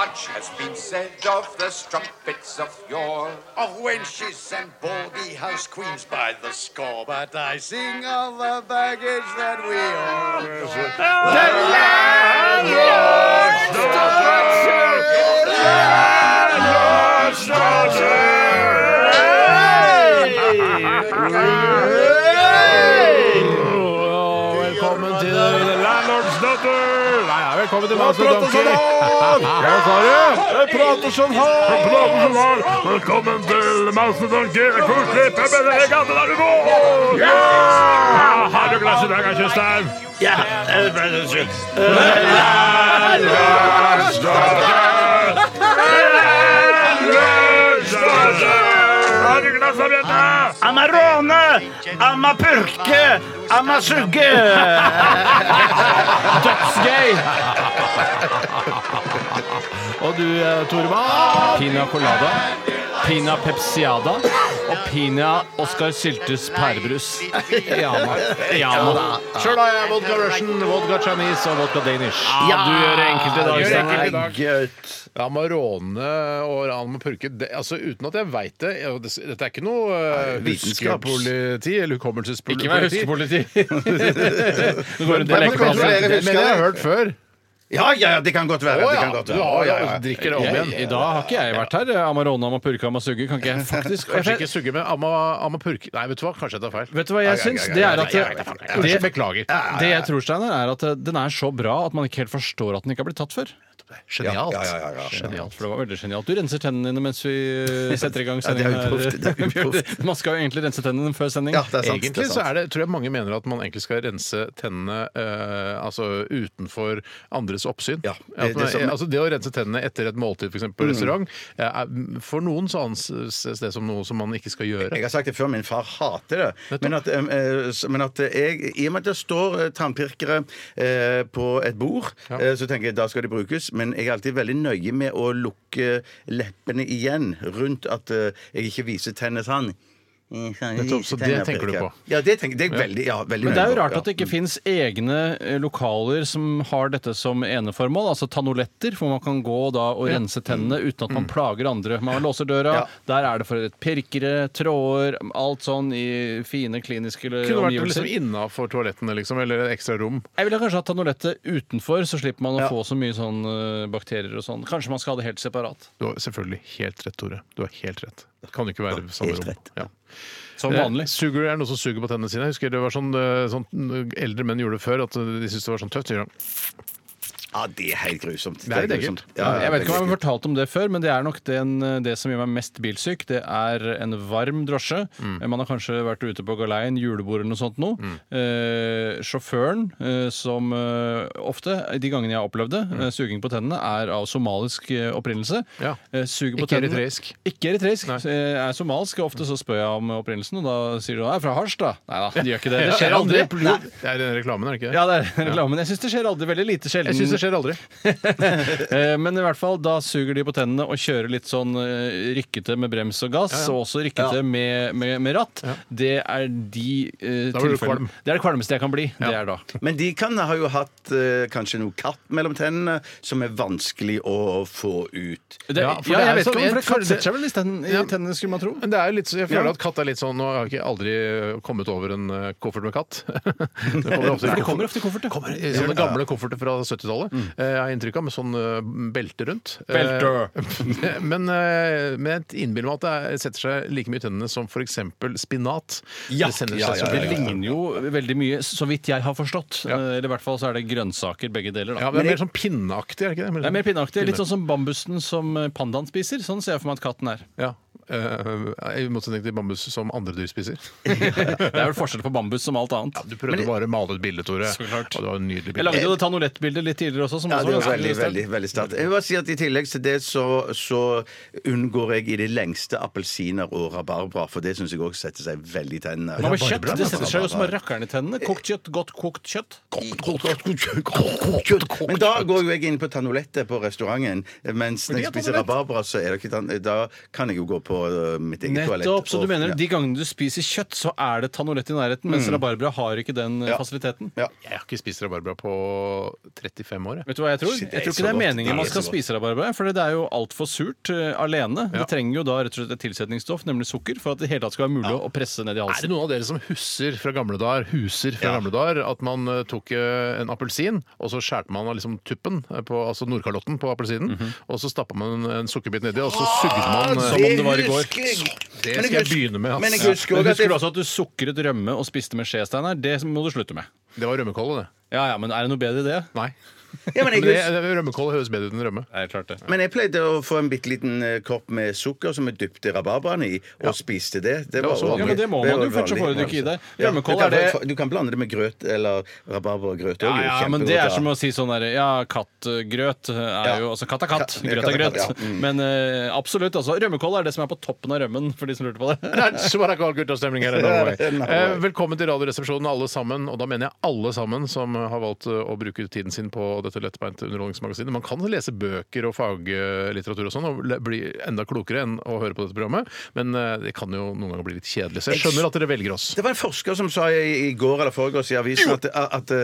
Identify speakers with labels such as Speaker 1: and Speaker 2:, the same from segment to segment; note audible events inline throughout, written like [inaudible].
Speaker 1: Much has been said of the strumpets of yore, of wenches and baldy house queens by the score. But I sing of the baggage that we all.
Speaker 2: Velkommen til Landlords Daughter! Nei, ja, velkommen til Master Donkey. [laughs] Hva sa du? Jeg prater som han! Jeg prater som han! Velkommen til Master Donkey. Det er koselig. Hvem er det i gata der du går? Ja! Har du glass i dag, Kjøstheim? Ja. Landlords Daughter! Landlords Daughter! Har du glass av jenta?
Speaker 3: Amma råne, amma purke, amma sugge.
Speaker 2: Dødsgøy! Og du, eh, Torba? Pina colada. Pina pepsiada. Og pina Oscar Syltes pærebrus. Ja, man. ja man. Sjøl har jeg
Speaker 3: Eh,
Speaker 2: vodka russian, vodka chinese og vodka danish. Ja, du gjør det enkelt i dag, Steinar.
Speaker 4: Amarone og Ranma Purke det, altså, Uten at jeg veit det jeg- det- Dette er ikke noe uh,
Speaker 2: vitenskaps-
Speaker 4: huskepoliti eller hukommelsespoliti.
Speaker 2: Ikke
Speaker 3: [laughs]
Speaker 2: vær huskepoliti. Du går rundt
Speaker 4: Nei,
Speaker 2: i
Speaker 4: men kanskje
Speaker 2: lekeplassen.
Speaker 4: det mener jeg har hørt før.
Speaker 3: Ja, ja, ja, det kan godt være.
Speaker 4: Å
Speaker 3: det
Speaker 4: ja,
Speaker 3: kan godt
Speaker 4: du
Speaker 3: være.
Speaker 4: har,
Speaker 3: Å, ja, ja.
Speaker 4: ja, drikker det om
Speaker 2: Jeg,
Speaker 4: igjen.
Speaker 2: I dag har ikke jeg vært her. Amarone, Amapurke, Amasuge. Kan ikke jeg faktisk
Speaker 4: Kanskje ikke sugge med Amma, amma Purke Nei, vet du hva, kanskje jeg tar feil.
Speaker 2: Vet du hva jeg syns? Det er at
Speaker 4: det,
Speaker 2: det,
Speaker 4: Beklager.
Speaker 2: det jeg tror, Steiner, er at eh, den er så bra at man ikke helt forstår at den ikke har blitt tatt før.
Speaker 4: Genialt.
Speaker 3: Ja, ja, ja, ja.
Speaker 2: Genialt, for det var veldig genialt. Du renser tennene dine mens vi eh, setter i gang
Speaker 3: Ja, det er
Speaker 2: sendingen.
Speaker 3: uproft, det
Speaker 2: [laughs]
Speaker 3: er
Speaker 2: her. Man skal jo egentlig rense tennene før sending.
Speaker 3: Ja, det er sant.
Speaker 4: Egentlig så er det, tror jeg mange mener at man egentlig skal rense tennene eh, altså utenfor andres oppsyn.
Speaker 3: Ja,
Speaker 4: At
Speaker 3: det- det
Speaker 4: man,
Speaker 3: som- Mm.
Speaker 4: altså det å rense tennene etter et måltid, f.eks. på restaurant, eh, er for noen så anses det som noe som man ikke skal gjøre.
Speaker 3: Jeg har sagt det før, min far hater det. Men at, em, eh, s- men at jeg, i og med at det står eh, tannpirkere eh, på et bord, eh, så tenker jeg da skal de brukes. Men jeg er alltid veldig nøye med å lukke leppene igjen rundt at eh, jeg ikke viser tenner sånn. Jeg kan ikke
Speaker 4: Nettopp,
Speaker 3: vise
Speaker 4: så det
Speaker 3: tenner,
Speaker 4: tenker du
Speaker 3: pirker.
Speaker 4: på?
Speaker 3: Ja, det tenker det er jeg veldig, ja, veldig
Speaker 2: Men det er
Speaker 3: nøye
Speaker 2: jo
Speaker 3: på,
Speaker 2: rart
Speaker 3: ja. Mm.
Speaker 2: at det ikke fins egne eh, lokaler som har dette som eneformål, altså tanoletter, hvor man kan gå da og rense tennene uten at man plager andre. Man låser døra,
Speaker 3: Ja.
Speaker 2: der er det for pirkere, tråder, alt sånn i fine kliniske
Speaker 4: Kunne vært
Speaker 2: omgivelser.
Speaker 4: liksom innafor toalettene, liksom, eller et ekstra rom.
Speaker 2: Jeg ville kanskje hatt tanolettet utenfor, så slipper man å
Speaker 3: Ja.
Speaker 2: få så mye sånn eh, bakterier og sånn. Kanskje man skal ha det helt separat.
Speaker 4: Du har selvfølgelig helt rett, Tore. Du har helt rett. Det kan jo ikke være samme
Speaker 3: helt
Speaker 4: rom.
Speaker 3: rett.
Speaker 4: Ja.
Speaker 2: Som vanlig.
Speaker 4: Eh, Suger er noe som suger på tennene sine. Jeg husker det var sånn, eh, sånn Eldre menn gjorde det før, at de syntes det var sånn tøft. De gjør sånn.
Speaker 3: Ja, det er helt grusomt.
Speaker 4: Det er litt
Speaker 3: grusomt.
Speaker 4: ekkelt.
Speaker 3: Ja, ja,
Speaker 2: jeg vet ikke om jeg har
Speaker 3: veldig
Speaker 2: fortalt om det før, men det er nok den, det som gjør meg mest bilsyk. Det er en varm drosje.
Speaker 4: Mm.
Speaker 2: Man har kanskje vært ute på galeien, julebord eller noe sånt noe. Eh, sjåføren, eh, som eh, ofte, de gangene jeg har opplevd det, eh, suging på tennene, er av somalisk eh, opprinnelse.
Speaker 4: Mm. Ja.
Speaker 2: Eh, suger på
Speaker 4: Ikke
Speaker 2: tennene-
Speaker 4: eritreisk.
Speaker 2: Ikke eritreisk. Eh, er somalisk. og Ofte så spør jeg om opprinnelsen, og da sier de at de er fra Harstad. Nei da, de gjør
Speaker 4: [laughs]
Speaker 2: ikke det. Det skjer aldri.
Speaker 4: Det er den reklamen, er det ikke det?
Speaker 2: Ja, det er [laughs] reklamen. Jeg syns det skjer aldri. Veldig lite sjelden.
Speaker 4: Jeg syns det skjer aldri.
Speaker 2: Eh, Men i hvert fall, da suger de på tennene og kjører litt sånn eh, rykkete med brems og gass, og også rykkete med, med, med ratt. Det er de eh,
Speaker 4: Da blir du
Speaker 2: tilfellene-
Speaker 4: kvalm.
Speaker 2: Det er det kvalmeste jeg kan bli. Det er da.
Speaker 3: Men de kan ha jo hatt eh, kanskje noe kapp mellom tennene som er vanskelig å få ut.
Speaker 2: Det, ja,
Speaker 4: Ja, for det
Speaker 2: jeg
Speaker 4: er
Speaker 2: vet ikke
Speaker 4: sånn-
Speaker 2: om
Speaker 4: jeg
Speaker 2: for
Speaker 4: føler
Speaker 2: katt
Speaker 4: det-
Speaker 2: setter seg vel i sten- i
Speaker 4: Ja.
Speaker 2: tennene, skulle man tro.
Speaker 4: Men det er jo litt, så- jeg føler
Speaker 3: Ja.
Speaker 4: at katt er litt sånn Nå har jeg ikke aldri eh, kommet over en eh, koffert med katt. Det kommer ofte,
Speaker 2: For det kommer ofte i koffert. ja.
Speaker 4: Kommer i sånne gamle kofferter fra 70-tallet. eh, Jeg har inntrykk av med sånn eh, belte rundt. Eh, men, eh, men jeg innbiller meg at det er- setter seg like mye i tennene som f.eks. spinat.
Speaker 3: Ja.
Speaker 4: Det sender
Speaker 3: Ja,
Speaker 4: seg
Speaker 3: ja,
Speaker 4: som
Speaker 3: ja,
Speaker 2: Det
Speaker 3: ja.
Speaker 2: ligner jo veldig mye, så vidt jeg har forstått.
Speaker 4: Ja.
Speaker 2: Eh, Eller i hvert fall så er det grønnsaker, begge deler. da.
Speaker 4: Ja, men det er mer sånn pinneaktig, er det ikke
Speaker 2: eh,
Speaker 4: det?
Speaker 2: Sånn Det er [laughs] mer pinneaktig. Litt sånn som bambusen som pandaen spiser. Sånn ser jeg for meg at katten er.
Speaker 4: Ja. eh, i motsetning til bambus som andre dyr spiser.
Speaker 2: Det er vel forskjell på bambus som alt annet.
Speaker 4: Du prøvde bare å male et bilde, Tore.
Speaker 2: Så klart.
Speaker 4: Og det var en nydelig
Speaker 2: Jeg lagde
Speaker 4: bilde.
Speaker 2: jo det tanolettbildet litt tidligere også. Som
Speaker 3: Ja, Altså, det
Speaker 2: også
Speaker 3: var
Speaker 2: ganske
Speaker 3: veldig,
Speaker 2: sterkt.
Speaker 3: veldig, veldig sterkt. Jeg vil bare si at I tillegg til det så, så unngår jeg i det lengste appelsiner og rabarbra, for det syns jeg òg setter seg veldig i tennene.
Speaker 2: Men med kjøtt,
Speaker 3: Rabarbra,
Speaker 2: det setter seg jo som
Speaker 3: rabarbra.
Speaker 2: rakkeren i tennene. Kokt
Speaker 3: Eh,
Speaker 2: kjøtt, godt kokt kjøtt.
Speaker 3: Men da går jo jeg inn på tanolettet på restauranten, mens når jeg spiser rabarbra, så er det ikke tan da kan jeg jo gå på øh, mitt eget toalett.
Speaker 2: Nettopp, så du
Speaker 3: og-
Speaker 2: mener
Speaker 3: ja. Mm.
Speaker 2: de gangene du spiser kjøtt, så er det tanolett i nærheten, mens rabarbra har ikke den eh,
Speaker 3: Ja.
Speaker 2: fasiliteten?
Speaker 3: Ja.
Speaker 4: Jeg har ikke spist rabarbra på 35 år. jeg.
Speaker 2: Vet du hva jeg tror?
Speaker 3: Shit, det
Speaker 2: jeg
Speaker 3: er
Speaker 2: tror
Speaker 3: så
Speaker 2: ikke det er
Speaker 3: godt. Det
Speaker 2: meningen
Speaker 3: er
Speaker 2: man
Speaker 3: så
Speaker 2: skal
Speaker 3: godt.
Speaker 2: spise rabarbra, for det er jo altfor surt eh, alene.
Speaker 4: Ja.
Speaker 2: Det trenger jo da rett og slett et tilsetningsstoff, nemlig sukker, for at det hele tatt skal være mulig å presse ned i
Speaker 4: Er det
Speaker 2: halsen.
Speaker 4: noen av dere som husker fra gamle dager huser fra gamle dager, at man eh, tok eh, en appelsin, og så skjærte man av liksom tuppen, eh, på, altså nordkalotten på appelsinen, og så stappa man en, en sukkerbit nedi, og så sugde man eh,
Speaker 2: Som om det var i går.
Speaker 3: husker jeg.
Speaker 4: Det
Speaker 3: Men
Speaker 4: skal jeg
Speaker 3: husker-
Speaker 4: begynne med, ass.
Speaker 3: Men jeg
Speaker 4: Ja.
Speaker 3: husker
Speaker 2: Men
Speaker 3: også at
Speaker 2: husker
Speaker 3: jeg
Speaker 2: du altså- også at du sukret rømme og spiste med skje, Steinar? Det må du slutte med.
Speaker 4: Det var rømmekål, det.
Speaker 2: Ja ja, men er det noe bedre i det?
Speaker 4: Nei.
Speaker 3: Ja, men jeg
Speaker 4: Men det,
Speaker 3: husker-
Speaker 4: det- rømmekål høres bedre ut enn rømme.
Speaker 2: Nei, klart det.
Speaker 3: Men jeg pleide å få en bitte liten eh, kopp med sukker som jeg dypte rabarbraen i, og spiste det. Det
Speaker 4: også vanlig.
Speaker 2: Ja, men det må
Speaker 3: var
Speaker 2: man jo, for ellers
Speaker 3: vanlig.
Speaker 2: får du det ikke i deg.
Speaker 3: Ja,
Speaker 2: Rømmekål
Speaker 3: du kan
Speaker 2: er det-
Speaker 3: få- Du kan blande det med grøt eller rabarbra og grøt.
Speaker 2: Ja,
Speaker 3: også,
Speaker 2: ja,
Speaker 3: jo
Speaker 2: men
Speaker 3: kjempegodt,
Speaker 2: det er
Speaker 3: ja.
Speaker 2: som å si sånn derre Ja, kattgrøt er
Speaker 3: Ja.
Speaker 2: jo Altså, katt er katt,
Speaker 3: Katt-
Speaker 2: grøt
Speaker 3: katt
Speaker 2: er
Speaker 3: er
Speaker 2: grøt. [laughs]
Speaker 3: katt, ja. Mm.
Speaker 2: Men eh, absolutt, altså. Rømmekål er det som er på toppen av rømmen, for de som lurte på det.
Speaker 4: That's what I call guttastemning her. Norway.
Speaker 3: Ja, Norway.
Speaker 4: Eh, Velkommen til Radioresepsjonen, alle sammen. Og da mener jeg alle sammen som har valgt eh, å bruke tiden sin på dette lettbeinte underholdningsmagasinet. Man kan lese bøker og faglitteratur og sånn og le- bli enda klokere enn å høre på dette programmet, men eh, det kan jo noen ganger bli litt kjedelig. Så jeg skjønner at dere velger oss.
Speaker 3: Det var en forsker som sa i, i går eller foregårs i avisen at, at,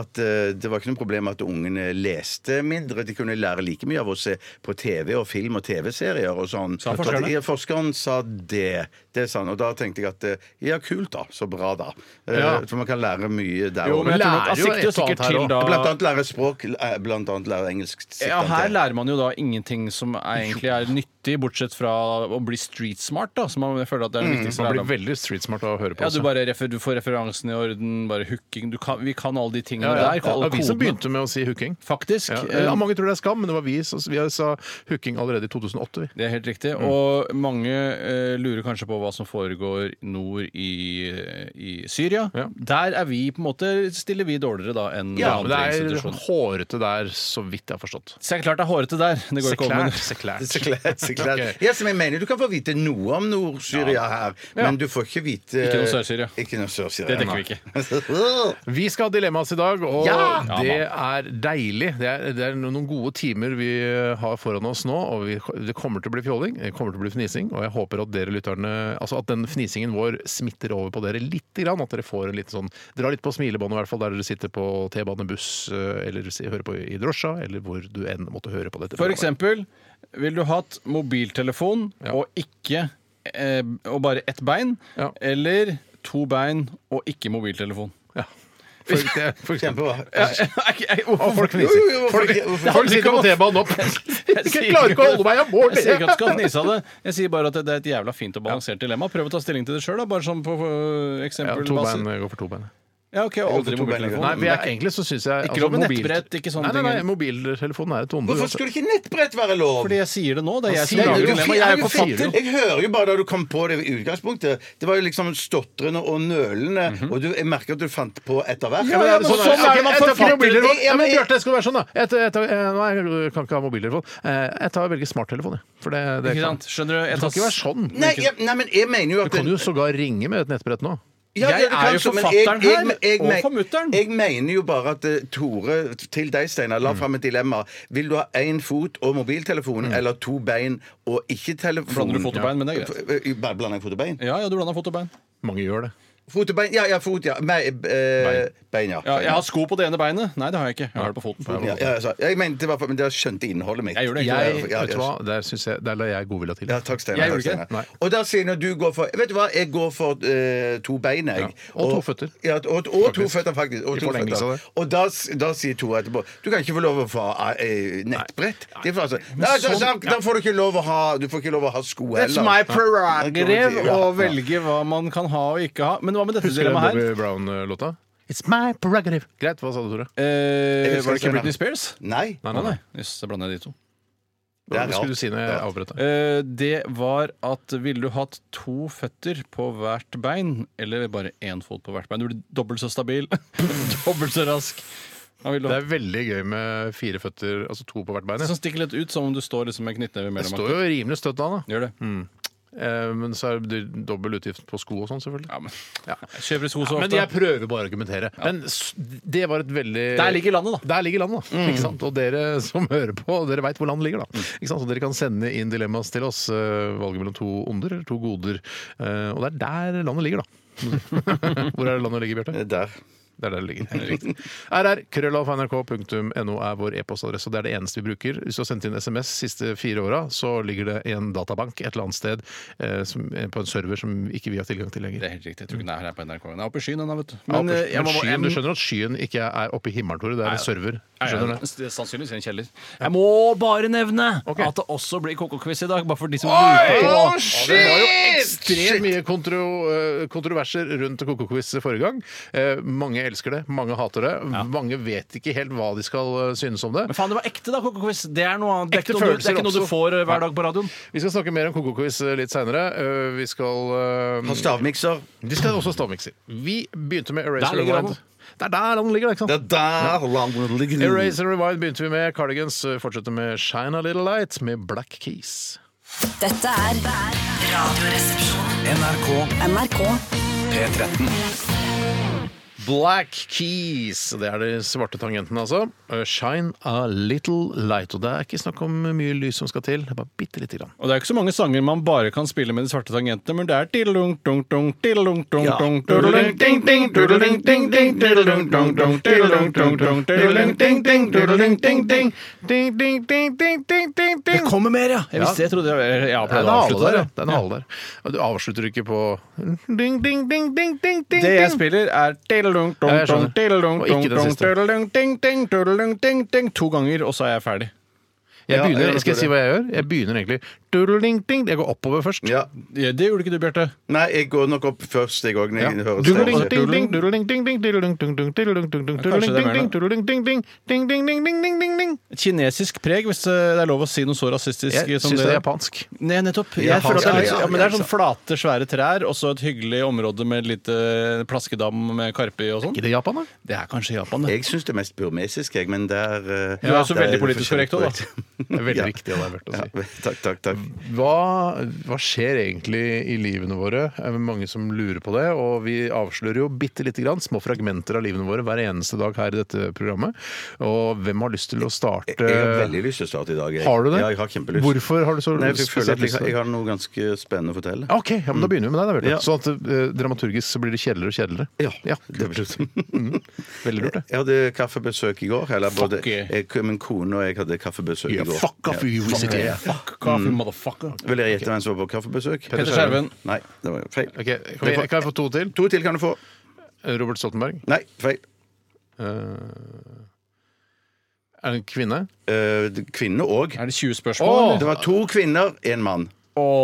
Speaker 3: at eh, det var ikke noe problem at ungene leste mindre. De kunne lære like mye av å se på TV og film og TV-serier og sånn.
Speaker 2: Sa forskerne?
Speaker 3: At- ja, forskeren sa det. Det sa han. Og da tenkte jeg at eh, ja, kult da. Så bra, da. Eh,
Speaker 4: Ja.
Speaker 3: For man kan lære mye der
Speaker 2: Jo,
Speaker 3: òg.
Speaker 2: [laughs] men jeg tror
Speaker 4: lærer
Speaker 2: nok, han
Speaker 4: jo
Speaker 2: sikter jo
Speaker 4: et og annet
Speaker 2: sikkert
Speaker 4: her
Speaker 2: til
Speaker 4: også.
Speaker 2: da
Speaker 3: Blant annet lære språk, eh, blant annet lære engelsk. sikter
Speaker 2: ja,
Speaker 3: han
Speaker 2: her
Speaker 3: til.
Speaker 2: lærer man jo da ingenting som er, egentlig er nyttig, bortsett fra å bli street smart, da, som man jeg føler at det er den viktigste
Speaker 4: Mm, Man blir
Speaker 2: lærdommen.
Speaker 4: veldig street smart av å høre på
Speaker 2: Ja,
Speaker 4: oss.
Speaker 2: du, bare refer, du får referansen i orden, bare hooking du kan, Vi kan alle de tingene
Speaker 4: Ja, ja.
Speaker 2: der. Alle
Speaker 4: Det var vi som
Speaker 2: kodene.
Speaker 4: begynte med å si hooking.
Speaker 2: Faktisk.
Speaker 4: Ja.
Speaker 2: eh,
Speaker 4: Ja, mange tror det er skam, men det var vi som vi sa hooking allerede i 2008. vi.
Speaker 2: Det er helt riktig.
Speaker 4: Mm.
Speaker 2: Og mange eh, lurer kanskje på hva som foregår nord i, i Syria.
Speaker 4: Ja.
Speaker 2: Der er vi på en måte stiller vi dårligere da enn
Speaker 4: Ja,
Speaker 2: andre
Speaker 4: men det er
Speaker 2: institusjoner.
Speaker 4: hårete der, så vidt jeg har forstått.
Speaker 2: Så det er klart det er hårete der. Det går ikke om. men-
Speaker 4: Seklært.
Speaker 3: Så klart, så klart.
Speaker 4: Ok.
Speaker 3: Ja, som jeg mener, Du kan få vite noe om Nord-Syria her, men du får ikke vite
Speaker 2: Ikke noe Sør-Syria.
Speaker 3: Ikke noe Sør-Syria.
Speaker 2: [laughs] Det
Speaker 3: [laughs]
Speaker 2: dekker vi ikke.
Speaker 3: ikke.
Speaker 4: Vi skal ha dilemmas i dag, og
Speaker 3: Ja!
Speaker 4: det er deilig. Det er, det er no- noen gode timer vi har foran oss nå, og vi, det kommer til å bli fjolling, det kommer til å bli fnising, og jeg håper at dere lytterne, altså at den fnisingen vår smitter over på dere litt, grann, at dere får en liten sånn, dra litt på smilebåndet i hvert fall, der dere sitter på T-bane, buss, eh, eller si- hører på i drosja, eller hvor du enn måtte høre på dette.
Speaker 2: For eksempel, vil du hatt mobiltelefon og ikke eh, og bare ett bein,
Speaker 4: Ja.
Speaker 2: eller to bein og ikke mobiltelefon?
Speaker 4: Ja. For,
Speaker 2: [laughs]
Speaker 4: det, for eksempel.
Speaker 3: Kjempebra.
Speaker 4: [laughs] Og folk
Speaker 3: Jo, jo, jo,
Speaker 4: fniser.
Speaker 3: hvorfor
Speaker 4: Folk,
Speaker 3: ikke?
Speaker 4: folk sitter på T-banen
Speaker 2: [laughs]
Speaker 4: opp. Jeg klarer ikke å holde meg, jeg må
Speaker 2: Jeg sier ikke
Speaker 4: le.
Speaker 2: at du skal fnise av det. Jeg sier bare at det er et jævla fint og balansert dilemma. Prøv å ta stilling til det sjøl, bare sånn på øh,
Speaker 4: Ja, to
Speaker 2: eksempelbasis.
Speaker 4: bein, jeg går for to bein.
Speaker 2: Ja, ok, og
Speaker 3: går
Speaker 2: aldri
Speaker 3: for to bein, jeg går.
Speaker 2: mobiltelefon.
Speaker 4: Nei,
Speaker 2: Men
Speaker 4: men
Speaker 2: det er
Speaker 4: jeg, egentlig så syns jeg altså,
Speaker 2: Ikke lov med nettbrett, ikke sånne
Speaker 4: nei, nei,
Speaker 2: ting.
Speaker 4: nei, mobiltelefonen er et onde.
Speaker 3: Hvorfor skulle ikke nettbrett være lov?
Speaker 2: Fordi jeg sier det nå. Det er jeg som
Speaker 4: sier
Speaker 3: Nei,
Speaker 2: lager
Speaker 3: du-
Speaker 2: dilemma. Jeg er jo forfatter.
Speaker 3: Jeg hører jo bare da du kom på det i utgangspunktet. Det var jo liksom stotrende og nølende, og du, jeg merker at du fant på etter hvert.
Speaker 4: Ja, men, ja, men sånn er det.
Speaker 3: man
Speaker 4: Jeg tar ikke
Speaker 3: forfatter.
Speaker 4: mobiltelefon.
Speaker 3: Ja,
Speaker 4: Ja,
Speaker 3: men
Speaker 4: men
Speaker 3: jeg-
Speaker 4: Bjarte, skal det være sånn, da. Jeg, tar- jeg, tar- eh, nei, jeg kan ikke ha mobiltelefon. Eh, Jeg tar velger smarttelefon, jeg. For det, det
Speaker 2: Ikke
Speaker 4: kan.
Speaker 2: sant? Skjønner du? Jeg
Speaker 4: Det
Speaker 2: tar-
Speaker 4: kan ikke være sånn.
Speaker 3: Nei, jeg, nei, men jeg mener jo at
Speaker 4: Du kan jo sågar ringe med et nettbrett nå.
Speaker 3: Ja,
Speaker 2: Jeg
Speaker 3: ja, du
Speaker 2: er
Speaker 3: kan
Speaker 2: jo
Speaker 3: så, men
Speaker 2: forfatteren
Speaker 3: jeg-
Speaker 2: her,
Speaker 3: jeg- jeg-
Speaker 2: og
Speaker 3: jeg-
Speaker 2: formutteren.
Speaker 3: Jeg mener jo bare at eh, Tore, til deg, Steinar,
Speaker 2: Mm.
Speaker 3: la fram et dilemma. Vil du ha én fot og mobiltelefon, eller to bein og ikke telefon?
Speaker 2: Blander du fot og bein, men det er
Speaker 3: greit. Bare blander jeg fot og bein?
Speaker 2: Ja, ja, du blanda fot og bein.
Speaker 4: Mange gjør det.
Speaker 3: Fot og bein, ja, ja, fot, ja. Nei, eh, bein, ja.
Speaker 2: Ja, jeg har sko på det ene beinet. Nei, det har jeg ikke. Jeg har det på foten.
Speaker 3: ja, ja, altså, jeg mente i hvert fall, men dere skjønte innholdet mitt.
Speaker 2: Jeg gjorde det egentlig.
Speaker 4: Jeg,
Speaker 3: Ja,
Speaker 4: vet du hva, der, synes jeg, der la jeg godvilja til.
Speaker 3: Ja, takk, Steinar. takk,
Speaker 2: Jeg gjorde ikke det.
Speaker 3: Steinar. Og da sier når du går for Vet du hva, jeg går for eh, to bein, jeg.
Speaker 4: Ja, og to føtter.
Speaker 3: Ja, og, og to føtter, faktisk. Og,
Speaker 4: I
Speaker 3: to
Speaker 4: forlengelse av
Speaker 3: føtter.
Speaker 4: det.
Speaker 3: og da, s- da sier to etterpå Du kan ikke få lov å få eh, nettbrett. Det er for, altså, nei, da- da- da får du ikke lov å ha Du får ikke lov å ha sko heller.
Speaker 2: sånn- That's my prerogative
Speaker 3: Ja, ja.
Speaker 2: å velge hva man kan ha og ikke ha. Men hva med dette
Speaker 4: Husker du den
Speaker 2: dilemmaet her?
Speaker 4: Bobby Brown-låta? It's my prerogative. Greit, hva sa du, Tore?
Speaker 2: Eh,
Speaker 3: husker
Speaker 2: var det ikke
Speaker 3: ikke
Speaker 2: Britney Spears?
Speaker 3: Nei.
Speaker 2: Nei, nei. Jøss, da blander jeg de to.
Speaker 3: Det er
Speaker 4: Hva skulle
Speaker 3: rart.
Speaker 4: du si når jeg avbrøt deg?
Speaker 2: Eh, Det var at ville du hatt to føtter på hvert bein, eller bare én fot på hvert bein? Du blir dobbelt så stabil, [laughs] dobbelt så rask. Hva vil du ha?
Speaker 4: Det er veldig gøy med fire føtter, altså to på hvert bein.
Speaker 2: Det som
Speaker 4: jeg.
Speaker 2: stikker litt ut, som om du står liksom med knyttneve
Speaker 4: Det
Speaker 2: mellom
Speaker 4: står jo rimelig støtt da, da.
Speaker 2: Gjør det.
Speaker 4: Eh, Men så er det dobbel utgift på sko og sånn, selvfølgelig.
Speaker 2: Ja, men jeg kjøper sko så
Speaker 4: Men
Speaker 2: ofte.
Speaker 4: jeg prøver bare å argumentere. Men s- det var et veldig
Speaker 2: Der ligger landet, da.
Speaker 4: Der ligger landet,
Speaker 2: Mm.
Speaker 4: da. Ikke sant? Og dere som hører på, dere veit hvor landet ligger, da. Ikke sant? Så dere kan sende inn dilemmas til oss. eh, Valget mellom to onder eller to goder. Eh, Og det er der
Speaker 2: [laughs]
Speaker 4: landet ligger, da. Hvor er det landet ligger, Bjarte?
Speaker 3: Det er Der.
Speaker 4: Det er der det [laughs] ligger. RR, krøllalfa.nrk.no er vår e-postadresse, og det er det eneste vi bruker. Hvis du har sendt inn SMS de siste fire åra, så ligger det i en databank et eller annet sted eh, som, på en server som ikke vi har tilgang til lenger.
Speaker 2: Det er helt riktig. Jeg tror ikke den er her på NRK. Den er oppe i skyen, den da, vet du.
Speaker 4: Men,
Speaker 2: eh, jeg må- jeg-
Speaker 4: skyen, du skjønner at skyen ikke er oppe i himmelen, Tore. Det er en server. Du skjønner det?
Speaker 2: det? Sannsynligvis i en kjeller. Jeg må bare nevne
Speaker 4: Ok.
Speaker 2: at det også blir koko-quiz i dag, bare for de som lurer på.
Speaker 4: Å, Det var jo ekstremt mye kontro, eh, kontroverser rundt Koko-quiz forrige gang. Eh, mange elsker det, mange hater det. Mange vet ikke helt hva de skal eh, synes om det.
Speaker 2: Men faen, det var ekte, da, koko-quiz. Det er noe annet. Det er
Speaker 4: Ekte
Speaker 2: ikke noe, du- det
Speaker 4: følelser altså.
Speaker 2: er ikke noe du
Speaker 4: oppstår.
Speaker 2: får eh, hver dag på radioen.
Speaker 4: Vi skal snakke mer om Koko-quiz litt seinere. Vi skal eh,
Speaker 3: På stavmikser.
Speaker 4: De skal også stavmikser. Vi begynte med Eraser
Speaker 2: Der ligger
Speaker 4: Rewind.
Speaker 2: han.
Speaker 4: Det er der han ligger, ikke sant?
Speaker 3: Det er der landet ligger.
Speaker 4: Eraser Rewind begynte vi med. Cardigans eh, fortsetter med Shine a Little Light med Black Keys.
Speaker 5: Dette er Radioresepsjonen. NRK.
Speaker 6: P13.
Speaker 4: Black Keys. Det er de svarte tangentene, altså. Eh, Shine a little light. Og det er ikke snakk om mye lys som skal til. Det er bare bitte lite grann.
Speaker 2: Og det er ikke så mange sanger man bare kan spille med de svarte tangentene, men det er tiddelung, dung, dung, tiddelung, dung, dung, tuddelung, ding, ding, tuddelung, ding, ding, tiddelung, dung, dung, tiddelung, dung, dung, tiddelung, ding, ding, tuddelung, ding, ding.
Speaker 4: Ding, ding, ding, ding, ding, ding, ding. Det
Speaker 2: Kommer mer, ja! Jeg visste, jeg trodde jeg, jeg
Speaker 4: er en
Speaker 2: pleide å
Speaker 4: hale
Speaker 2: avslutte
Speaker 4: der,
Speaker 2: der.
Speaker 4: ja. Det er en hale der. Og Du avslutter ikke på ding, ding, ding, ding, ding, ding.
Speaker 2: Det jeg
Speaker 4: ding.
Speaker 2: spiller, er tiddelung, dung,
Speaker 4: Ja, jeg skjønner.
Speaker 2: dung, tiddelung,
Speaker 4: Og
Speaker 2: dung,
Speaker 4: ikke det
Speaker 2: dung,
Speaker 4: siste.
Speaker 2: tiddelung, ding, ding, tuddelung, ding, ding. To ganger, og så er jeg ferdig.
Speaker 4: Jeg
Speaker 3: Ja,
Speaker 4: begynner,
Speaker 3: jeg
Speaker 4: skal jeg si hva jeg gjør? Jeg begynner egentlig Duddeling, ding. Jeg går oppover først.
Speaker 3: Ja.
Speaker 2: Ja, Det gjorde ikke du, Bjarte.
Speaker 3: Nei, jeg går nok opp først, jeg òg.
Speaker 4: Ja. Duddeling, ding, ding, duddeling, ding, ding, duddeling, ding, ding, duddeling, ding, ding,
Speaker 2: Kanskje det er mer
Speaker 4: duddeling, ding, ding, ding, ding, ding, ding, ding, ding, ding.
Speaker 2: Et Kinesisk preg, hvis eh, det er lov å si noe så rasistisk
Speaker 4: Jeg
Speaker 2: som
Speaker 4: syns det er
Speaker 2: der.
Speaker 4: japansk.
Speaker 2: Nei, nettopp.
Speaker 3: Ja,
Speaker 2: Jeg føler at det,
Speaker 3: ja,
Speaker 2: er,
Speaker 3: ja,
Speaker 2: ja, men det er
Speaker 3: ja,
Speaker 2: sånn flate, svære trær og så et hyggelig område med et lite plaskedam med karpe i og sånn.
Speaker 4: Ikke det Japan, da?
Speaker 2: Det er kanskje Japan, det.
Speaker 3: Jeg syns det er mest burmesisk, jeg, men der eh,
Speaker 2: Du er også
Speaker 3: der
Speaker 2: veldig
Speaker 3: det
Speaker 2: politisk
Speaker 3: forskjellig
Speaker 2: korrekt også,
Speaker 3: korrekt.
Speaker 4: Det er veldig
Speaker 3: Ja.
Speaker 4: viktig, og det er verdt å si.
Speaker 3: Ja, [laughs] takk, takk, takk.
Speaker 4: Hva, hva skjer egentlig i livene våre? Det er mange som lurer på det. Og vi avslører jo bitte lite grann små fragmenter av livene våre hver eneste dag her i dette programmet. Og hvem har lyst til å starte
Speaker 3: Jeg har veldig lyst til å starte i dag. Jeg.
Speaker 4: Har du det?
Speaker 3: Ja, jeg har kjempelyst.
Speaker 4: Hvorfor har du så
Speaker 3: Nei, for jeg, føler
Speaker 4: spesielt
Speaker 3: at
Speaker 4: lyst
Speaker 3: jeg,
Speaker 4: til
Speaker 3: jeg
Speaker 4: det?
Speaker 3: har noe ganske spennende å fortelle.
Speaker 4: Ok, Mm. ja, men Da begynner vi med deg. da, Bjarte.
Speaker 3: Ja.
Speaker 4: Sånn at eh, Dramaturgisk så blir det kjedeligere og kjedeligere.
Speaker 3: Ja, [laughs] det blir slutt.
Speaker 4: Veldig lurt, det.
Speaker 3: Jeg hadde kaffebesøk i går. Eller både
Speaker 2: yeah.
Speaker 3: jeg, min kone og jeg hadde kaffebesøk i går.
Speaker 4: you visit here.
Speaker 2: Fuck coffee, motherfucker.
Speaker 3: Vil dere gjette hvem som var på kaffebesøk?
Speaker 2: Petter Skjerven.
Speaker 3: Nei, det var feil.
Speaker 4: Ok, kan, vi, kan jeg få to til?
Speaker 3: To til kan du få.
Speaker 4: Robert Stoltenberg.
Speaker 3: Nei, feil.
Speaker 4: Eh, er det en kvinne?
Speaker 3: Eh, kvinne òg.
Speaker 2: Er det 20 spørsmål?
Speaker 4: Oh.
Speaker 2: Å,
Speaker 3: Det var to kvinner, én mann.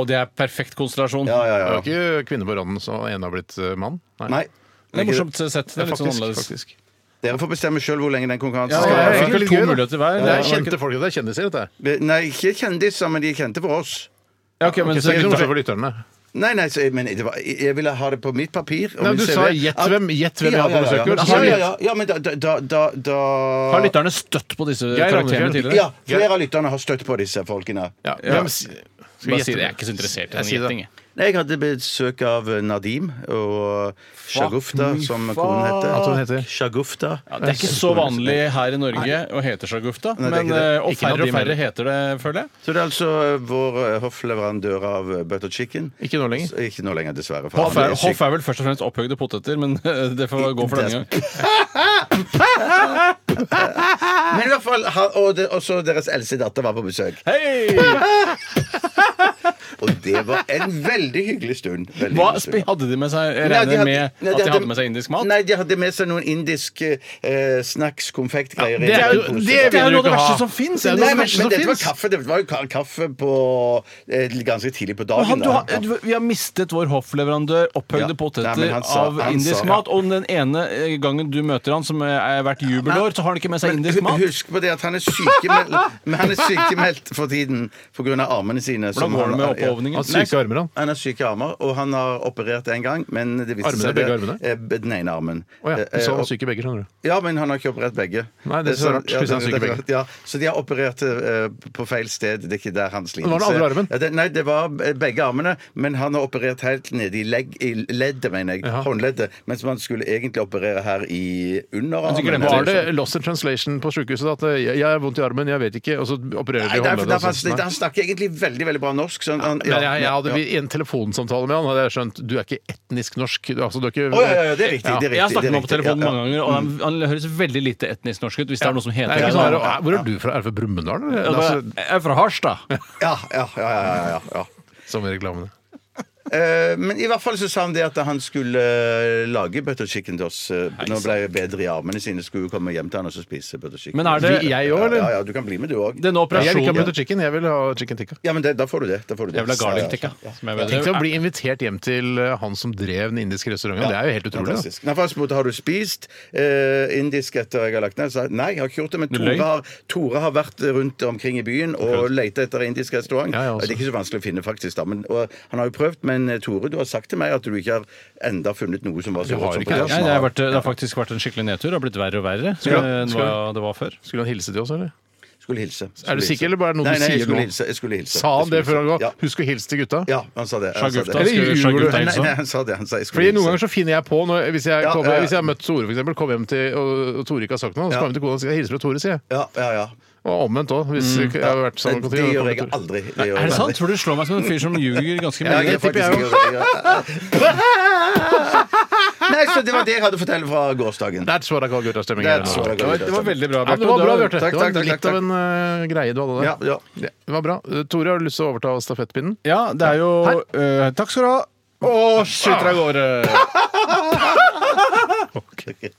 Speaker 2: det er perfekt konstellasjon.
Speaker 3: Ja, ja,
Speaker 4: Det
Speaker 3: ja.
Speaker 4: var ikke kvinne på randen, så en har blitt eh, mann?
Speaker 3: Nei.
Speaker 2: Det er morsomt sett. Det er litt sånn
Speaker 4: faktisk,
Speaker 2: annerledes.
Speaker 4: faktisk.
Speaker 3: Dere får bestemme sjøl hvor lenge den konkurransen
Speaker 2: Ja,
Speaker 3: skal
Speaker 2: ja,
Speaker 4: det
Speaker 2: ja.
Speaker 4: er
Speaker 3: vare.
Speaker 2: Fikk vel
Speaker 4: litt gøy,
Speaker 2: to
Speaker 4: da.
Speaker 2: muligheter hver.
Speaker 4: Det
Speaker 2: Det
Speaker 4: er
Speaker 2: er
Speaker 4: kjente folk, det er kjendiser, dette.
Speaker 3: Nei, ikke kjendiser, men de er kjente for oss.
Speaker 2: Ja, ok, men
Speaker 4: Okay,
Speaker 2: så
Speaker 4: så det er ikke noe
Speaker 2: lytter-
Speaker 4: for lytterne.
Speaker 3: Nei, nei, så, jeg- men det var, jeg ville ha det på mitt papir. og
Speaker 4: Nei, men
Speaker 3: min
Speaker 4: du
Speaker 3: CV.
Speaker 4: sa gjett
Speaker 3: At-
Speaker 4: hvem- gjett hvem jeg
Speaker 3: Ja,
Speaker 4: hadde besøk
Speaker 3: ja,
Speaker 4: hos.
Speaker 3: ja, ja. Ja, ja, ja, ja, men da, da, da, da- da
Speaker 2: Har lytterne støtt på disse
Speaker 4: Geir
Speaker 2: karakterene
Speaker 4: Andefjell.
Speaker 2: tidligere?
Speaker 3: Ja, flere av lytterne har støtt på disse folkene.
Speaker 4: Ja.
Speaker 2: Ja.
Speaker 4: men s- Skal vi
Speaker 2: Bare
Speaker 4: gjette?
Speaker 2: si det. Jeg er ikke så interessert i
Speaker 4: Jeg
Speaker 2: sånn
Speaker 4: sier det.
Speaker 2: gjetting. jeg.
Speaker 3: Nei, Jeg hadde besøk av eh, Nadim og Shagufta, som konen heter.
Speaker 4: At hun heter?
Speaker 3: Shagufta.
Speaker 2: Ja, det er ikke så vanlig her i Norge å hete Shagufta,
Speaker 3: det er
Speaker 2: men,
Speaker 3: ikke det.
Speaker 2: eh, og
Speaker 4: Ikke noe
Speaker 2: færre
Speaker 4: de
Speaker 2: og færre
Speaker 4: mener.
Speaker 2: heter det, føler jeg.
Speaker 3: Så det er altså eh, vår eh, hoffleverandør av eh, butter chicken.
Speaker 4: Ikke nå lenger.
Speaker 3: Så- Ikke nå lenger, dessverre.
Speaker 2: Hoff
Speaker 3: han
Speaker 2: er,
Speaker 3: er syk.
Speaker 2: hoff er vel først og fremst opphøyde poteter, men eh, det får gå for denne gang.
Speaker 3: Men i hvert fall, han- og det, også deres eldste datter var på besøk.
Speaker 2: Hei!
Speaker 3: Og det var en veldig hyggelig stund. Veldig
Speaker 2: Hva
Speaker 3: hyggelig
Speaker 2: spi-
Speaker 3: stund.
Speaker 2: hadde de med seg?
Speaker 3: Nei,
Speaker 2: Jeg
Speaker 3: de
Speaker 2: regner
Speaker 3: hadde-
Speaker 2: med
Speaker 3: nei,
Speaker 2: at de hadde med seg indisk mat?
Speaker 3: Nei, de hadde med seg noen indiske eh, snacks, konfektgreier. i
Speaker 4: det er
Speaker 3: en
Speaker 4: jo-
Speaker 3: pose.
Speaker 4: det vil
Speaker 2: Det er jo noe av
Speaker 4: du
Speaker 2: det
Speaker 4: ikke ha.
Speaker 2: verste som fins!
Speaker 4: Det er
Speaker 3: Nei,
Speaker 4: noe
Speaker 3: men,
Speaker 4: av det
Speaker 3: men
Speaker 4: verste som
Speaker 3: dette var
Speaker 4: finnes.
Speaker 3: kaffe. Det var jo ka- kaffe på, eh, ganske tidlig på
Speaker 2: Men
Speaker 3: dagen.
Speaker 2: han, du
Speaker 3: da.
Speaker 2: har, du, vi har mistet vår hoffleverandør, opphøyde
Speaker 3: Ja.
Speaker 2: poteter
Speaker 3: Nei, men han sa-
Speaker 2: av
Speaker 3: han
Speaker 2: indisk
Speaker 3: sa-
Speaker 2: mat. Og den ene eh, gangen du møter han, som eh, er hvert jubelår, så har han ikke med seg
Speaker 3: Men
Speaker 2: indisk
Speaker 3: hu-
Speaker 2: mat.
Speaker 3: Husk på det at han er sykemeldt,
Speaker 2: [laughs]
Speaker 3: men han er sykemeldt for tiden pga. armene sine. som
Speaker 2: går det
Speaker 3: han-
Speaker 2: med
Speaker 3: ja.
Speaker 2: oppovningen?
Speaker 4: Han har syke armer, han.
Speaker 3: Han har syke armer, og han har operert en gang, men det viste
Speaker 4: Armene,
Speaker 3: seg
Speaker 4: begge
Speaker 3: det-
Speaker 4: armene?
Speaker 3: eh, b- Den ene armen.
Speaker 4: Å ja.
Speaker 3: Eh,
Speaker 4: Så han
Speaker 3: og-
Speaker 4: var syk i begge, skjønner du.
Speaker 3: Ja, men han har ikke operert begge.
Speaker 4: Nei, det er så
Speaker 3: Eh,
Speaker 4: rart, hvis han er syk i
Speaker 3: det
Speaker 4: begge.
Speaker 3: rart, ja. Så de har operert eh, på feil sted. Det er ikke der hans lidelse
Speaker 4: var den andre armen?
Speaker 3: Ja, det, nei, det var eh, begge armene, men han har operert helt nede i, legg, i leddet, mener jeg.
Speaker 4: Jaha.
Speaker 3: Håndleddet. Mens man skulle egentlig operere her i
Speaker 2: så
Speaker 3: underarmen.
Speaker 2: glemte
Speaker 4: Var det loss in translation på sykehuset? At eh, jeg, jeg har vondt i armen, jeg vet ikke, og så opererer de
Speaker 3: Nei, der,
Speaker 4: håndleddet?
Speaker 3: der,
Speaker 4: og sånn.
Speaker 3: fast-
Speaker 4: Nei.
Speaker 3: han snakker egentlig veldig veldig bra norsk. Så han, han,
Speaker 4: Men jeg, jeg hadde
Speaker 3: ja.
Speaker 4: vi, I en telefonsamtale med han hadde jeg skjønt du er ikke etnisk norsk. Du, altså, du er ikke,
Speaker 3: Å, ja, ja, ja, det er riktig. det er riktig
Speaker 2: Jeg har
Speaker 3: det er
Speaker 2: snakket med ham på
Speaker 3: riktig,
Speaker 2: telefonen
Speaker 3: ja,
Speaker 2: mange ganger, og han, han høres veldig lite etnisk norsk ut. Hvis det er noe som
Speaker 4: Nei,
Speaker 2: heter
Speaker 4: ikke
Speaker 2: det.
Speaker 4: sånn,
Speaker 2: Ja,
Speaker 4: her, «Å, Hvor er du fra? Er du fra Brumunddal? eller?»
Speaker 2: da-
Speaker 4: Altså,
Speaker 2: Jeg er fra Harstad.
Speaker 3: Ja, ja, ja, ja, ja, ja, ja.
Speaker 4: som i reklamene.
Speaker 3: Eh, men i hvert fall så sa han det at han skulle eh, lage butter chicken til oss. eh, Nå ble jeg bedre i armene sine. Skulle jo komme hjem til han og så spise butter chicken.
Speaker 2: Men er det
Speaker 4: Vi- jeg òg, eller?
Speaker 3: Ja, ja, du kan bli med, du òg.
Speaker 2: denne
Speaker 4: Jeg vil ikke ha
Speaker 2: operasjonen
Speaker 4: butter chicken, jeg vil ha chicken tikka.
Speaker 3: Ja, men det, da får du det. Da får du det.
Speaker 2: Jeg vil ha garlic tikka. som jeg vet-
Speaker 4: Tenk deg å bli invitert hjem til eh, han som drev den indiske restauranten. Det er jo helt utrolig. Da.
Speaker 3: Fantastisk. Nei, for han spurte har du spist eh, indisk etter jeg har lagt ned. Så sa jeg, nei, jeg har ikke gjort det. Men
Speaker 2: Du
Speaker 3: Tore
Speaker 2: løy.
Speaker 3: har, Tore har vært rundt omkring i byen og leita etter indisk restaurant.
Speaker 4: Ja, jeg også.
Speaker 2: altså.
Speaker 3: det er ikke så vanskelig å finne, faktisk. da men, og, Han har jo prøvd, men eh, Tore, du har sagt til meg at du ikke har enda funnet noe som var
Speaker 4: Jeg
Speaker 3: så
Speaker 4: har
Speaker 3: godt som
Speaker 4: ikke
Speaker 3: på
Speaker 4: det.
Speaker 2: Nei, det, har vært, det har faktisk vært en skikkelig nedtur. Det har blitt verre og verre eh,
Speaker 4: Skulle-
Speaker 2: enn
Speaker 4: skulle-
Speaker 2: hva det var før.
Speaker 4: Skulle han hilse til oss, eller?
Speaker 3: Skulle hilse.
Speaker 4: Er du
Speaker 3: Skulle
Speaker 4: sikker,
Speaker 3: hilse.
Speaker 4: eller bare er det noe
Speaker 3: nei,
Speaker 4: du
Speaker 3: nei,
Speaker 4: sier
Speaker 3: jeg skulle
Speaker 4: nå?
Speaker 3: Hilse, jeg skulle hilse.
Speaker 4: Sa han det
Speaker 3: Jeg skulle
Speaker 4: før han
Speaker 3: hilse.
Speaker 4: ga? Husk å hilse til gutta.
Speaker 3: Ja. ja, han sa det. Han sa det.
Speaker 2: Shagufta skulle-
Speaker 4: Eller
Speaker 2: Shagufta
Speaker 3: Nei, nei, han
Speaker 2: Hilsa.
Speaker 3: sa det. Han sa jeg skulle
Speaker 4: Fordi Noen
Speaker 3: hilse.
Speaker 4: ganger så finner jeg på når, Hvis jeg,
Speaker 3: Ja,
Speaker 4: kommer,
Speaker 3: ja, ja.
Speaker 4: Hvis jeg har møtt Tore, for eksempel, kommer hjem til og og Tore ikke har sagt noe, så kommer jeg hjem til kona og sier hilser fra Tore, sier jeg.
Speaker 3: Ja, ja, ja.
Speaker 4: Og omvendt òg. Hvis jeg har vært sånn
Speaker 3: Mm.
Speaker 4: sammen
Speaker 3: Det,
Speaker 4: med
Speaker 3: det gjør
Speaker 4: Tore, kommer
Speaker 3: jeg
Speaker 4: Tore.
Speaker 3: aldri. Det gjør jeg
Speaker 2: Er det sant?
Speaker 3: aldri.
Speaker 2: Tror du slår meg som en sånn fyr som ljuger ganske
Speaker 3: Ja,
Speaker 2: mye?
Speaker 3: jeg faktisk gjør det. [laughs] Nei, så det var det jeg hadde å fortelle fra gårsdagen.
Speaker 4: That's what I call guttastemning.
Speaker 3: That's
Speaker 4: Ja.
Speaker 3: what I
Speaker 2: Det var, det var veldig bra,
Speaker 4: Ja, men det var bra,
Speaker 2: Det var-
Speaker 4: Bjarte.
Speaker 3: Takk,
Speaker 4: Det var
Speaker 3: takk, takk,
Speaker 4: litt
Speaker 3: takk.
Speaker 4: av en eh, greie du hadde der.
Speaker 3: Ja, ja.
Speaker 4: Det det var bra. Eh, Tore, har du lyst til å overta stafettpinnen?
Speaker 2: Ja, det er jo eh, Takk skal du ha. Å, skyter av
Speaker 4: [laughs]
Speaker 2: gårde!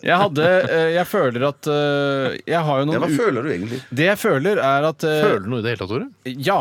Speaker 2: Jeg hadde eh, Jeg føler at eh, Jeg har jo
Speaker 3: Ja,
Speaker 2: noen
Speaker 3: hva
Speaker 2: u-
Speaker 3: føler du egentlig?
Speaker 2: Det jeg føler, er at eh,
Speaker 4: Føler du noe i det hele tatt, Tore?
Speaker 2: Ja,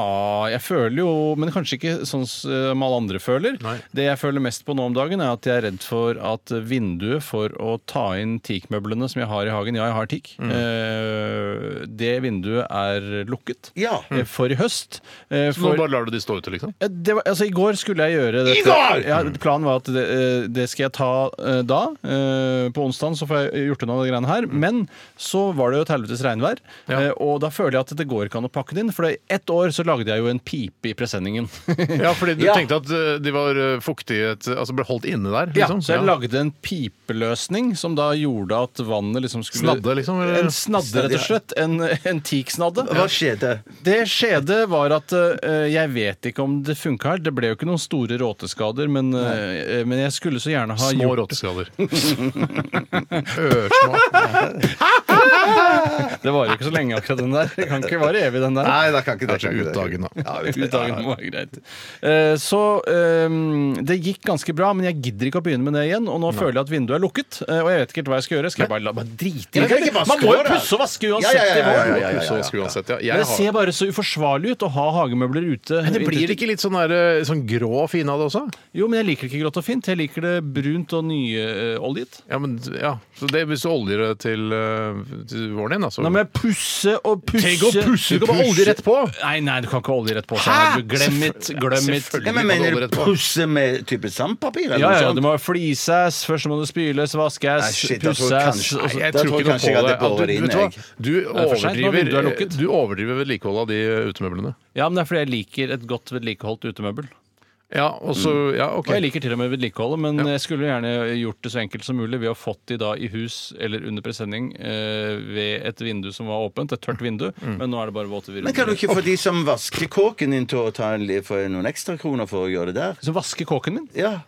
Speaker 2: jeg føler jo Men kanskje ikke sånn som alle andre føler.
Speaker 4: Nei.
Speaker 2: Det jeg føler mest på nå om dagen, er at jeg er redd for at vinduet for å ta inn teakmøblene som jeg har i hagen Ja, jeg har teak.
Speaker 4: Mm.
Speaker 2: eh, det vinduet er lukket
Speaker 3: Ja.
Speaker 2: eh, for i høst. eh,
Speaker 4: Nå
Speaker 2: for-
Speaker 4: bare lar du de stå ute, liksom?
Speaker 2: ja, Det var, altså, I går skulle jeg gjøre dette. I går! Ja, planen var at det, eh, det skal jeg ta eh, da. eh, På onsdagen så får jeg gjort unna de greiene her. Men så var det jo et helvetes regnvær,
Speaker 4: Mm. Ja.
Speaker 2: eh, og da føler jeg at det går ikke an å pakke det inn. For det- ett år så lagde jeg jo en pipe i presenningen. [laughs]
Speaker 4: Ja, fordi du tenkte at eh, de var eh, fuktige et- Altså ble holdt inne der?
Speaker 2: Ja,
Speaker 4: Liksom.
Speaker 2: så jeg lagde en pipeløsning som da gjorde at vannet liksom skulle
Speaker 4: Snadde, liksom, eller?
Speaker 2: En snadde, rett og slett. En, en teaksnadde.
Speaker 3: Hva skjedde?
Speaker 2: Det skjedde var at eh, jeg vet ikke om det funka her. Det ble jo ikke noen store råteskader, men, eh, men jeg skulle så gjerne ha
Speaker 4: Små
Speaker 2: gjort
Speaker 4: råteskader.
Speaker 2: [laughs]
Speaker 4: Ørsmå.
Speaker 2: Det varer jo ikke så lenge, akkurat den der. Det kan ikke vare evig, den der.
Speaker 3: Nei, det kan ikke det.
Speaker 4: Kanskje
Speaker 3: kan ikke det.
Speaker 4: utdagen, da.
Speaker 3: Ja,
Speaker 2: Ut
Speaker 3: ut-
Speaker 2: dagen var greit. Eh, Så eh, det gikk ganske bra, men jeg gidder ikke å begynne med det igjen. Og nå føler jeg at vinduet er lukket, eh, og jeg vet ikke helt hva jeg skal gjøre. Skal jeg bare la meg drite i
Speaker 3: kan ikke
Speaker 2: det?
Speaker 3: vaske
Speaker 2: Man må jo
Speaker 3: håret.
Speaker 2: pusse og vaske
Speaker 3: Ja, ja,
Speaker 2: uansett
Speaker 3: ja,
Speaker 2: i
Speaker 3: ja, ja,
Speaker 2: vår.
Speaker 3: ja, ja,
Speaker 4: Så
Speaker 3: ja.
Speaker 4: skulle uansett, ja.
Speaker 2: Men
Speaker 4: Jeg
Speaker 2: det ser
Speaker 4: har...
Speaker 2: bare så uforsvarlig ut å ha hagemøbler ute.
Speaker 4: Men det blir ikke litt sånn der, eh, sånn grå og fin av det også?
Speaker 2: Jo, men jeg liker det ikke grått og fint. Jeg liker det brunt og eh, nyoljet.
Speaker 4: Ja, men ja. Så det, hvis du oljer det til, eh, til våren din, da, så
Speaker 2: Nå må jeg pusse og pusse
Speaker 4: Tenk å pusse,
Speaker 2: Du kan bare
Speaker 4: pusse.
Speaker 2: olje rett på! Nei, nei, du kan ikke olje rett på. Steinar. Du Glem it, glem it.
Speaker 4: selvfølgelig.
Speaker 3: Ja, men
Speaker 4: Kan du
Speaker 3: mener
Speaker 4: holde
Speaker 3: du
Speaker 4: rett på?
Speaker 3: pusse med type sandpapir? eller
Speaker 2: Ja,
Speaker 3: noe
Speaker 2: ja,
Speaker 3: sånt?
Speaker 2: det må flises, først må det spyles,
Speaker 3: Nei,
Speaker 2: vaskes,
Speaker 3: shit, jeg tror
Speaker 2: pusses
Speaker 3: kanskje-
Speaker 2: og så-
Speaker 4: Jeg
Speaker 3: Da
Speaker 4: tror
Speaker 3: tror
Speaker 4: ikke noe
Speaker 3: kanskje jeg
Speaker 4: på
Speaker 3: hadde
Speaker 4: det. At
Speaker 3: båret
Speaker 4: du,
Speaker 3: inn,
Speaker 4: vet du, hva?
Speaker 3: jeg.
Speaker 4: du
Speaker 2: er for sent når vinduet er
Speaker 4: overdriver,
Speaker 2: lukket.
Speaker 4: du overdriver vedlikeholdet av de eh, utemøblene.
Speaker 2: Ja, men det er fordi jeg liker et godt vedlikeholdt utemøbel.
Speaker 4: Ja, og så, ja, ok.
Speaker 2: Og jeg liker til og med vedlikeholdet, men jeg skulle gjerne gjort det så enkelt som mulig ved å fått de da i hus eller under presenning eh, ved et vindu som var åpent, et tørt vindu, men nå er det bare våte
Speaker 3: Men kan du
Speaker 2: virvler.
Speaker 3: ikke få de som vasker kåken din, til å ta en, li- få noen ekstra kroner for å gjøre det der?
Speaker 2: Så vaske kåken min?
Speaker 3: Ja.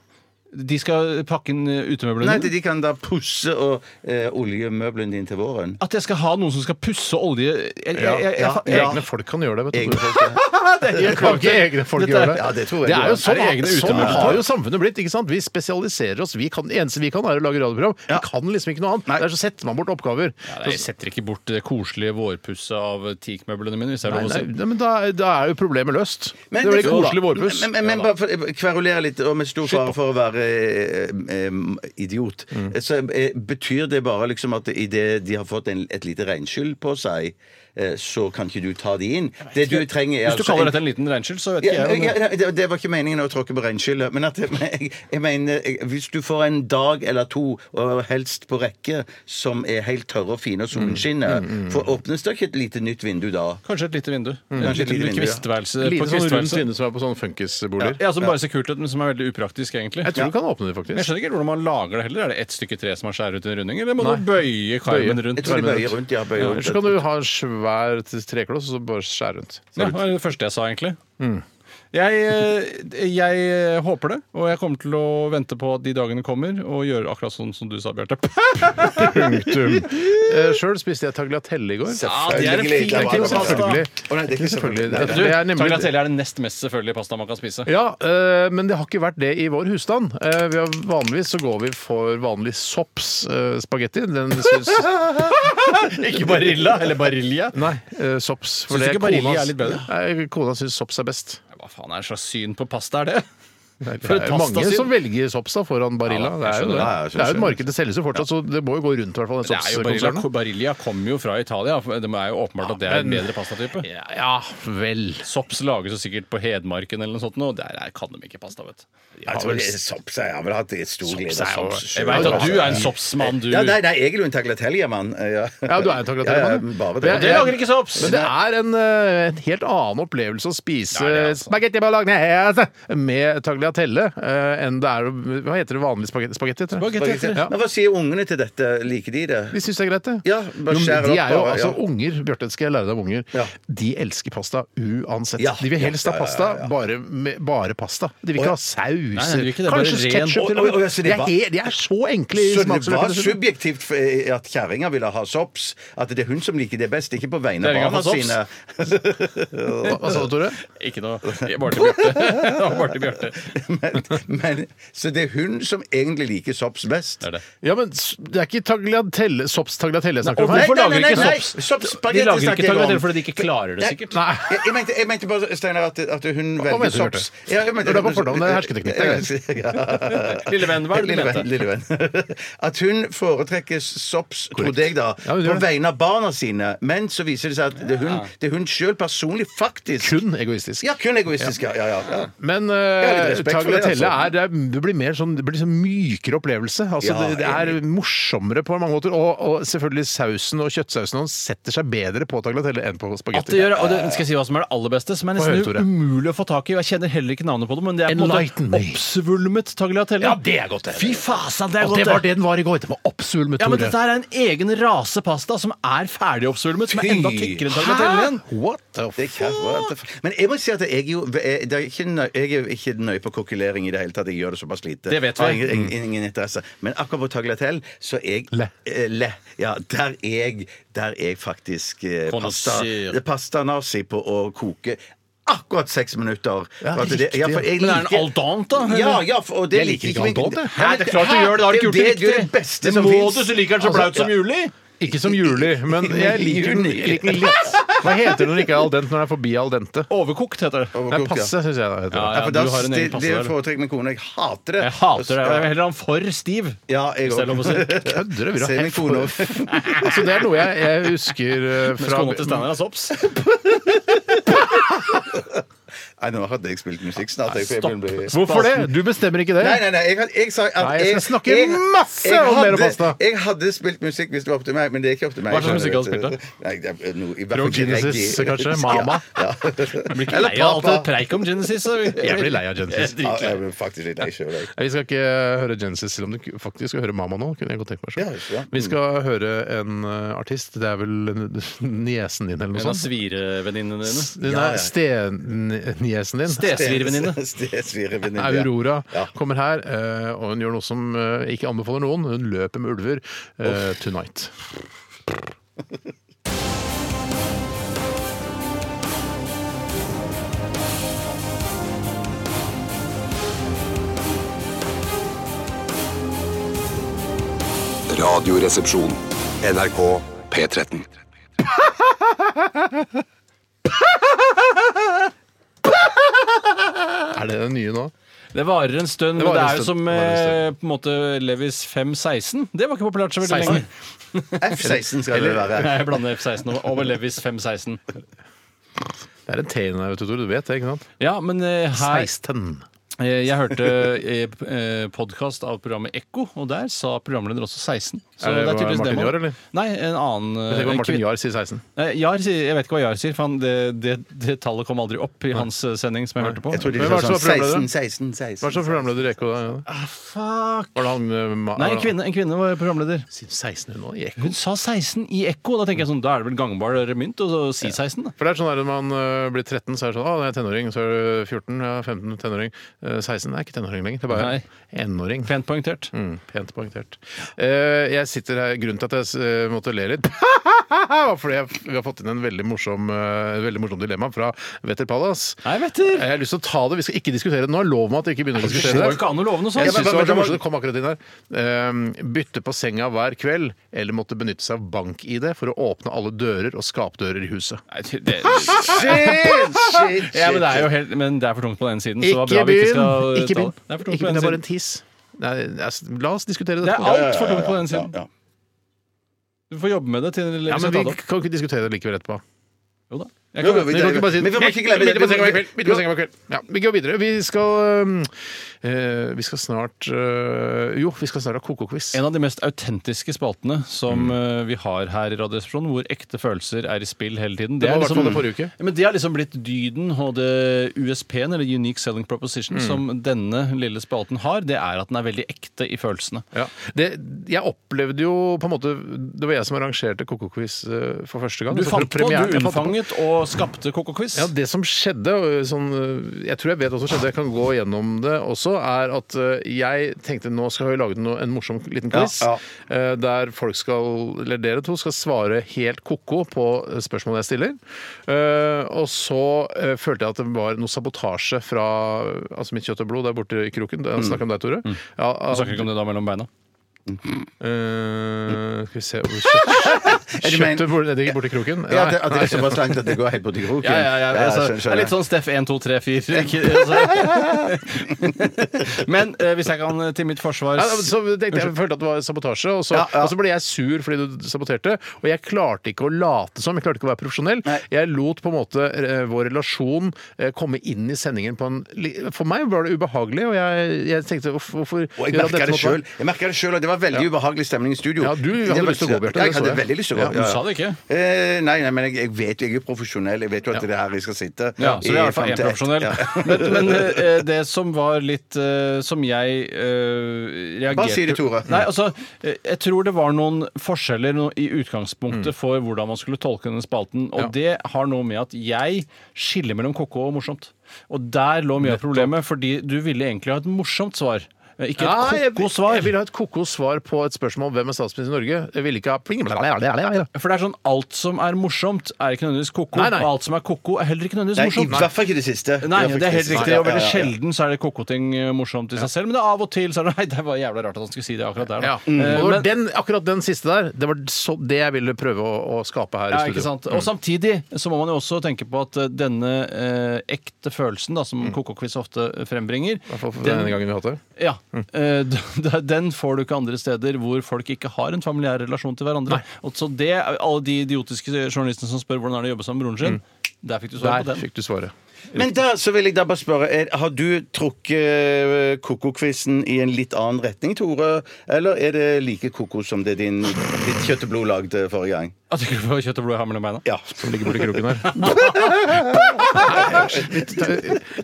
Speaker 2: De skal pakke inn eh, utemøblene
Speaker 3: Nei,
Speaker 2: dine?
Speaker 3: de kan da pusse og eh, oljemøblene dine til våren.
Speaker 2: At jeg skal ha noen som skal pusse olje jeg, jeg, jeg, jeg,
Speaker 3: Ja, ja.
Speaker 4: Egne folk kan gjøre det. vet
Speaker 3: Egne
Speaker 4: [laughs] du.
Speaker 3: folk, ja.
Speaker 4: Jeg kan ikke egne folk
Speaker 3: Dette er-
Speaker 4: gjøre det.
Speaker 3: Ja, det tror jeg
Speaker 4: det
Speaker 3: du
Speaker 4: er jo
Speaker 3: gjør.
Speaker 4: sånn,
Speaker 2: Er det egne
Speaker 4: sånn
Speaker 2: utemøbler?
Speaker 4: har jo samfunnet blitt. ikke sant? Vi spesialiserer oss. Vi kan, det eneste vi kan, er å lage radioprogram. Vi kan liksom ikke noe annet.
Speaker 3: Nei.
Speaker 4: Der så setter man bort oppgaver.
Speaker 2: Ja, nei, jeg setter ikke bort det koselige vårpusset av teakmøblene mine. hvis jeg
Speaker 4: Nei,
Speaker 2: har lov å
Speaker 4: nei,
Speaker 2: si.
Speaker 4: nei, men da, da er jo problemet løst.
Speaker 3: Men
Speaker 4: det blir
Speaker 3: det- jo da.
Speaker 4: koselig vårpuss.
Speaker 3: Men, men, men bare for, kverulere litt, og med stor fare for å være eh, eh, idiot, så eh, betyr det bare liksom at idet de har fått en, et lite regnskyll på seg, eh, så kan ikke du ta de inn. Det du trenger er
Speaker 2: Hvis du
Speaker 3: altså
Speaker 2: kaller
Speaker 3: en-
Speaker 2: dette en liten regnskyll, så vet
Speaker 3: ja,
Speaker 2: ikke jeg.
Speaker 3: ja,
Speaker 2: om det-
Speaker 3: ja, det, det var ikke meningen å tråkke på regnskyllet. Men at, [laughs] jeg, jeg mener, eh, hvis du får en dag eller to, og helst på rekke, som er helt tørre og fine, og solen skinner, for åpnes det ikke et lite nytt vindu da?
Speaker 2: Kanskje et lite vindu.
Speaker 3: Kanskje Mm. et
Speaker 2: Et
Speaker 3: lite
Speaker 2: lite
Speaker 3: vindu, ja.
Speaker 2: kvistværelse. på
Speaker 4: Lite sånn rundt
Speaker 2: kvistværelse.
Speaker 4: vindu som er på sånne funkisboliger.
Speaker 2: Ja, som bare ser kult ut, men som er veldig upraktisk, egentlig.
Speaker 4: Jeg tror du kan åpne det, faktisk.
Speaker 2: Jeg skjønner ikke helt hvordan man lager det heller. Er det ett stykke tre som har skjæret ut en runding, eller må
Speaker 4: Nei.
Speaker 2: du bøye karmen
Speaker 4: Bøye.
Speaker 2: rundt?
Speaker 3: Jeg tror de
Speaker 2: karmen
Speaker 3: bøyer rundt. Ja, bøyer
Speaker 4: Ja,
Speaker 3: rundt.
Speaker 4: Ellers så kan du ha en svær trekloss og så bare skjære rundt.
Speaker 2: Ja, det var det første jeg sa, egentlig. Jeg, eh, jeg eh, håper det, og jeg kommer til å vente på at de dagene kommer, og gjøre akkurat sånn som du sa, Bjarte.
Speaker 4: Punktum. [laughs] Eh, Sjøl spiste jeg tagliatelle i går.
Speaker 3: Selvfølgelig.
Speaker 4: Det er ikke
Speaker 3: Det var-
Speaker 4: selvfølgelig.
Speaker 3: Å, nei, det er ikke selvfølgelig. Nei,
Speaker 4: Det
Speaker 2: altså. Du,
Speaker 4: er nemlig
Speaker 2: Tagliatelle er den nest mest selvfølgelige pastaen man kan
Speaker 4: [laughs]
Speaker 2: spise.
Speaker 4: Ja, eh, men det har ikke vært det i vår husstand. Eh, vi har, vanligvis så går vi for vanlig sopps eh, spagetti. Den syns
Speaker 2: [laughs] Ikke Barilla eller Barilla.
Speaker 4: Nei, eh, sopps.
Speaker 2: Syns du ikke
Speaker 4: kona-
Speaker 2: Barilla er litt bedre?
Speaker 4: Nei, kona syns sopps er best.
Speaker 2: Hva faen er det slags syn på pasta
Speaker 4: [laughs]
Speaker 2: er det?
Speaker 4: Nei, det
Speaker 2: For et
Speaker 4: er jo mange
Speaker 2: pastasyn.
Speaker 4: som velger sopps da foran Barilla.
Speaker 2: Ja,
Speaker 4: det, er jo
Speaker 2: jeg skjønner.
Speaker 4: det.
Speaker 3: Ja, jeg skjønner.
Speaker 4: det er jo et marked, det selges jo fortsatt, så det må jo gå rundt i hvert fall. den
Speaker 2: Det er jo Barilla,
Speaker 4: soppskonsernet.
Speaker 2: Barilla kommer jo fra Italia. Det er jo åpenbart at det er en bedre pastatype.
Speaker 4: Ja, ja vel.
Speaker 2: Sops lages jo sikkert på Hedmarken eller noe sånt, og der er- kan de ikke pasta, vet du.
Speaker 3: Jeg tror det er Sops. Jeg har vel hatt det stor glede av
Speaker 4: er jo-
Speaker 3: Sops.
Speaker 2: Jeg veit at du er en sopsmann, du.
Speaker 3: Ja, nei, nei, jeg er jo en tagliateljemann. Ja.
Speaker 4: Ja, du er en tagliatellemann,
Speaker 3: Ja,
Speaker 4: ja.
Speaker 3: ja, bare
Speaker 4: Det-
Speaker 3: det.
Speaker 2: Og dere lager ikke sops!
Speaker 4: Men det er en, eh, en helt annen opplevelse å spise
Speaker 2: Ja, det er altså.
Speaker 4: spagetti bolognese med tagliatelle eh, enn det er å Hva heter det vanlig spagetti? spagetti heter det.
Speaker 2: Spagetti.
Speaker 4: Ja.
Speaker 3: Men hva sier ungene til dette? Liker de det?
Speaker 4: De syns det er greit, det.
Speaker 3: Ja, bare
Speaker 4: Jo, men
Speaker 3: skjære
Speaker 4: de
Speaker 3: opp
Speaker 4: er jo
Speaker 3: bare, ja.
Speaker 4: altså unger. Bjarte, skal jeg lære deg om unger.
Speaker 3: Ja.
Speaker 4: De elsker pasta uansett.
Speaker 3: Ja,
Speaker 4: De vil
Speaker 3: ja,
Speaker 4: helst ha
Speaker 3: ja, ja,
Speaker 4: pasta,
Speaker 3: ja, ja.
Speaker 4: bare, med, bare pasta. De vil
Speaker 3: Å, ja.
Speaker 4: ikke ha saus.
Speaker 2: Nei, de vil ikke det, bare
Speaker 4: Kanskje
Speaker 2: ren-
Speaker 4: ketsjup til
Speaker 3: Å,
Speaker 4: og
Speaker 3: å, å, ja,
Speaker 4: med.
Speaker 3: så
Speaker 4: De
Speaker 3: det
Speaker 4: er,
Speaker 3: var-
Speaker 4: helt- de er så enkle i
Speaker 3: Så det var
Speaker 4: smaksløkene.
Speaker 3: subjektivt for- eh, at kjerringa ville ha sops? At det er hun som liker det best, ikke på vegne av
Speaker 2: Kjerringa
Speaker 3: barna
Speaker 2: får sops.
Speaker 3: sine? [laughs]
Speaker 4: Hva hva sa du, Tore?
Speaker 2: Ikke noe Bare til Bjarte. [laughs] Det var Bare til Bjarte.
Speaker 3: Men, men, så det er hun som egentlig liker sops best?
Speaker 2: Det er det.
Speaker 4: Ja, men s- det er ikke tagliatelle, sops tagliatelle jeg snakker om
Speaker 2: Nei,
Speaker 4: her.
Speaker 2: Hvorfor
Speaker 3: nei,
Speaker 2: lager de
Speaker 3: nei,
Speaker 2: ikke
Speaker 3: nei,
Speaker 2: sops?
Speaker 3: soppspagetti
Speaker 2: De lager
Speaker 3: snakker
Speaker 2: ikke
Speaker 3: jeg om.
Speaker 2: tagliatelle fordi de ikke klarer det, sikkert.
Speaker 4: Nei.
Speaker 3: Jeg, jeg, mente, jeg mente bare, Steinar, at, at hun
Speaker 4: mener
Speaker 3: velger
Speaker 4: du,
Speaker 3: sops.
Speaker 4: Bjarte? Det er bare fordom, det er hersketeknikk, det
Speaker 2: Lille venn, hva er det du
Speaker 3: Lille venn,
Speaker 2: mente?
Speaker 3: lille venn. [laughs] At hun foretrekker sops, trodde jeg da,
Speaker 4: Ja, hun gjør
Speaker 3: på
Speaker 4: det.
Speaker 3: vegne av barna sine. Men så viser det seg at det er hun, det er hun sjøl personlig faktisk
Speaker 4: Kun egoistisk.
Speaker 3: Ja, kun egoistisk, ja. ja, ja, ja.
Speaker 4: Men
Speaker 3: har litt
Speaker 4: uh,
Speaker 3: respekt for det,
Speaker 4: tagliatelle
Speaker 3: altså.
Speaker 4: er, det, er, det blir mer sånn, det blir sånn mykere opplevelse. Altså,
Speaker 3: Ja,
Speaker 4: det, det er morsommere på mange måter. Og, og selvfølgelig sausen og kjøttsausen hans setter seg bedre på tagliatelle enn på
Speaker 2: At det
Speaker 4: spagetti.
Speaker 2: gjør, og det, skal jeg si hva som er det aller beste, som er
Speaker 4: Få høre,
Speaker 2: nesten
Speaker 4: Tore.
Speaker 2: umulig å få tak i. og Jeg kjenner heller ikke navnet på det, men det er på en måte
Speaker 4: Enlighten me.
Speaker 2: oppsvulmet tagliatelle.
Speaker 4: Ja, det er godt, det.
Speaker 2: Fy fasen, det er
Speaker 4: Og
Speaker 2: godt,
Speaker 4: det var det den var i går. Det var oppsvulmet,
Speaker 2: Ja, men
Speaker 4: Tore.
Speaker 2: dette her er en egen rase pasta som er ferdig oppsvulmet, som er enda tykkere enn tagliatelle igjen.
Speaker 4: What the
Speaker 3: Det
Speaker 4: f...
Speaker 3: er kjære, what the f- Men jeg må si at jeg er jo jeg, det er ikke nøy, jeg er ikke nøye på kokkelering i det hele tatt. Jeg gjør det såpass lite.
Speaker 2: Det vet vi.
Speaker 3: Har ingen, ingen, ingen interesse. Men akkurat på tagliatelle, så er jeg
Speaker 4: Le.
Speaker 3: Eh, le. Ja, der er jeg, der er jeg faktisk eh, pasta,
Speaker 2: Connoisseur.
Speaker 3: det er pasta nazi på å koke. Akkurat seks minutter.
Speaker 4: Ja,
Speaker 3: For at det- ja, for jeg
Speaker 2: Men er den
Speaker 3: liker-
Speaker 2: al dente, da, eller?
Speaker 3: Ja, ja, for, og det
Speaker 4: Jeg liker ikke al dente.
Speaker 3: Hæ?
Speaker 2: Nei, det er klart du
Speaker 3: Hæ?
Speaker 2: gjør det. Da har du ikke gjort det
Speaker 3: Det er jo
Speaker 2: riktig.
Speaker 3: det beste
Speaker 2: Det
Speaker 3: som
Speaker 2: må
Speaker 3: finnes.
Speaker 2: du, så liker den så
Speaker 3: Altså,
Speaker 2: blaut som
Speaker 3: ja.
Speaker 2: juli.
Speaker 4: Ikke som juli,
Speaker 2: [laughs]
Speaker 4: men jeg liker den jeg liker den litt. Hva heter det når det ikke er al dente, når det er forbi al dente?
Speaker 2: Overkokt heter det.
Speaker 4: Nei, passe, syns jeg det heter.
Speaker 2: Ja,
Speaker 3: Ja,
Speaker 2: ja,
Speaker 3: for
Speaker 2: du
Speaker 3: da,
Speaker 2: har en
Speaker 3: det,
Speaker 2: egen passe
Speaker 3: det er
Speaker 2: der.
Speaker 3: foretrekk med kone. Jeg hater det.
Speaker 2: Jeg hater det. Jeg vil heller ha den for stiv.
Speaker 3: Ja, jeg
Speaker 2: Hvis det er lov å
Speaker 3: òg.
Speaker 2: si.
Speaker 3: [laughs]
Speaker 4: Kødder du? vil du ha
Speaker 3: Se min
Speaker 4: helt
Speaker 3: kone.
Speaker 4: Altså, det er noe jeg, jeg husker eh,
Speaker 2: Mens
Speaker 4: fra
Speaker 2: kona til Steinar har sops.
Speaker 3: Nei, nå hadde jeg spilt musikk snart. Jeg,
Speaker 2: Stopp.
Speaker 3: jeg blir-
Speaker 4: Hvorfor det? Du bestemmer ikke det.
Speaker 3: Nei, nei, nei, jeg, had- jeg sa at
Speaker 4: Nei, jeg skal snakke masse om mer om pasta.
Speaker 3: Jeg hadde spilt musikk hvis det var opp til meg, men det er ikke opp til meg.
Speaker 2: Hva slags musikk hadde du spilt da?
Speaker 3: Nei, det er noe- i hvert fall
Speaker 4: Rock
Speaker 3: ikke
Speaker 4: Genesis,
Speaker 3: reggae.
Speaker 4: kanskje? Mama?
Speaker 2: [laughs]
Speaker 3: Ja,
Speaker 2: Blir ikke
Speaker 3: Eller
Speaker 2: lei av alt
Speaker 3: papa.
Speaker 2: det preik om Genesis. så-
Speaker 4: Jeg blir lei av Genesis.
Speaker 3: ja. Jeg ble faktisk litt lei sjøl, jeg.
Speaker 4: Nei, Vi skal ikke høre Genesis, selv om du faktisk skal høre Mamma nå. kunne jeg godt tenke meg selv.
Speaker 3: Ja, ja.
Speaker 4: Vi skal høre en eh, artist. Det er vel en- [laughs] niesen din eller
Speaker 2: En
Speaker 4: noe
Speaker 2: av
Speaker 4: sånt?
Speaker 2: svirevenninnene dine.
Speaker 4: Den
Speaker 3: Ja,
Speaker 4: er
Speaker 3: ja.
Speaker 4: sten, niesen
Speaker 3: [laughs]
Speaker 4: din.
Speaker 2: Stesvirvenninne.
Speaker 3: Stesvirvenninne. ja.
Speaker 4: Aurora
Speaker 3: Ja.
Speaker 4: kommer her, eh, og hun gjør noe som eh, ikke anbefaler noen. Hun løper med ulver eh, tonight.
Speaker 7: Radioresepsjon. NRK P13.
Speaker 4: Er det den nye nå?
Speaker 2: Det varer en stund,
Speaker 4: Det
Speaker 2: men det
Speaker 4: varer en
Speaker 2: er jo
Speaker 4: stund.
Speaker 2: som
Speaker 4: Det varer en
Speaker 2: eh, på en måte Levis 516. Det var ikke populært så veldig lenge.
Speaker 3: F-16 skal det være.
Speaker 2: Nei, jeg blander F16 og- og Levis 516.
Speaker 4: Det er en T inni der, vet du, Tore. Du vet det, ikke sant?
Speaker 2: Ja, men eh, her
Speaker 4: 16.
Speaker 2: eh, Jeg hørte eh, podkast av programmet Ekko, og der sa programleder også 16. Så
Speaker 4: Er det-
Speaker 2: det er tydeligvis
Speaker 4: var det Martin
Speaker 2: det man-
Speaker 4: Jahr, eller?
Speaker 2: Nei, en annen eh,
Speaker 4: Tenk om
Speaker 2: kvin-
Speaker 4: Martin Jahr sier 16.
Speaker 2: Nei, Jahr sier, jeg vet ikke hva Jahr sier, for han, det, det, det tallet kom aldri opp i hans eh, sending som jeg hørte på.
Speaker 3: Jeg trodde de
Speaker 4: Men hva er
Speaker 3: sa
Speaker 4: det som er
Speaker 3: sånn
Speaker 4: problemet
Speaker 3: 16, 16, 16.
Speaker 4: Hva er det som programleder i Ekko da?
Speaker 2: Fuck!
Speaker 4: Var det han eh, ma-
Speaker 2: Nei,
Speaker 4: var
Speaker 2: en
Speaker 4: det-
Speaker 2: kvinne, en kvinne var programleder.
Speaker 4: Sier 16 hun nå i Ekko?
Speaker 2: Hun sa 16 i Ekko. Da tenker jeg sånn, da er det vel gangbar mynt å så si 16, da.
Speaker 4: For det er sånn der Når man eh, blir 13, så er det sånn Å, det er tenåring. Så er du 14, ja, 15, tenåring. Eh, 16 er ikke tenåring lenger. Det er bare
Speaker 2: Nei.
Speaker 4: enåring.
Speaker 2: Pent poengtert.
Speaker 4: Mm, pent poengtert. Eh, jeg sitter her, Grunnen til at jeg eh, måtte le litt, [laughs] var fordi jeg, vi har fått inn en veldig morsom, eh, veldig morsom dilemma fra Vetter Palace.
Speaker 2: Nei, Vetter!
Speaker 4: Jeg har lyst til å ta det. Vi skal ikke diskutere det nå. Lov meg at vi ikke begynner å
Speaker 2: Det
Speaker 4: diskutere
Speaker 2: går
Speaker 4: det.
Speaker 2: jo ikke an å love noe sånt.
Speaker 4: Jeg synes det var
Speaker 3: men-
Speaker 4: så morsomt, det kom akkurat inn her. Ehm, bytte på senga hver kveld, eller måtte benytte seg av bank-ID for å åpne alle dører og skapdører i huset.
Speaker 2: Nei, det, det-
Speaker 3: Shit, shit, shit.
Speaker 2: [laughs] ja, men, det er jo helt, men det er for tungt på den siden. så det var bra
Speaker 4: Ikke
Speaker 2: vi ikke skal
Speaker 4: begynn! Ikke
Speaker 2: ta
Speaker 4: begynn.
Speaker 2: det. Det er for tungt på
Speaker 4: Ikke begynn,
Speaker 2: den
Speaker 4: det er bare
Speaker 2: siden.
Speaker 4: en tiss. Nei, altså, la oss diskutere
Speaker 2: Det
Speaker 4: dette.
Speaker 2: er altfor tungt på
Speaker 3: Ja,
Speaker 2: den siden.
Speaker 3: ja.
Speaker 2: Du får jobbe med det til vi
Speaker 4: Ja, men
Speaker 2: skal
Speaker 4: vi
Speaker 2: ta det opp.
Speaker 4: kan ikke diskutere det likevel etterpå.
Speaker 2: Jo da. Jeg
Speaker 3: Jo,
Speaker 2: kan,
Speaker 3: jo, vi-
Speaker 4: Men vi kan ikke bare si
Speaker 3: Men vi må ikke glemme det.
Speaker 4: Midt på senga i kveld. Midt på senga i kveld. Ja, vi går videre. Vi skal øhm, eh, Vi skal snart øh, Jo, vi skal snart ha koko-quiz.
Speaker 2: en av de mest autentiske spaltene som eh, vi har her i Radioresepsjonen, hvor ekte følelser er i spill hele tiden.
Speaker 4: Det var i
Speaker 2: er liksom-
Speaker 4: hvert fall det forrige uke.
Speaker 2: Ja, Men det har liksom blitt dyden og det USP-en, eller Unique Selling Proposition, som denne lille spalten har. Det er at den er veldig ekte i følelsene.
Speaker 4: Ja. Det, jeg opplevde jo på en måte Det var jeg som arrangerte Koko-quiz eh, for første gang.
Speaker 2: Du
Speaker 4: Så for
Speaker 2: fant på,
Speaker 4: premieren-
Speaker 2: du
Speaker 4: jeg fant på-
Speaker 2: unnfanget og skapte KK-quiz.
Speaker 4: Ja, Det som skjedde, og sånn, eh, jeg tror jeg vet hva som skjedde, jeg kan gå gjennom det også, er at eh, jeg tenkte nå skal vi lage noe, en morsom liten quiz eh, der folk skal, eller dere to skal svare helt ko-ko på spørsmålet jeg stiller. Eh, Og så eh, følte jeg at det var noe sabotasje fra altså mitt kjøtt og blod der borte i kroken. Jeg
Speaker 3: Mm.
Speaker 4: snakker om deg, Tore. Ja,
Speaker 2: Du snakker ikke om det da mellom beina?
Speaker 4: Eh, skal vi se
Speaker 3: [laughs]
Speaker 4: hvor kjøtt-
Speaker 3: du men-
Speaker 4: Kjøttet bor- nedi borti kroken?
Speaker 3: Ja, at det, at det er såpass langt at det går helt på til kroken.
Speaker 2: Ja, ja, ja. Altså,
Speaker 3: skjønner,
Speaker 2: det er litt
Speaker 3: skjønner.
Speaker 2: sånn Steff 1, 2, 3, 4. ikke- altså. [laughs] Men eh, hvis jeg kan eh, til mitt forsvar
Speaker 4: Ja, så tenkte jeg, jeg følte at det var sabotasje, og så, og så ble jeg sur fordi du saboterte. Og jeg klarte ikke å late som, jeg klarte ikke å være profesjonell. Jeg lot på en måte eh, vår relasjon eh, komme inn i sendingen på en li- For meg var det ubehagelig, og jeg, jeg tenkte "Uff, hvorfor
Speaker 2: sånn-
Speaker 3: Og jeg
Speaker 4: gjøre
Speaker 3: merka det
Speaker 4: mot meg?"
Speaker 3: sjøl. Jeg merket det selv, og Det var veldig ubehagelig stemning i studio.
Speaker 4: Ja, du hadde
Speaker 3: Det var-
Speaker 4: lyst til å gå, Bjarte,
Speaker 3: Ja, Jeg
Speaker 4: det så
Speaker 3: hadde
Speaker 4: jeg.
Speaker 3: veldig lyst til å gå.
Speaker 2: Du sa det ikke?
Speaker 3: Eh, nei, nei, men jeg, jeg vet jo, jeg er jo profesjonell. Jeg vet jo at det er her jeg skal sitte.
Speaker 2: Ja, så vi er i hvert
Speaker 3: frem
Speaker 2: fall én
Speaker 3: til ett.
Speaker 2: profesjonell.
Speaker 3: Ja.
Speaker 2: [laughs] Men, men eh, det som var litt eh, Som jeg eh, reagerte
Speaker 3: Bare si det, Tore.
Speaker 2: Nei, altså, eh, jeg tror det var noen forskjeller no i utgangspunktet for hvordan man skulle tolke denne spalten, og det har noe med at jeg skiller mellom ko-ko og morsomt. Og der lå mye av problemet, fordi du ville egentlig ha et morsomt svar. eh, Ikke
Speaker 4: Ja, jeg,
Speaker 2: et ko
Speaker 4: jeg
Speaker 2: svar.
Speaker 4: vil ha et ko-ko svar på et spørsmål hvem er statsminister i Norge. Jeg ville ikke ha pling, bla, bla, bla, bla, bla.
Speaker 2: For det er sånn, alt som er morsomt, er ikke nødvendigvis ko-ko,
Speaker 4: Nei, nei.
Speaker 2: og alt som er ko-ko, er heller ikke nødvendigvis
Speaker 3: Nei, I
Speaker 2: morsomt.
Speaker 3: hvert fall ikke det siste.
Speaker 2: Nei,
Speaker 3: I hvert fall
Speaker 2: det er
Speaker 3: ikke
Speaker 2: helt
Speaker 3: siste.
Speaker 2: riktig.
Speaker 3: Ja,
Speaker 2: Og
Speaker 3: ja,
Speaker 2: veldig
Speaker 3: ja.
Speaker 2: sjelden så er det kokoting eh, morsomt i seg selv. Men det er av og til så er det [laughs] Nei, det var jævla rart at han skulle si det akkurat der. da.
Speaker 4: Ja.
Speaker 2: Eh,
Speaker 4: Og det var
Speaker 2: men-
Speaker 4: den, akkurat den siste der, det var så, det jeg ville prøve å, å skape her
Speaker 2: ja,
Speaker 4: i
Speaker 2: ikke
Speaker 4: studio.
Speaker 2: sant? Og samtidig så må man jo også tenke på at eh, denne eh, ekte følelsen da, som koko-quiz ofte frembringer,
Speaker 4: Mm. I hvert fall for
Speaker 2: den,
Speaker 4: denne Mm. gangen vi har hatt det.
Speaker 2: ja, eh, d- [laughs] d- den får du ikke andre steder hvor folk ikke har en familiær relasjon til hverandre. Og så det, alle de idiotiske journalistene som spør hvordan er det å jobbe sammen med broren sin, der fikk du svar på
Speaker 4: Mm. Der
Speaker 2: den.
Speaker 4: fikk du svaret.
Speaker 3: Men da så vil jeg da bare spørre er, Har du trukket koko-quizen i en litt annen retning, Tore? Eller er det like koko som det din, ditt kjøtt og blod lagde forrige gang?
Speaker 2: Jeg tenker du på kjøtt og blod jeg har mellom beina?
Speaker 3: Ja.
Speaker 4: Som ligger borti kroken her.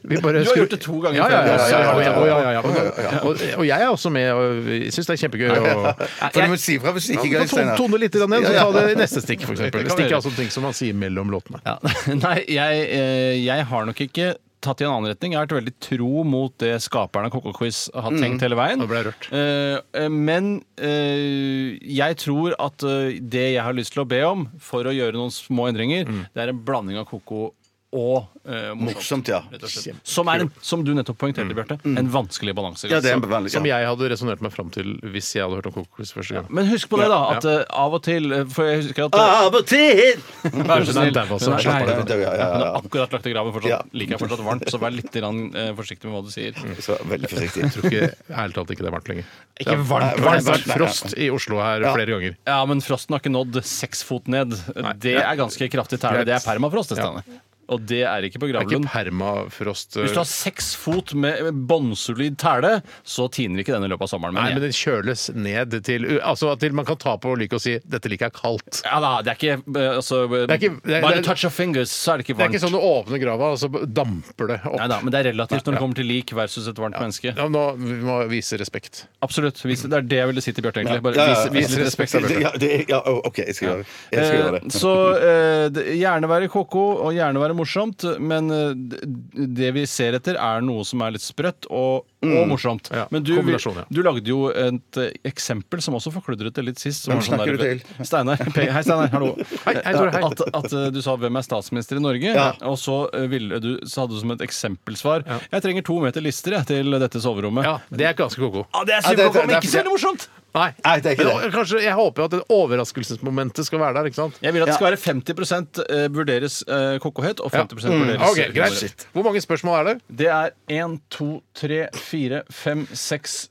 Speaker 4: Vi bare
Speaker 2: Du har gjort det to ganger
Speaker 4: Ja, ja, ja. ja, ja,
Speaker 2: før.
Speaker 4: ja, ja, ja, ja. Og, og jeg er også med, og jeg syns det er kjempegøy. Og,
Speaker 3: For du må si fra hvis ikke,
Speaker 4: Ja,
Speaker 3: Geir
Speaker 4: to-
Speaker 3: Steinar.
Speaker 4: tone litt grann ned, så
Speaker 3: Ja, ja.
Speaker 4: ta det i neste stikk, for eksempel.
Speaker 2: kan
Speaker 4: Stikk
Speaker 2: vi
Speaker 4: er
Speaker 2: gjøre. [laughs]
Speaker 4: altså ting som man sier mellom låtene.
Speaker 2: Ja. Nei, jeg, eh, jeg har nok ikke tatt i en annen retning. Jeg har vært veldig tro mot det skaperne av Coco Quiz har
Speaker 3: Mm.
Speaker 2: tenkt hele veien.
Speaker 4: Nå ble jeg rørt.
Speaker 2: Eh, eh, men eh, jeg tror at eh, det jeg har lyst til å be om for å gjøre noen små endringer,
Speaker 3: Mm.
Speaker 2: det er en blanding av koko og eh, morsomt.
Speaker 3: Morsomt, ja.
Speaker 2: rett og slett. Som er, en, som du nettopp poengterte, Bjarte, en vanskelig balanse.
Speaker 3: Mm. Ja, det er en vanlig
Speaker 4: Som
Speaker 3: ja.
Speaker 4: jeg hadde resonnert meg fram til hvis jeg hadde hørt om Coco Quiz første gang.
Speaker 2: Men husk på det, da, at eh, av og til eh, For jeg husker at eh,
Speaker 3: Av og til!
Speaker 2: Vær så
Speaker 4: Nei,
Speaker 2: snill.
Speaker 4: der var så-
Speaker 2: Nei,
Speaker 4: slapp av
Speaker 2: nei,
Speaker 3: litt. Ja, ja, ja,
Speaker 2: Hun
Speaker 3: ja.
Speaker 2: har akkurat lagt i graven. Fortsatt,
Speaker 3: Ja.
Speaker 2: Liker jeg fortsatt varmt, så vær litt grann, eh, forsiktig med hva du sier.
Speaker 4: Mm.
Speaker 3: Så veldig forsiktig.
Speaker 4: Jeg tror ikke, ærlig talt ikke det er varmt lenger.
Speaker 2: Ikke varmt,
Speaker 4: Det har
Speaker 2: varmt,
Speaker 4: vært
Speaker 2: varmt.
Speaker 4: frost i Oslo her flere ganger.
Speaker 2: Ja, men frosten har ikke nådd seks fot ned. Det er ganske kraftig tæle.
Speaker 4: Greit.
Speaker 2: Det er permafrost. det Steinar. Og det er ikke på
Speaker 4: Det er ikke
Speaker 2: gravlund.
Speaker 4: permafrost
Speaker 2: Hvis du har seks fot med bånnsolid tæle, så tiner ikke den i løpet av sommeren.
Speaker 4: Nei,
Speaker 2: mener
Speaker 4: men
Speaker 2: jeg.
Speaker 4: den kjøles ned til Altså til man kan ta på liket og si 'dette liket er kaldt'.
Speaker 2: ja, da, det er ikke eh, altså,
Speaker 4: er ikke- det er-
Speaker 2: Bare
Speaker 4: det er-
Speaker 2: touch of fingers, så er det ikke
Speaker 4: Det er
Speaker 2: varmt.
Speaker 4: ikke sånn du åpner grava, og så damper det opp.
Speaker 2: Nei da, men det er relativt når det kommer til lik versus et varmt menneske.
Speaker 4: Ja, nå, vi må vise respekt.
Speaker 2: Absolutt. Vis, det er det jeg ville si til Bjarte, egentlig. Bare
Speaker 3: Ja, ja,
Speaker 2: vis,
Speaker 3: ja.
Speaker 2: vis litt respekt. da, Bjarte.
Speaker 3: Ja, det, ja, å, OK, jeg skal gjøre det. Jeg skal gjøre
Speaker 2: Eh,
Speaker 3: det.
Speaker 2: Så eh, det- gjerne være koko og gjerne være morsomt, men eh, d- det vi ser etter, er noe som er litt sprøtt og,
Speaker 3: Mm.
Speaker 2: og morsomt.
Speaker 4: Ja,
Speaker 2: Men du,
Speaker 4: kombinasjon, ja.
Speaker 2: du lagde jo et eh, eksempel som også forkludret det litt sist. Som
Speaker 3: Hvem
Speaker 2: var sånn
Speaker 3: snakker
Speaker 2: der-
Speaker 3: du til?
Speaker 2: Steinar. Pe- Hei, Steinar. Hallo.
Speaker 4: [laughs] Hei, hei, Tore, hei.
Speaker 2: At, at eh, du sa 'Hvem er statsminister i Norge?'
Speaker 3: Ja.
Speaker 2: Og så, eh, ville du, så hadde du som et eksempelsvar 'Jeg trenger to meter lister jeg, til dette soverommet'.
Speaker 4: Ja, Det er ganske ko-ko.
Speaker 2: Ja, det er
Speaker 3: Ja, det-
Speaker 2: superkoko, men
Speaker 3: det-
Speaker 2: ikke så veldig morsomt!
Speaker 4: Nei.
Speaker 3: Nei, det er ikke
Speaker 4: Men
Speaker 3: det.
Speaker 4: Kanskje, jeg håper jo at det overraskelsesmomentet skal være der. ikke sant?
Speaker 2: Jeg vil at det skal være 50 eh, vurderes eh, kokohet, og 50
Speaker 3: Mm.
Speaker 2: vurderes
Speaker 4: Ok,
Speaker 2: eh,
Speaker 4: greit. Hvor mange spørsmål er det?
Speaker 2: Det er 1, 2, 3, 4, 5, 6,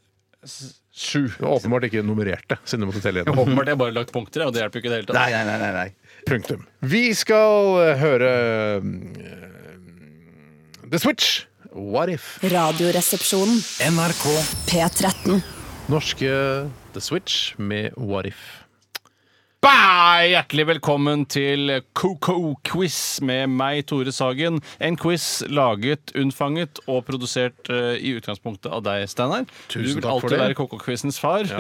Speaker 2: 7.
Speaker 4: Det var åpenbart ikke nummererte. siden du måtte telle gjennom.
Speaker 2: Åpenbart jeg bare lagt punkter, og det hjelper jo ikke i det hele tatt.
Speaker 3: Nei, nei, nei. nei, nei.
Speaker 4: Punktum. Vi skal eh, høre eh, The Switch. What if?
Speaker 5: Radioresepsjonen.
Speaker 6: NRK
Speaker 5: P13.
Speaker 4: Norske The Switch med What if.
Speaker 2: Bah! Hjertelig velkommen til KK-quiz med meg, Tore Sagen. En quiz laget, unnfanget og produsert eh, i utgangspunktet av deg, Steinar. Du
Speaker 4: Tusen
Speaker 2: vil
Speaker 4: takk for
Speaker 2: alltid
Speaker 4: det.
Speaker 2: være KK-quizens far.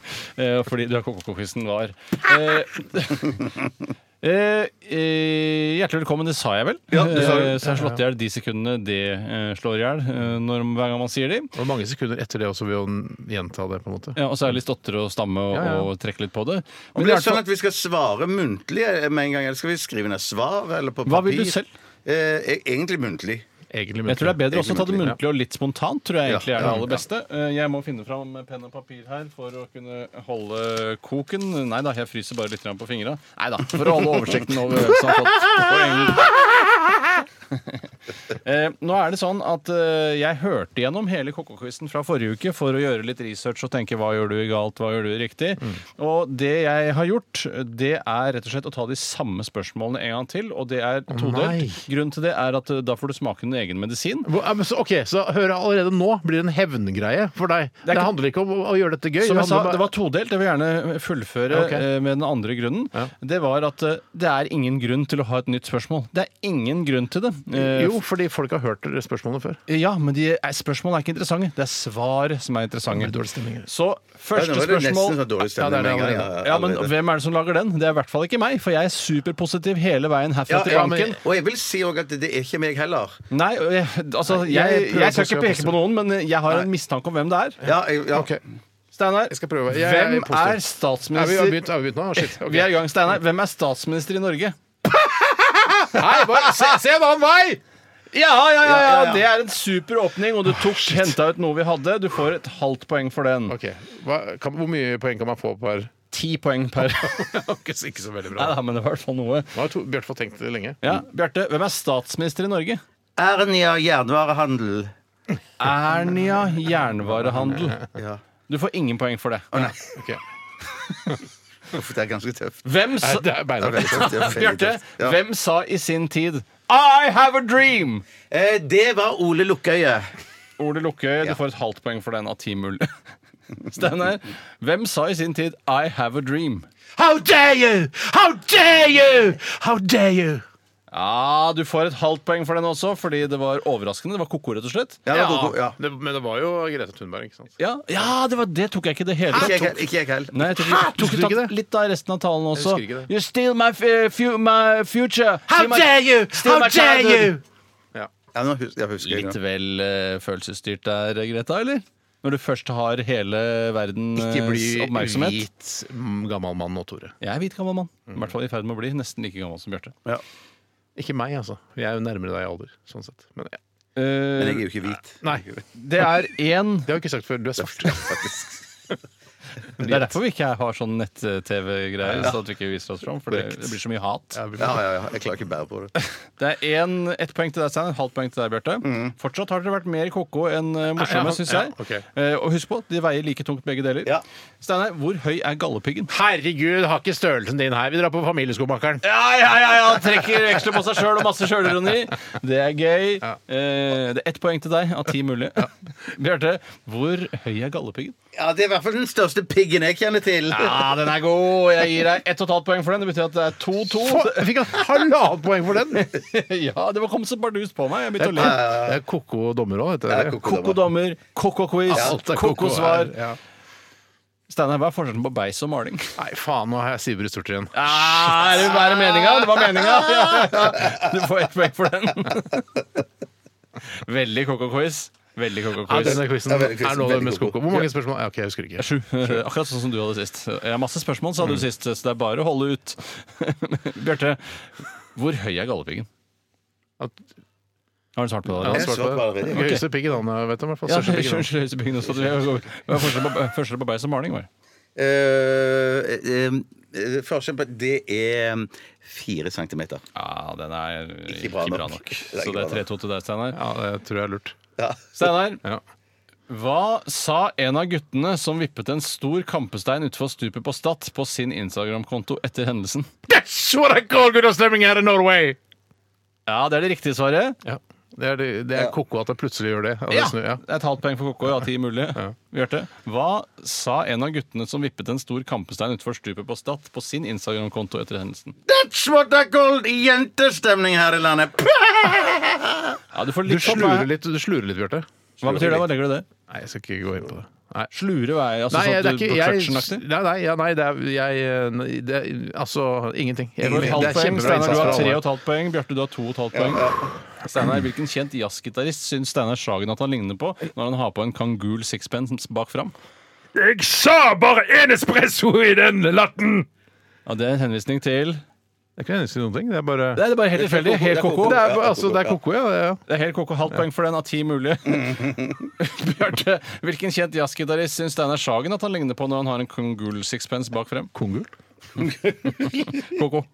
Speaker 2: [laughs] Eh, Fordi du er KK-quizen var. Eh, [laughs] eh, eh, hjertelig velkommen, det sa jeg vel?
Speaker 3: Ja, du sa det.
Speaker 2: Eh, Så jeg har slått i hjel de sekundene det eh, slår i hjel, eh, når- hver gang man sier de.
Speaker 4: Og mange sekunder etter det også vil hun gjenta det. på en måte.
Speaker 2: Ja, og særlig stotre og stamme og,
Speaker 4: Ja, ja.
Speaker 2: og trekke litt på det. Men
Speaker 3: Men
Speaker 2: i
Speaker 3: det
Speaker 2: hvert
Speaker 3: er sånn
Speaker 2: fall-
Speaker 3: at Vi skal svare muntlig eh, med en gang, eller skal vi skrive ned svar eller på papir?
Speaker 2: Hva vil du selv?
Speaker 3: Eh, e- egentlig muntlig.
Speaker 4: Egentlig
Speaker 2: Jeg tror det er bedre også å ta det
Speaker 3: Egentlig
Speaker 2: muntlig og litt spontant. tror jeg egentlig er det
Speaker 4: ja,
Speaker 2: aller
Speaker 4: ja.
Speaker 2: beste. Eh, Jeg må finne fram penn og papir her for å kunne holde koken. Nei da, jeg fryser bare litt grann på fingra. Nei da, for å holde oversikten over hvem som har fått poeng. [laughs] Eh, Nå er det sånn at eh, Jeg hørte gjennom hele Kokkokvisten fra forrige uke for å gjøre litt research og tenke hva gjør du galt, hva gjør du riktig. Og det jeg har gjort, det er rett og slett å ta de samme spørsmålene en gang til. Og det er
Speaker 4: nei.
Speaker 2: todelt. Grunnen til det er at eh, da får du smake din egen medisin.
Speaker 4: Hvor- ja, men så, ok, så hører jeg allerede nå blir det en hevngreie for deg. Det,
Speaker 2: er ikke-
Speaker 4: handler ikke om å, å gjøre dette gøy.
Speaker 2: Som jeg sa,
Speaker 4: handler bare-
Speaker 2: det var todelt. Jeg vil gjerne fullføre
Speaker 4: Ok.
Speaker 2: eh, med den andre grunnen. Det var at eh, det er ingen grunn til å ha et nytt spørsmål. Det er ingen grunn til det. Eh,
Speaker 4: Jo, fordi folk har hørt dere spørsmålene før.
Speaker 2: Ja, men de er, spørsmålene er ikke interessante. Det er svar som er interessante.
Speaker 4: Det blir dårlig stemning her.
Speaker 2: Så
Speaker 3: Ja,
Speaker 2: første
Speaker 3: nå var det
Speaker 2: spørsmål
Speaker 3: nesten så dårlig stemning
Speaker 2: ja, det er
Speaker 3: med
Speaker 2: det
Speaker 3: en gang,
Speaker 2: allerede.
Speaker 3: ja,
Speaker 2: ja, men
Speaker 3: allerede.
Speaker 2: hvem er det som lager den? Det er i hvert fall ikke meg, for jeg er superpositiv hele veien herfra
Speaker 3: Ja,
Speaker 2: til
Speaker 3: ja, men,
Speaker 2: banken.
Speaker 3: og jeg vil si òg at det er ikke meg heller.
Speaker 2: Nei, og jeg, altså,
Speaker 4: Nei, jeg
Speaker 2: jeg, jeg,
Speaker 4: prøver
Speaker 2: skal
Speaker 4: også å
Speaker 2: ikke
Speaker 4: være
Speaker 2: peke på noen, men jeg har en mistanke om hvem det er.
Speaker 3: Ja, jeg, ja.
Speaker 2: Steinar,
Speaker 4: Jeg skal prøve. Jeg- jeg er
Speaker 2: hvem
Speaker 4: positiv.
Speaker 2: er
Speaker 4: Er vi, har vi
Speaker 2: statsminister
Speaker 4: begynt, er vi begynt nå? Shit. ok.
Speaker 2: Vi er i gang, Steinar. Hvem er statsminister i Norge?
Speaker 4: [laughs] Nei, bare se, se en annen vei!
Speaker 2: Ja, ja, ja, ja,
Speaker 3: ja, ja.
Speaker 2: det er en super åpning, og du tok henta ut noe vi hadde. Du får et halvt poeng for den.
Speaker 4: Ok, Hva, kan, Hvor mye poeng kan man få per
Speaker 2: Ti poeng
Speaker 4: [laughs]
Speaker 2: per
Speaker 4: ikke, så- ikke så veldig
Speaker 2: Nei da, men det var i hvert fall noe.
Speaker 4: Nå har to- Bjørt fått tenkt det lenge.
Speaker 2: Ja, Bjarte, hvem er statsminister i Norge?
Speaker 3: Ernia jernvarehandel.
Speaker 2: Ernia jernvarehandel.
Speaker 4: [laughs]
Speaker 3: Ja.
Speaker 2: Du får ingen poeng for det.
Speaker 4: Ok.
Speaker 3: Uff, det er ganske tøft.
Speaker 2: Hvem sa,
Speaker 4: Det er
Speaker 3: Det er
Speaker 4: beinhardt.
Speaker 3: veldig tøft. Det, er veldig
Speaker 2: Bjarte,
Speaker 3: tøft. Ja.
Speaker 2: hvem sa i sin tid I have a dream!
Speaker 3: Eh, det var Ole Lukkøye.
Speaker 2: Ole Lukkøye, du får et halvt poeng for den av ti mulig. [laughs] Steinar, hvem sa i sin tid I have a dream?
Speaker 4: How dare you! How dare you! How dare you!
Speaker 2: Ja, Du får et halvt poeng for den også, fordi det var overraskende. Det var ko-ko, rett og slett.
Speaker 3: Ja, det var god- ja.
Speaker 4: Det, men det var jo Grete Thunberg, ikke sant?
Speaker 2: Ja, ja det, var, det tok jeg ikke det hele
Speaker 3: Ikke
Speaker 2: tatt.
Speaker 3: jeg heller. Ikke jeg heller.
Speaker 2: Nei, jeg tok, jeg tok
Speaker 4: Husker du ikke
Speaker 2: tatt
Speaker 4: det?
Speaker 2: litt av resten av talen også.
Speaker 4: Jeg husker ikke det.
Speaker 2: You steal my, f- fu my eh, future. Steal my-
Speaker 4: you!
Speaker 2: steal my childhood.
Speaker 4: Ja.
Speaker 3: Ja, nå husker, jeg husker
Speaker 2: Litt
Speaker 3: jeg nå.
Speaker 2: vel eh, følelsesstyrt der, Greta, eller? Når du først har hele verdens
Speaker 4: Ikke bli
Speaker 2: oppmerksomhet.
Speaker 4: hvit mm, gammel mann nå, Tore.
Speaker 2: Jeg er hvit gammel mann. I hvert fall i ferd med å bli nesten like gammel som Bjarte.
Speaker 3: Ja.
Speaker 4: Ikke meg, altså. Jeg er jo nærmere deg i alder, sånn sett. Men, ja.
Speaker 3: Men jeg er jo ikke hvit.
Speaker 4: Nei,
Speaker 2: Eh, Det er én
Speaker 4: [laughs] det har jeg ikke sagt før. Du er svart.
Speaker 2: Det er derfor vi ikke har sånn nett-TV-greier, så at vi ikke viser oss fram. For det, det blir så mye hat.
Speaker 3: Ja, ja, ja. Jeg klarer ikke å bære på det.
Speaker 2: Det er en, ett poeng til deg, Stein. Et halvt poeng til deg, Bjarte. Fortsatt har dere vært mer ko-ko enn eh, morsomme,
Speaker 4: Mm. Ja,
Speaker 2: syns
Speaker 4: ja,
Speaker 2: jeg.
Speaker 4: ok.
Speaker 2: Eh, og husk på, de veier like tungt begge deler.
Speaker 3: Ja.
Speaker 2: Steinar, hvor høy er gallepiggen?
Speaker 4: Herregud, har ikke størrelsen din her. Vi drar på familieskomakeren.
Speaker 2: Ja, ja, ja, ja! Trekker veksler på seg sjøl og masse sjølironi. Det er gøy. Eh, det er ett poeng til deg av ti mulige. Bjarte, hvor høy er gallepiggen?
Speaker 3: Ja, Det er i hvert fall den største piggen jeg kjenner til.
Speaker 2: Ja, den er god! Jeg gir deg ett og et halvt poeng for den. Det betyr at det er 2-2.
Speaker 4: Jeg fikk halvannet poeng for den! Det
Speaker 2: Ja, det var kom så bardust på meg. Jeg begynte å le.
Speaker 4: er ko-ko dommer òg, heter
Speaker 3: Ja,
Speaker 4: det.
Speaker 3: ko-ko.
Speaker 2: Kokodommer, kokokviz,
Speaker 4: Alt er ko-ko her.
Speaker 2: kokosvar.
Speaker 4: Ja.
Speaker 2: Steinar, hva er forskjellen på beis og maling?
Speaker 4: Nei, faen, nå har jeg Sivert Stort igjen.
Speaker 2: Ah, er det bare meninga? Det var meninga! Ja, ja, ja. Du får ett poeng for den. Veldig koko-quiz. Veldig
Speaker 4: Ja,
Speaker 2: koko-quiz.
Speaker 4: denne quizen
Speaker 3: Ja,
Speaker 4: er
Speaker 3: veldig quiz.
Speaker 4: noe av det
Speaker 3: Veldig
Speaker 4: mest
Speaker 3: ko-ko.
Speaker 4: ko-ko. Hvor mange spørsmål? Ja, ok, jeg husker ikke.
Speaker 2: Sju. Mm. Akkurat sånn som du hadde sist. Jeg har masse spørsmål, sa du sist, så det er bare å holde ut. [laughs] Bjarte, hvor høy er gallepiggen?
Speaker 4: At-
Speaker 2: Har du svart på
Speaker 4: Ja,
Speaker 2: det?
Speaker 4: han
Speaker 3: Jeg
Speaker 4: svarte
Speaker 3: svarte
Speaker 4: på
Speaker 3: allerede,
Speaker 4: det.
Speaker 3: ok.
Speaker 4: Gøyeste piggen han eh, vet om, i hvert fall.
Speaker 2: Ja,
Speaker 4: Største piggen.
Speaker 2: unnskyld, høyestepiggen også. Det var Forskjell på, forskjell på beis og maling, var det?
Speaker 3: [laughs] Eh, eh, eh, Forskjellen på det er eh, fire centimeter.
Speaker 2: Ja, den er ikke
Speaker 3: bra
Speaker 2: bra,
Speaker 3: nok.
Speaker 2: nok.
Speaker 3: Det er
Speaker 2: Så
Speaker 3: ikke
Speaker 2: det
Speaker 3: bra
Speaker 2: er 3-2 til deg, Steinar.
Speaker 4: Ja, det tror jeg er lurt.
Speaker 2: Steinar,
Speaker 4: Ja.
Speaker 2: hva sa en av guttene som vippet en stor kampestein utfor stupet på Stad på sin Instagram-konto etter hendelsen?
Speaker 4: That's what I call good stemming her in Norway!
Speaker 2: Ja, det er det riktige svaret.
Speaker 4: Ja. Det er, det, det er ko-ko at jeg plutselig gjør det. At det snur, ja.
Speaker 2: Det er Et halvt poeng for KK av ti
Speaker 4: [laughs]
Speaker 2: mulige. Bjarte, hva sa en av guttene som vippet en stor kampestein utfor stupet på Stad på sin Instagram-konto etter hendelsen?
Speaker 3: That's what I call jentestemning her i landet!
Speaker 2: Ja, du får
Speaker 4: Du
Speaker 2: litt opp
Speaker 4: slurer
Speaker 2: her.
Speaker 4: litt, du slurer litt, Bjarte.
Speaker 2: Hva betyr det? Hva legger du i det?
Speaker 4: Nei, jeg skal ikke gå inn på det. Nei.
Speaker 2: Slure veier, altså
Speaker 4: Nei,
Speaker 2: sånn
Speaker 4: det er
Speaker 2: at du
Speaker 4: ikke jeg,
Speaker 2: production-aktig?
Speaker 4: nei, nei, ja, nei, det er jeg nei, det, er- Altså, ingenting.
Speaker 2: Det var et
Speaker 4: egentlig. Det er
Speaker 2: halvt poeng.
Speaker 4: kjempebra
Speaker 2: Steinar,
Speaker 4: innsats
Speaker 2: du
Speaker 4: fra
Speaker 2: har
Speaker 4: alle.
Speaker 2: tre og et halvt poeng. Bjarte, du har to og et halvt poeng. Steinar, Hvilken kjent jazzgitarist syns Steinar Sagen at han ligner på når han har på en Kangul sixpence bak fram?
Speaker 8: Jeg sa bare én espresso i den latten!
Speaker 2: Ja, det er en henvisning til
Speaker 4: Det er ikke eneste noen ting. Det er bare
Speaker 2: Det er bare helt tilfeldig. Helt koko.
Speaker 4: Det er, altså, det er ko-ko, ja. Det, er-
Speaker 2: Det er helt koko. Halvt poeng for den av ti mulige. Bjarte, hvilken kjent jazzgitarist syns Steinar Sagen at han ligner på når han har en Kangul sixpence bak frem? Kongul? [laughs] Koko.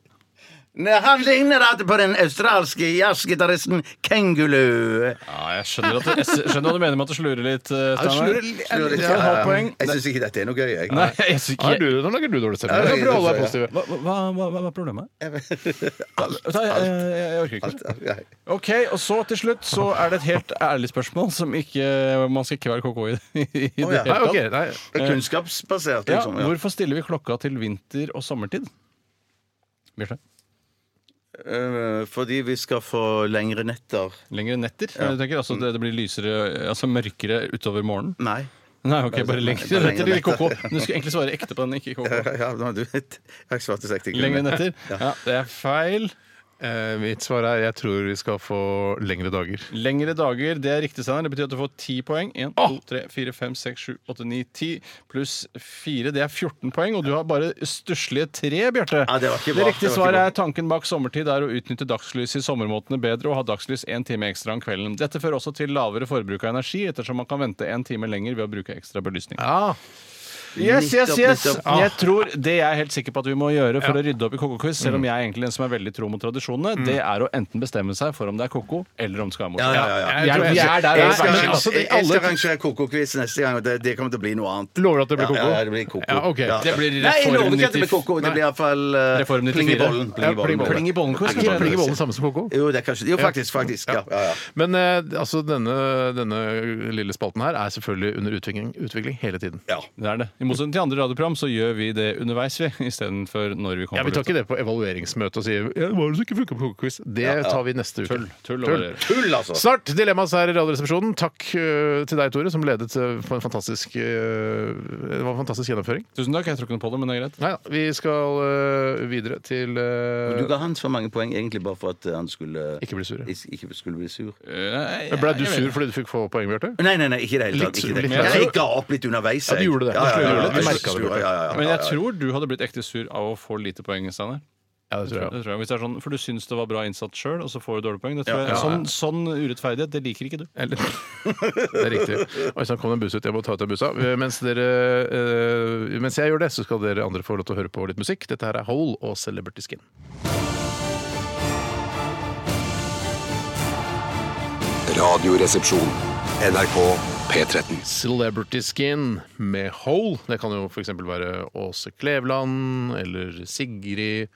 Speaker 3: Nei, han ligner da på den australske jazzgitaristen Kengulu.
Speaker 2: Ja, jeg skjønner, at du, jeg skjønner hva du mener med at du slurer litt, eh,
Speaker 3: Slur
Speaker 2: Steinar.
Speaker 3: litt- slur litt.
Speaker 2: Ja, ja, ja.
Speaker 3: Jeg syns ikke dette er noe gøy. Jeg.
Speaker 2: Nei, jeg synes
Speaker 4: Har
Speaker 2: ikke
Speaker 4: du, nå lager du dårlig stemning.
Speaker 3: Ja,
Speaker 4: Jeg skal prøve å holde deg
Speaker 3: det
Speaker 4: positiv.
Speaker 2: Hva, hva, hva, hva er problemet? Alt. Jeg, jeg, jeg orker ikke.
Speaker 3: Nei.
Speaker 2: Ok, og så til slutt så er det et helt ærlig spørsmål som ikke Man skal ikke være KK i, i det
Speaker 3: Å, ja.
Speaker 4: Nei,
Speaker 2: hele
Speaker 4: ok,
Speaker 2: tatt.
Speaker 4: nei.
Speaker 3: Kunnskapsbasert,
Speaker 2: Ja,
Speaker 3: liksom. Ja.
Speaker 2: hvorfor stiller vi klokka til vinter og sommertid? Bjarte?
Speaker 3: Eh, fordi vi skal få lengre netter.
Speaker 2: Lengre netter? Du tenker, altså det, det blir lysere, altså mørkere utover morgenen?
Speaker 3: Nei.
Speaker 2: Nei, ok, bare lengre
Speaker 3: Lengre
Speaker 2: netter.
Speaker 3: netter.
Speaker 2: KK. Men Du skulle egentlig svare ekte på den, ikke KK.
Speaker 3: [laughs] [laughs] Ja, nå, du vet. Jeg svarte seg til
Speaker 2: Lengre netter? Ja, det er feil.
Speaker 4: Eh, mitt svar er jeg tror vi skal få lengre dager.
Speaker 2: Lengre dager, det er riktig, Steinar. Det betyr at du får ti poeng. 1, 2, 3, 4, 5, 6, 7, 8, 9, 10 pluss 4. Det er 14 poeng, og du har bare stusslige 3, Bjarte.
Speaker 3: Ja, det var ikke bra. Det
Speaker 2: det riktige
Speaker 3: var ikke
Speaker 2: svaret
Speaker 3: bra.
Speaker 2: er tanken bak sommertid er å utnytte dagslyset i sommermåtene bedre og ha dagslys en time ekstra om kvelden. Dette fører også til lavere forbruk av energi, ettersom man kan vente en time lenger ved å bruke ekstra belysning.
Speaker 4: Ja,
Speaker 2: Yes, yes,
Speaker 3: Nettopp,
Speaker 2: yes!
Speaker 3: nettopp.
Speaker 2: Jeg tror Det jeg er helt sikker på at vi må gjøre for å rydde opp i KK-quiz,
Speaker 4: Mm.
Speaker 2: selv om jeg er egentlig den som er veldig tro mot tradisjonene, det er å enten bestemme seg for om det er koko, eller om det skal være morsomt.
Speaker 3: Ja, ja, ja.
Speaker 2: Vi er-
Speaker 4: tror
Speaker 2: vi er der,
Speaker 3: Jeg skal,
Speaker 2: altså.
Speaker 4: Men
Speaker 3: arrangere-
Speaker 4: altså, det-
Speaker 3: jeg skal
Speaker 4: alle-
Speaker 3: arrangere koko-quiz neste gang, og det, det kommer til å bli noe annet.
Speaker 4: Lover du at det
Speaker 3: Ja,
Speaker 4: blir ko-ko?
Speaker 3: ja, det blir koko.
Speaker 4: Ja, ok.
Speaker 2: Det blir
Speaker 3: Nei, jeg
Speaker 2: Reform
Speaker 3: lover ikke at det blir
Speaker 2: 94.
Speaker 3: koko. Det blir iallfall
Speaker 2: Reform 94.
Speaker 3: eh, pling i bollen.
Speaker 2: Ja,
Speaker 3: Pling i bollen.
Speaker 2: Pling i bollen-quiz.
Speaker 4: Er ikke pling i bollen det samme som ko-ko?
Speaker 3: Jo, det er kanskje Jo, faktisk. faktisk. Ja, ja, ja.
Speaker 4: Men eh, altså, denne, denne lille spalten her er selvfølgelig under utvikling, utvikling hele tiden.
Speaker 2: Det er det. I I motsetning til andre radioprogram så gjør vi det underveis, vi, istedenfor når vi kommer
Speaker 4: Ja, Vi tar
Speaker 2: på lufta.
Speaker 4: ikke det på evalueringsmøte og sier ja, det var det som ikke funket på kokekviss. Det tar vi neste uke.
Speaker 2: Tull, tull og varier.
Speaker 3: Tull, altså!
Speaker 4: Snart Dilemmas her i Radioresepsjonen. Takk eh, til deg, Tore, som ledet eh, på en fantastisk, eh, det var en fantastisk gjennomføring.
Speaker 2: Tusen takk, jeg tror ikke noe på det, men det er greit.
Speaker 4: Nei da, vi skal eh, videre til eh,
Speaker 3: Du ga han så mange poeng egentlig bare for at eh, han skulle
Speaker 4: Ikke bli sur, ja.
Speaker 3: Ikke- ikke skulle bli sur.
Speaker 2: Eh,
Speaker 4: Ble du
Speaker 2: jeg vet
Speaker 4: sur
Speaker 2: ikke.
Speaker 4: fordi du fikk få poeng, Bjarte?
Speaker 3: Nei, nei, nei, ikke i det hele
Speaker 4: Litt
Speaker 3: tatt. ikke i det
Speaker 4: sur,
Speaker 3: hele tatt.
Speaker 2: litt.
Speaker 3: Jeg ga opp litt underveis.
Speaker 4: Ja, du
Speaker 3: jeg.
Speaker 4: gjorde det.
Speaker 3: Ja, ja, ja, ja,
Speaker 4: Du gjorde det. Du
Speaker 3: jeg
Speaker 4: merket det,
Speaker 3: sur, ja, ja, ja,
Speaker 2: Men jeg
Speaker 3: ja, ja.
Speaker 2: tror du hadde blitt ekte sur av å få lite poeng, Steinar.
Speaker 4: Ja, det tror jeg.
Speaker 2: Det tror jeg. Hvis det er sånn, for du syns det var bra innsats sjøl, og så får du dårlige poeng. Det tror jeg.
Speaker 4: Ja, ja, ja.
Speaker 2: Sånn, sånn urettferdighet, det liker ikke du.
Speaker 4: Eller, det er riktig. Oi sann, kom det en buss ut. Jeg må ta ut den bussa. Eh, Mens, dere, eh, mens jeg gjør det, så skal dere andre få lov til å høre på litt musikk. Dette her er Hole og Celebrity Skin.
Speaker 7: Radioresepsjon. NRK P13.
Speaker 4: Celebrity Skin med Hole. Det kan jo f.eks. være Åse Kleveland eller Sigrid.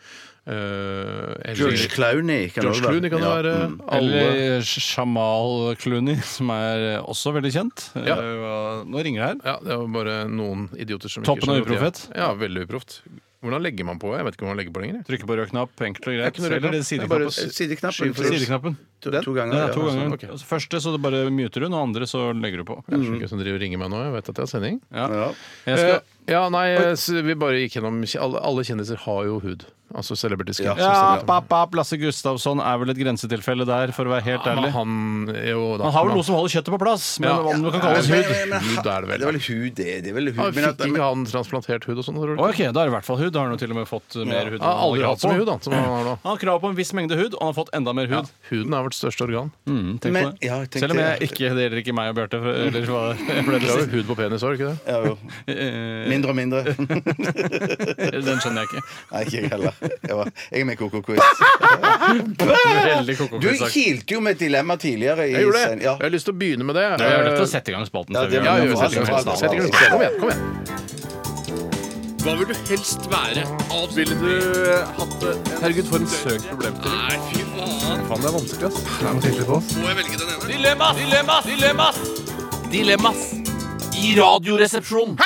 Speaker 4: eh, eller
Speaker 3: George Clowney kan
Speaker 4: George
Speaker 3: det være.
Speaker 4: Clooney kan det
Speaker 3: Ja,
Speaker 4: være.
Speaker 3: mm.
Speaker 4: Alle
Speaker 2: Eller Shamal Clooney, som er også veldig kjent.
Speaker 4: Ja.
Speaker 2: Eh, Nå ringer det her.
Speaker 4: Ja, det var bare noen idioter som
Speaker 2: Toppen av
Speaker 4: skjønner at
Speaker 2: uproft.
Speaker 4: jeg- Ja, veldig uproft. Hvordan legger man på? Jeg vet ikke hvordan man legger på lenger. jeg.
Speaker 2: Trykker på rød knapp, enkelt og
Speaker 4: Det er
Speaker 2: greit.
Speaker 4: ikke noe rød
Speaker 2: Eller
Speaker 4: knapp. Det er bare
Speaker 2: sideknappen.
Speaker 4: s-
Speaker 3: Sideknappen.
Speaker 4: Skyld for
Speaker 3: Sideknappen.
Speaker 2: Sideknappen.
Speaker 3: To, to ganger.
Speaker 2: Ja, to
Speaker 3: ja.
Speaker 2: ganger.
Speaker 4: ok.
Speaker 2: Altså, Første så du bare muter hun, og andre så legger du på.
Speaker 4: Det er så mange som driver og ringer meg nå. Jeg vet at jeg har sending.
Speaker 2: Ja.
Speaker 3: Ja.
Speaker 2: Jeg skal,
Speaker 4: Eh, ja, nei, eh, så vi bare gikk gjennom alle, alle kjendiser har jo hud. Altså celebrity skin. som
Speaker 2: ja,
Speaker 4: ser ut.
Speaker 2: papp, papp, Lasse Gustavsson er vel et grensetilfelle der, for å være helt
Speaker 4: Men
Speaker 2: ærlig.
Speaker 4: han, jo, da,
Speaker 2: Han har vel noe som holder kjøttet på plass, men
Speaker 4: Ja.
Speaker 2: om du kan kalle det hud
Speaker 3: Men- men-
Speaker 4: Hud er det vel.
Speaker 3: Det er vel hud, det. det er vel hud.
Speaker 4: han
Speaker 3: men at-
Speaker 4: Fikk ikke han transplantert hud og sånn? tror du?
Speaker 2: Ok, da er det i hvert fall hud. Da har han jo til og med fått eh, mer hud. enn
Speaker 4: Han har aldri
Speaker 2: han
Speaker 4: hatt så mye hud, da, som han har nå.
Speaker 2: Han har krav på en viss mengde hud, og han har fått enda mer hud.
Speaker 4: Huden er vårt største organ.
Speaker 2: Mm, tenk
Speaker 3: Men-
Speaker 2: på det.
Speaker 3: ja, jeg tenkte-
Speaker 2: Selv om jeg ikke, det gjelder ikke meg og Bjarte. for- Eller hva det ble
Speaker 4: Det
Speaker 2: det
Speaker 4: er
Speaker 2: siste.
Speaker 4: jo hud på penis òg, ikke det?
Speaker 3: Ja, jo.
Speaker 2: Eh,
Speaker 3: Mindre og [laughs] mindre.
Speaker 2: Den skjønner jeg ikke.
Speaker 3: Nei, ikke jeg heller. Jeg, var, jeg er med i Koko Quiz.
Speaker 2: Veldig
Speaker 3: Du
Speaker 2: koko-sak.
Speaker 3: kilte jo med et dilemma tidligere. I
Speaker 4: Jeg gjorde det!
Speaker 3: sen-
Speaker 4: Jeg
Speaker 3: Ja.
Speaker 4: har lyst til å begynne med det.
Speaker 2: Jeg har lyst til å sette i gang spalten.
Speaker 3: Ja,
Speaker 2: ser vi.
Speaker 3: det må
Speaker 4: Ja,
Speaker 3: vi må
Speaker 4: gjør det. Sett i gang. Sett i gang. Kom igjen. kom igjen.
Speaker 9: Hva vil du helst være? Ville du eh, hatt det? Herregud, for en søk problemstilling. Nei, fy faen. Faen, det er vanskelig, ass. Må jeg velge den ene? Dilemmas! Dilemmas! Dilemmas! Dilemmas! I radioresepsjonen.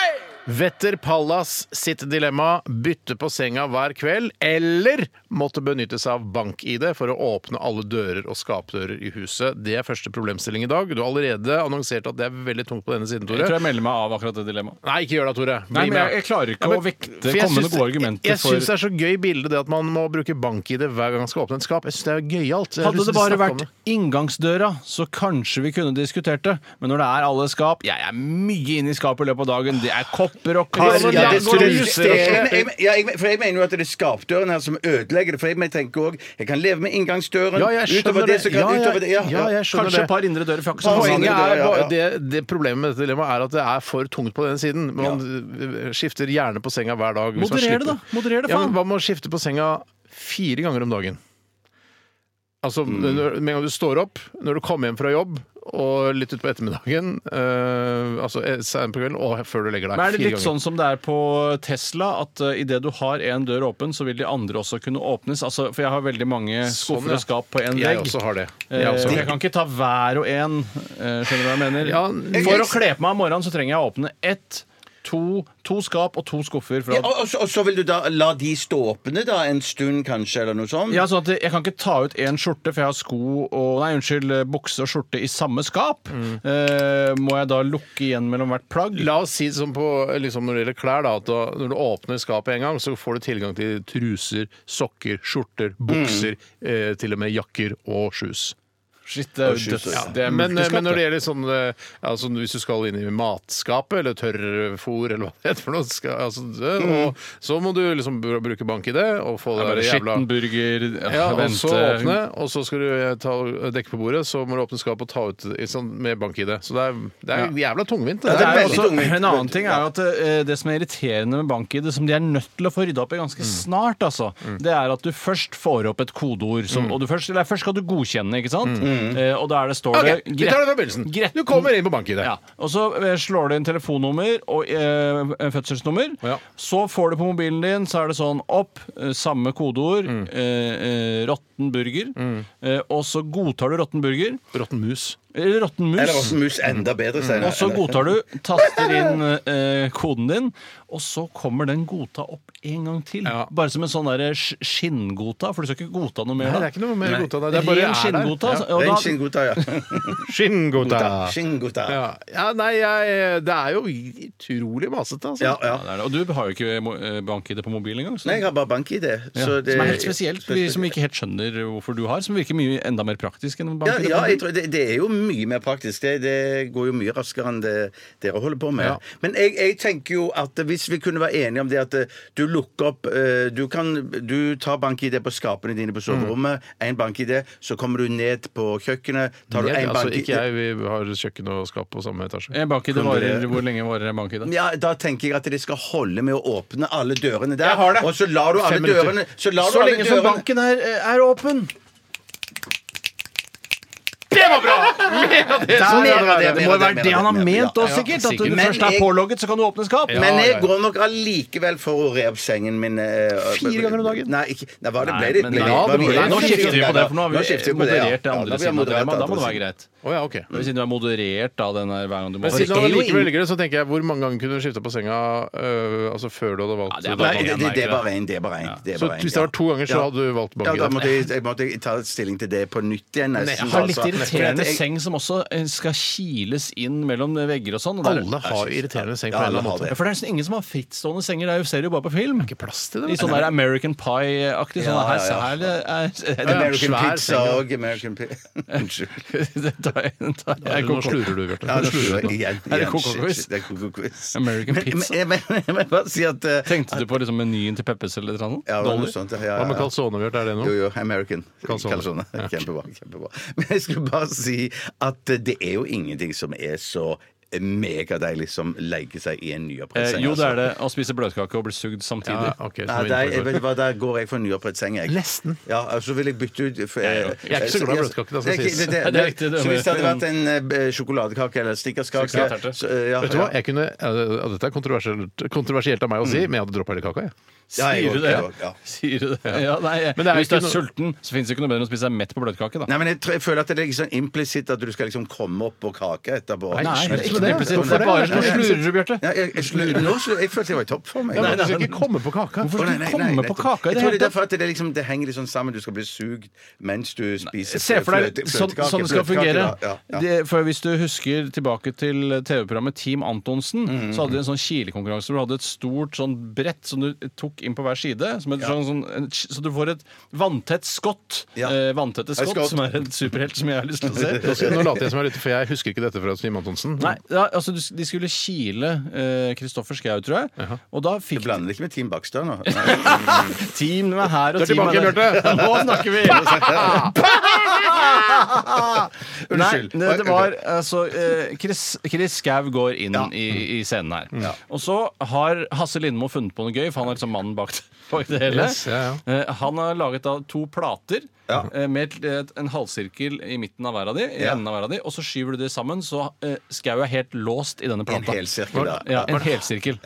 Speaker 4: Vetter Pallas sitt dilemma bytte på senga hver kveld, eller måtte benytte seg av bank-ID for å åpne alle dører og skapdører i huset. Det er første problemstilling i dag. Du har allerede annonsert at det er veldig tungt på denne siden,
Speaker 2: Jeg tror
Speaker 4: Tore.
Speaker 2: jeg melder meg av akkurat det dilemmaet.
Speaker 4: Nei, ikke gjør det, Tore. Bli
Speaker 2: Nei, men
Speaker 4: med.
Speaker 2: jeg, jeg klarer ikke
Speaker 4: Ja, men-
Speaker 2: å vekte
Speaker 4: for jeg
Speaker 2: komme med
Speaker 4: syns-
Speaker 2: gode argumenter
Speaker 4: Jeg, jeg syns det
Speaker 2: for
Speaker 4: er så gøy bilde det at man må bruke bank-ID hver gang man skal åpne et skap. Jeg syns det er gøyalt. Jeg har
Speaker 2: Hadde
Speaker 4: lyst
Speaker 2: det
Speaker 4: til å
Speaker 2: bare
Speaker 4: snakke om
Speaker 2: vært sånn inngangsdøra, så kanskje vi kunne diskutert det. Men når det er alle skap Jeg er mye inne i skapet i løpet av dagen. Det er kopper og
Speaker 3: Ja,
Speaker 2: kar.
Speaker 3: det- ja, det-
Speaker 4: går an å
Speaker 3: det-
Speaker 2: sånn.
Speaker 4: justere.
Speaker 3: jeg- jeg- ja, jeg- For jeg mener jo at det er skapdøren her som ødelegger det. For jeg tenker òg jeg kan leve med inngangsdøren.
Speaker 4: Ja, jeg skjønner
Speaker 3: utover det så kan
Speaker 4: Ja, ja,
Speaker 3: utover det, ja,
Speaker 4: ja, jeg skjønner
Speaker 2: Kanskje
Speaker 4: det.
Speaker 2: et par indre dører. for jeg har ikke så mange.
Speaker 4: Poenget
Speaker 3: Ja, ja,
Speaker 4: er
Speaker 3: ja.
Speaker 4: bare, det, det Problemet med dette dilemmaet er at det er for tungt på denne siden. Man øh, skifter gjerne på senga hver dag. hvis man
Speaker 2: Moderer det,
Speaker 4: slipper.
Speaker 2: da. Moderer det,
Speaker 4: Ja,
Speaker 2: faen.
Speaker 4: men Hva med å skifte på senga fire ganger om dagen? Altså,
Speaker 2: Mm.
Speaker 4: når, Med en gang du står opp, når du kommer hjem fra jobb og litt utpå ettermiddagen øh, altså eh, sent på kvelden og før du legger deg.
Speaker 2: Men er det
Speaker 4: fire
Speaker 2: litt
Speaker 4: ganger.
Speaker 2: sånn som det er på Tesla, at uh, idet du har én dør åpen, så vil de andre også kunne åpnes? Altså, for jeg har veldig mange skuffer
Speaker 4: ja.
Speaker 2: og skap på én
Speaker 4: Jeg
Speaker 2: vegg.
Speaker 4: også har det.
Speaker 2: Eh,
Speaker 4: Jeg også har
Speaker 2: jeg kan ikke ta hver og en. eh, Skjønner du hva jeg mener?
Speaker 4: Ja,
Speaker 2: For å kle på meg om morgenen så trenger jeg å åpne ett, to, to skap og to skuffer.
Speaker 3: Ja,
Speaker 2: Fra
Speaker 3: og, og, så, og så vil du da la de stå åpne da en stund, kanskje, eller noe sånt?
Speaker 2: ja, sånn at Jeg kan ikke ta ut én skjorte, for jeg har sko og Nei, unnskyld, eh, bukse og skjorte i samme skap.
Speaker 4: Mm.
Speaker 2: Eh, må jeg da lukke igjen mellom hvert plagg?
Speaker 4: La oss si det som på, liksom når det gjelder klær, da, at da, når du åpner skapet en gang, så får du tilgang til truser, sokker, skjorter, bukser, eh, til og med jakker og shoes.
Speaker 2: Shit, det er jo
Speaker 3: skyter.
Speaker 2: døds- det er
Speaker 4: Men,
Speaker 2: mørke
Speaker 4: eh,
Speaker 2: skap,
Speaker 4: men når
Speaker 2: det.
Speaker 4: det gjelder sånn eh, altså, Hvis du skal inn i matskapet eller tørrfôr eller hva det heter for noe, skal, altså, det, og, så må du liksom br- bruke bank-ID og få
Speaker 2: Det er
Speaker 4: det
Speaker 2: Mm. bare
Speaker 4: jævla
Speaker 2: Skitten burger
Speaker 4: ja, og
Speaker 2: vente-
Speaker 4: så åpne, og så skal du eh, ta, dekke på bordet, så må du åpne skapet og ta ut i sånn, med bank-ID. Så det er, det er jævla tungvint. Det,
Speaker 2: Det er jo
Speaker 4: der. altså.
Speaker 3: veldig
Speaker 2: også,
Speaker 3: tungvint.
Speaker 2: en annen ting er jo at eh, Det som er irriterende med bank-ID, som de er nødt til å få rydda opp i ganske
Speaker 4: Mm.
Speaker 2: snart, altså, det er at du først får opp et kodeord.
Speaker 4: Mm.
Speaker 2: Som, og du først, eller først skal du godkjenne, ikke sant? Eh, og der det står
Speaker 4: Ok,
Speaker 2: det
Speaker 4: vi tar det fra begynnelsen.
Speaker 2: Gretten-
Speaker 4: Du kommer inn på bank-ID.
Speaker 2: Ja. Og så eh, slår du inn telefonnummer og eh, fødselsnummer.
Speaker 4: Ja.
Speaker 2: Så får du på mobilen din, så er det sånn opp, eh, samme kodeord,
Speaker 4: Mm.
Speaker 2: eh, eh, råtten burger. Eh, og så godtar du råtten burger.
Speaker 4: Råtten mus.
Speaker 2: Eller råtten
Speaker 3: Eller
Speaker 2: mus.
Speaker 3: også mus enda bedre senere.
Speaker 2: Mm. Og så godtar du, taster inn eh, koden din, og så kommer den godta opp en gang til.
Speaker 4: Ja.
Speaker 2: Bare som en sånn der sk- skinngodta, for du skal ikke godta noe mer
Speaker 4: Nei,
Speaker 2: da.
Speaker 4: det er ikke noe mer
Speaker 3: Nei.
Speaker 4: godta. Det
Speaker 2: Det
Speaker 4: er bare
Speaker 2: Ren
Speaker 4: er der.
Speaker 2: skinngodta.
Speaker 4: Ja.
Speaker 2: og da-
Speaker 3: Ren skinngodta, ja.
Speaker 4: Skinngodta.
Speaker 3: [laughs] Skinngodta.
Speaker 4: Ja. ja, nei, jeg Det er jo utrolig masete, altså.
Speaker 3: Ja, ja.
Speaker 2: Ja, det er det. Og du har jo ikke mo- eh, bank-ID på mobil engang. så-
Speaker 3: Nei, jeg har bare bank-ID.
Speaker 2: Ja.
Speaker 3: så det-
Speaker 2: som er helt spesielt, vi som ikke helt skjønner hvorfor du har, som virker mye enda mer praktisk enn
Speaker 3: Ja,
Speaker 2: bank-ID.
Speaker 3: ja jeg tror det, det er jo mye mer praktisk. Det, det går jo mye raskere enn det dere holder på med.
Speaker 4: Ja.
Speaker 3: Men jeg, jeg tenker jo at hvis vi kunne være enige om det at eh, du lukker opp eh, Du, kan, du tar bank-ID på skapene dine på
Speaker 2: Mm.
Speaker 3: soverommet, én bank-ID, så kommer du ned på kjøkkenet, tar du
Speaker 4: Helt,
Speaker 3: én
Speaker 4: altså,
Speaker 3: bank-ID
Speaker 4: ikke jeg. Vi har kjøkken og skap på samme etasje.
Speaker 2: Eh, Bank-ID
Speaker 3: Kan
Speaker 2: varer,
Speaker 3: dere-
Speaker 2: Hvor lenge varer en bank-ID?
Speaker 3: ja, Da tenker jeg at de skal holde med å åpne alle dørene der.
Speaker 2: Jeg har det.
Speaker 3: Og så lar du alle
Speaker 2: Fem minutter.
Speaker 3: dørene Så, lar du
Speaker 2: Så
Speaker 3: alle
Speaker 2: lenge som
Speaker 3: dørene-
Speaker 2: banken er, er åpen! Det var bra!
Speaker 3: Mer av det, mer av det,
Speaker 2: det må være
Speaker 3: mer
Speaker 2: det han
Speaker 3: av det,
Speaker 2: har
Speaker 3: mer av
Speaker 2: ment
Speaker 3: det.
Speaker 2: òg,
Speaker 3: Ja,
Speaker 2: sikkert. At
Speaker 4: sikkert.
Speaker 2: når du
Speaker 3: Men
Speaker 2: først er
Speaker 3: jeg-
Speaker 2: pålogget, så kan du åpne skap.
Speaker 3: Men
Speaker 4: ja,
Speaker 3: jeg
Speaker 4: ja.
Speaker 3: går nok allikevel for å re opp sengen min. eh,
Speaker 2: Fire ganger om dagen?
Speaker 3: Nei, ikke, nei, hva det
Speaker 2: Nei,
Speaker 3: ble det?
Speaker 2: men
Speaker 3: Ble det-
Speaker 2: da-
Speaker 3: hva
Speaker 2: nå-
Speaker 3: ble det?
Speaker 2: Nå skifter vi på det, for nå har
Speaker 3: Nå skifter
Speaker 2: vi
Speaker 3: på det, ja.
Speaker 2: moderert det
Speaker 3: Ja,
Speaker 2: andre
Speaker 3: da blir jeg
Speaker 2: siden. av det.
Speaker 3: moderert
Speaker 2: Men Da må det
Speaker 3: andre
Speaker 2: være
Speaker 3: siden.
Speaker 2: greit.
Speaker 4: Å ja, ok.
Speaker 2: Men Siden du er moderert da, den her, hver gang du må
Speaker 4: Men siden
Speaker 2: Det
Speaker 4: du
Speaker 2: er jo
Speaker 4: likevel
Speaker 2: ingen-
Speaker 4: velger det, så tenker jeg hvor mange ganger kunne du skifta på senga øh, altså før du
Speaker 2: Ja,
Speaker 4: hadde valgt
Speaker 2: det er bare
Speaker 3: Nei, det, det, det er bare én. Det er bare én. det er
Speaker 4: Så
Speaker 3: bare en,
Speaker 4: hvis det var to ganger, så
Speaker 3: Ja.
Speaker 4: hadde du valgt
Speaker 3: Ja,
Speaker 4: banken.
Speaker 3: da måtte jeg, jeg måtte ta stilling til det på nytt igjen.
Speaker 2: Men
Speaker 3: nesten,
Speaker 2: Jeg har litt
Speaker 3: altså.
Speaker 2: irriterende
Speaker 3: For at jeg-
Speaker 2: seng som også eh, skal kiles inn mellom vegger og sånn. og der-
Speaker 4: Alle har irriterende seng på
Speaker 3: Ja,
Speaker 4: en eller annen
Speaker 3: alle har
Speaker 2: Ja,
Speaker 4: måte.
Speaker 2: altså. For det er nesten ingen som har frittstående senger. Det er jo ser du bare på film.
Speaker 4: Ikke plass til
Speaker 2: I
Speaker 4: det.
Speaker 2: sånn der American Pie-aktig. Sånn
Speaker 3: Ja,
Speaker 2: her,
Speaker 3: ja, ja.
Speaker 2: her er- er- altså. er-
Speaker 3: American
Speaker 4: svær
Speaker 3: pizza
Speaker 4: seng, ja.
Speaker 3: og American Pizza Unnslutt.
Speaker 2: [laughs] Det tar jeg- det tar jeg-
Speaker 4: Nå slurer du, Bjarte.
Speaker 3: Ja,
Speaker 4: Nå
Speaker 3: det
Speaker 4: slurer
Speaker 3: er
Speaker 4: du.
Speaker 3: igjen.
Speaker 2: Er det
Speaker 3: igjen,
Speaker 2: Coco
Speaker 3: shit,
Speaker 2: Quiz?
Speaker 3: shit, Det er Coco Quiz.
Speaker 2: American
Speaker 3: Men-
Speaker 2: pizza.
Speaker 3: Men, men, men, jeg må bare si at eh,
Speaker 2: Tenkte du på liksom menyen til Peppes eller noe?
Speaker 3: ja, det var noe
Speaker 2: Dolly?
Speaker 3: sånt, ja, ja,
Speaker 4: Hva med
Speaker 3: ja.
Speaker 4: calzone, Bjarte? Er det
Speaker 3: Jo,
Speaker 4: noe?
Speaker 3: jo, American.
Speaker 4: Kalsoner.
Speaker 3: Kalsoner. Kjempebra. kjempebra. Men jeg skulle bare si at det er jo ingenting som er så megadeilig som legge seg i en nyopprett
Speaker 2: Eh,
Speaker 3: seng.
Speaker 2: jo, det er
Speaker 3: altså.
Speaker 2: det. Å spise bløtkake og bli sugd
Speaker 4: Ja,
Speaker 2: samtidig.
Speaker 4: ok, så
Speaker 3: Nei,
Speaker 4: nå er vi
Speaker 3: der,
Speaker 4: innenfor.
Speaker 3: jeg vet du hva, der går jeg for nyopprett seng, jeg.
Speaker 4: Nesten.
Speaker 3: Ja, altså vil jeg bytte ut for,
Speaker 2: Jeg er jo-
Speaker 3: eh,
Speaker 4: jeg er ikke så glad i bløtkake, da, skal
Speaker 3: jeg-
Speaker 4: sies.
Speaker 3: det-
Speaker 2: Nei,
Speaker 3: det-
Speaker 2: det er riktig, det
Speaker 3: Så
Speaker 2: er
Speaker 3: hvis det hadde
Speaker 2: det.
Speaker 3: vært en eh, sjokoladekake eller snickerskake
Speaker 2: Snickerskake.
Speaker 3: så, eh, ja,
Speaker 4: Vet du
Speaker 3: ja.
Speaker 4: hva, jeg kunne, ja, det- Dette er kontroversielt, kontroversielt av meg å si, men jeg hadde droppa hele kaka. Jeg.
Speaker 3: Ja, jeg
Speaker 2: Sier du
Speaker 3: går- jeg
Speaker 2: det?
Speaker 3: går, ja.
Speaker 2: Sier du det? Ja, nei,
Speaker 4: Men det er
Speaker 2: Hvis du
Speaker 4: ikke
Speaker 2: er sulten, så fins det ikke noe bedre enn å spise deg mett på bløtkake. da
Speaker 3: Nei, men jeg, tror, jeg føler at det er liksom implisitt at du skal liksom komme opp på kake etterpå.
Speaker 4: Nei,
Speaker 2: det er ikke
Speaker 4: det er
Speaker 2: noe
Speaker 4: det.
Speaker 2: implisitt. Hvorfor det?
Speaker 4: Hvorfor det?
Speaker 2: Nå slurer du, Bjarte.
Speaker 3: Ja, jeg, jeg, slutter nå, så jeg følte jeg var i toppform. jeg.
Speaker 4: Ja, men
Speaker 3: Nei,
Speaker 4: du skal ikke komme på kaka.
Speaker 2: Hvorfor altså,
Speaker 3: Å,
Speaker 2: skal du
Speaker 3: nei, nei,
Speaker 2: komme
Speaker 3: nei,
Speaker 2: på
Speaker 3: nettopp.
Speaker 2: kaka i
Speaker 3: Jeg
Speaker 2: det
Speaker 3: tror
Speaker 2: hele
Speaker 3: det er
Speaker 2: tatt?
Speaker 3: derfor at det, er liksom, det henger litt sånn sammen. Du skal bli sugd mens du spiser
Speaker 2: Se for deg
Speaker 3: fløte-
Speaker 2: sånn,
Speaker 3: fløtekake.
Speaker 2: sånn det
Speaker 3: Fløtekake,
Speaker 2: skal fungere.
Speaker 3: da. Ja, ja.
Speaker 2: Det, for Hvis du husker tilbake til TV-programmet Team Antonsen,
Speaker 3: Mm.
Speaker 2: så hadde de en sånn kilekonkurranse hvor du hadde et stort sånn brett som du tok inn på hver side. Som et, sånn, sånn, en, så du får et vanntett skott.
Speaker 3: Ja.
Speaker 2: Eh, vanntette skott,
Speaker 3: skott.
Speaker 2: som er en superhelt som jeg har lyst til å se.
Speaker 3: [laughs]
Speaker 4: Nå later jeg som jeg lytter, for jeg husker ikke dette fra Stim Antonsen.
Speaker 2: Nei, ja, altså du- De skulle kile Kristoffer Schau, tror jeg. Og da fikk
Speaker 3: Du blander ikke med Team Bakstad
Speaker 2: [laughs]
Speaker 3: nå?
Speaker 2: Team er her, og
Speaker 4: Du er tilbake,
Speaker 2: team der. [laughs]
Speaker 4: Bjarte.
Speaker 2: Nå snakker
Speaker 4: [laughs]
Speaker 2: vi!
Speaker 3: Unnskyld.
Speaker 2: Nei, det- det var altså eh, Chris, Chris Skau går inn i, i scenen her. Og så har Hasse Lindmo funnet på noe gøy, for han er liksom mannen bak, bak det [laughs] hele.
Speaker 4: Yes, ja,
Speaker 2: Eh, Han har laget da to plater. eh, Med et- et- en halvsirkel i midten av hver av de, i enden av hver av de, og så skyver du det sammen, så eh, Skau er helt låst i denne
Speaker 3: En
Speaker 2: plata.
Speaker 3: hel sirkel der.
Speaker 2: Ja, en helsirkel.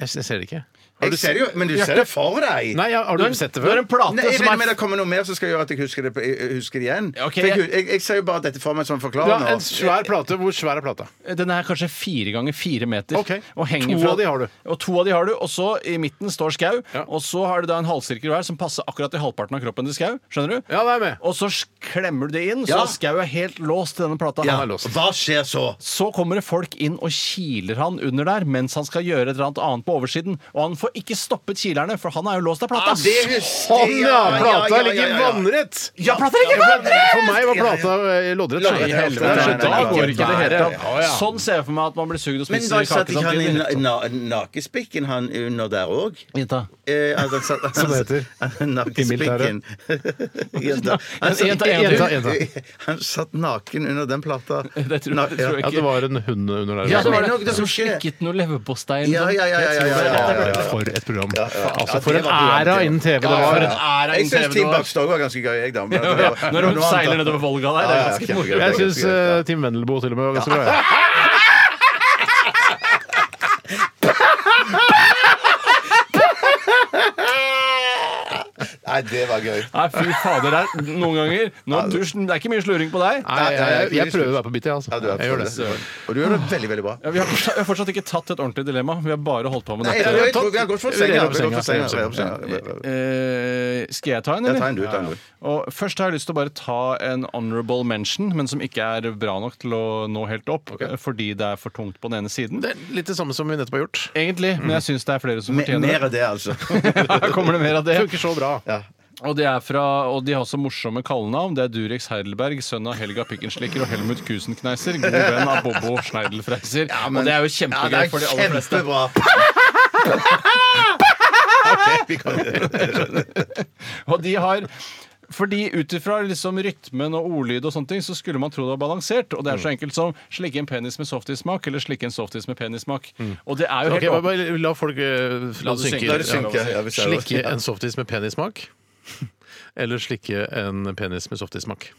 Speaker 4: Jeg, jeg ser det ikke.
Speaker 3: Jeg ser det jo, men du ser det for deg!
Speaker 4: Nei, ja, Har du sett det
Speaker 2: Du har
Speaker 4: før?
Speaker 2: en plate
Speaker 3: Nei, jeg
Speaker 2: som
Speaker 3: regner
Speaker 2: er
Speaker 3: med det kommer noe mer som skal gjøre at jeg husker det, på- jeg husker det igjen.
Speaker 2: Ok,
Speaker 3: For jeg,
Speaker 2: jeg-
Speaker 3: jeg, jeg ser jo bare dette for meg som
Speaker 4: Ja,
Speaker 3: forklarer
Speaker 4: en svær plate. Hvor svær er plata?
Speaker 2: Den er kanskje fire ganger fire meter.
Speaker 4: Ok.
Speaker 2: Og henger
Speaker 4: To
Speaker 2: fra,
Speaker 4: av de har du.
Speaker 2: Og to av de har du, og så i midten står Skau.
Speaker 4: Ja.
Speaker 2: Og så har du da en halvsirkel hver som passer akkurat i halvparten av kroppen til Skau. Skjønner du?
Speaker 4: Ja, det er med.
Speaker 2: Og så sk- klemmer du det inn, så
Speaker 3: Ja.
Speaker 2: Skau er helt låst til denne plata.
Speaker 3: Ja.
Speaker 4: Han er låst.
Speaker 3: Hva skjer så?
Speaker 2: Så kommer det folk inn og kiler han under der mens han skal gjøre et eller annet annet på oversiden. Og han får ikke stoppet kilerne, for han er jo låst av
Speaker 4: Ah,
Speaker 2: plata.
Speaker 3: husker
Speaker 4: Sånn, ja! Plata ligger vannrett!
Speaker 3: Ja, plata ligger
Speaker 4: For meg var plata eh, loddrett. så i
Speaker 3: Loddrett, ja.
Speaker 4: helvete.
Speaker 3: Nei, nei,
Speaker 2: Så
Speaker 3: nei,
Speaker 2: da
Speaker 3: nei,
Speaker 2: går ikke det hele
Speaker 4: Ja, ja.
Speaker 2: Sånn ser jeg for meg at man blir sugd og
Speaker 3: Men
Speaker 2: spiser
Speaker 3: da
Speaker 2: kake
Speaker 3: satt ikke han i
Speaker 2: samtidig.
Speaker 3: na na- nakespikken han under der òg?
Speaker 2: Jenta.
Speaker 3: Eh, altså, han satt- [laughs]
Speaker 4: Som det heter.
Speaker 3: han- Nakespikken. [laughs] Jenta. Han satt-
Speaker 2: Jenta, jenta,
Speaker 4: jenta.
Speaker 3: Han satt naken under den plata.
Speaker 2: [laughs] Det tror,
Speaker 3: Na-
Speaker 2: jeg- tror jeg
Speaker 4: Ja,
Speaker 2: ikke.
Speaker 4: det var en hund under der.
Speaker 2: Ja, det
Speaker 3: Jeg
Speaker 2: var
Speaker 3: mener nok
Speaker 2: det.
Speaker 3: det som
Speaker 2: Som
Speaker 3: skjer.
Speaker 2: slikket noe leverpostei. eller
Speaker 3: Ja,
Speaker 2: noe
Speaker 3: ja, ja, ja, ja, ja, ja, ja, ja.
Speaker 4: For et program.
Speaker 3: Ja,
Speaker 4: Altså,
Speaker 3: det
Speaker 4: for en
Speaker 3: var programmet.
Speaker 4: æra innen TV det var.
Speaker 2: æra
Speaker 3: Jeg syns Team
Speaker 2: var.
Speaker 3: Bakstad var ganske gøy, jeg, da. men-
Speaker 2: [laughs] Ja, ja. Når hun
Speaker 3: Noe annet,
Speaker 2: seiler
Speaker 3: da.
Speaker 2: nedover Volga der,
Speaker 3: Ja,
Speaker 2: det er
Speaker 3: ja,
Speaker 2: ganske
Speaker 3: kjempegøy.
Speaker 2: morsomt.
Speaker 4: Jeg syns uh, Tim Wendelboe til og med var ganske bra. ja.
Speaker 3: Nei, Nei, det var gøy.
Speaker 2: Nei, fy fader, det er noen ganger Nå, du, Det er ikke mye sluring på deg.
Speaker 4: Nei, jeg, jeg, jeg prøver å være på bittet, jeg,
Speaker 3: Ja, du
Speaker 4: altså.
Speaker 3: er
Speaker 4: Jeg gjør det.
Speaker 3: Og du gjør det veldig, veldig bra.
Speaker 2: Ja, vi, har fortsatt, vi har fortsatt ikke tatt et ordentlig dilemma. Vi har bare holdt på med
Speaker 3: Nei,
Speaker 2: dette.
Speaker 3: jeg tror vi har gått for senga. Vi har gått for senga. Vi har gått for senga.
Speaker 2: Eh, skal jeg ta en,
Speaker 3: Ja,
Speaker 2: eller?
Speaker 3: ta en du, ta en du.
Speaker 2: Og først har jeg lyst til å bare ta en honorable mention, men som ikke er bra nok til å nå helt opp, eh, fordi det er for tungt på den ene siden.
Speaker 4: Det er litt det samme som vi nettopp har gjort.
Speaker 2: Egentlig, men jeg syns det er flere som
Speaker 3: Mm. Me-
Speaker 2: fortjener
Speaker 3: Mer
Speaker 2: det.
Speaker 3: av det, altså.
Speaker 2: [laughs] Her kommer det mer av det.
Speaker 4: Funker så bra.
Speaker 2: Og, det er fra, og de har også morsomme kallenavn. Det er Durex Heidelberg, sønn av Helga Pikkenslikker og Helmut Kusenkneiser, god venn av Bobo Schneidelfreiser. og det er jo
Speaker 3: Ja,
Speaker 2: kjempegøy
Speaker 3: det er
Speaker 2: for de aller fleste. [laughs]
Speaker 3: kjempebra.
Speaker 2: Og de har fordi ut ifra liksom rytmen og ordlyd og sånne ting, så skulle man tro det var balansert. Og det er så enkelt som slikke en penis med softismak eller slikke en softis med penissmak. Og det er jo
Speaker 4: Ok,
Speaker 2: helt
Speaker 4: bare,
Speaker 2: åpen-
Speaker 4: bare la folk eh, La det synke.
Speaker 3: La det synke, ja, hvis jeg-
Speaker 4: Slikke en softis med penissmak. [laughs] Eller slikke en penis med softismak.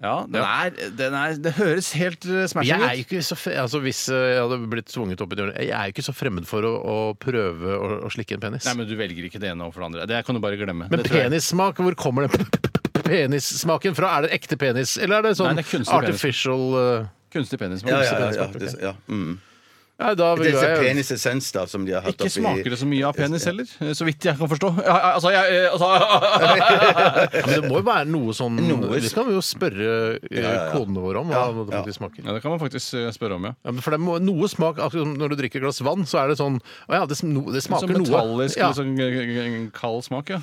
Speaker 2: ja, den er, den er, Det høres helt eh,
Speaker 4: Jeg er jo
Speaker 2: smashing ut.
Speaker 4: ikke så fre altså Hvis eh, jeg hadde blitt tvunget opp i det, jeg er jo ikke så fremmed for å, å prøve å, å slikke en penis.
Speaker 2: Nei, men du velger ikke det ene overfor det andre. Det kan du bare glemme.
Speaker 4: men
Speaker 2: Det tror jeg-
Speaker 4: penissmak, hvor kommer den [laughs] p- p- p- penissmaken fra? Er det en ekte penis, eller er det sånn
Speaker 2: Nei, det er kunstig penis.
Speaker 4: artificial eh,
Speaker 2: Kunstig penissmak.
Speaker 3: Ja, ja, ja, det- ja. Mm.
Speaker 4: Nei, da
Speaker 3: Det
Speaker 4: vil
Speaker 3: er
Speaker 4: jeg
Speaker 3: penisessens da, som de har hatt
Speaker 2: Ikke
Speaker 3: oppi
Speaker 2: smaker det så mye av penis heller, eh, så vidt jeg kan forstå. Ja, ja, Altså, jeg eh, altså,
Speaker 4: ja, men Det må jo være noe sånn
Speaker 3: Noe-
Speaker 4: Det kan vi jo spørre eh, kodene våre om. Hva det faktisk smaker
Speaker 2: Ja, det kan man faktisk eh, spørre om, ja.
Speaker 4: Ja, men for det må, noe smak akkurat som Når du drikker et glass vann, så er det sånn Å ja, det, sm- no, det
Speaker 2: Som
Speaker 4: smaker noe.
Speaker 2: sånn metallisk,
Speaker 4: ja.
Speaker 2: liksom, g- g- g- kald smak, ja.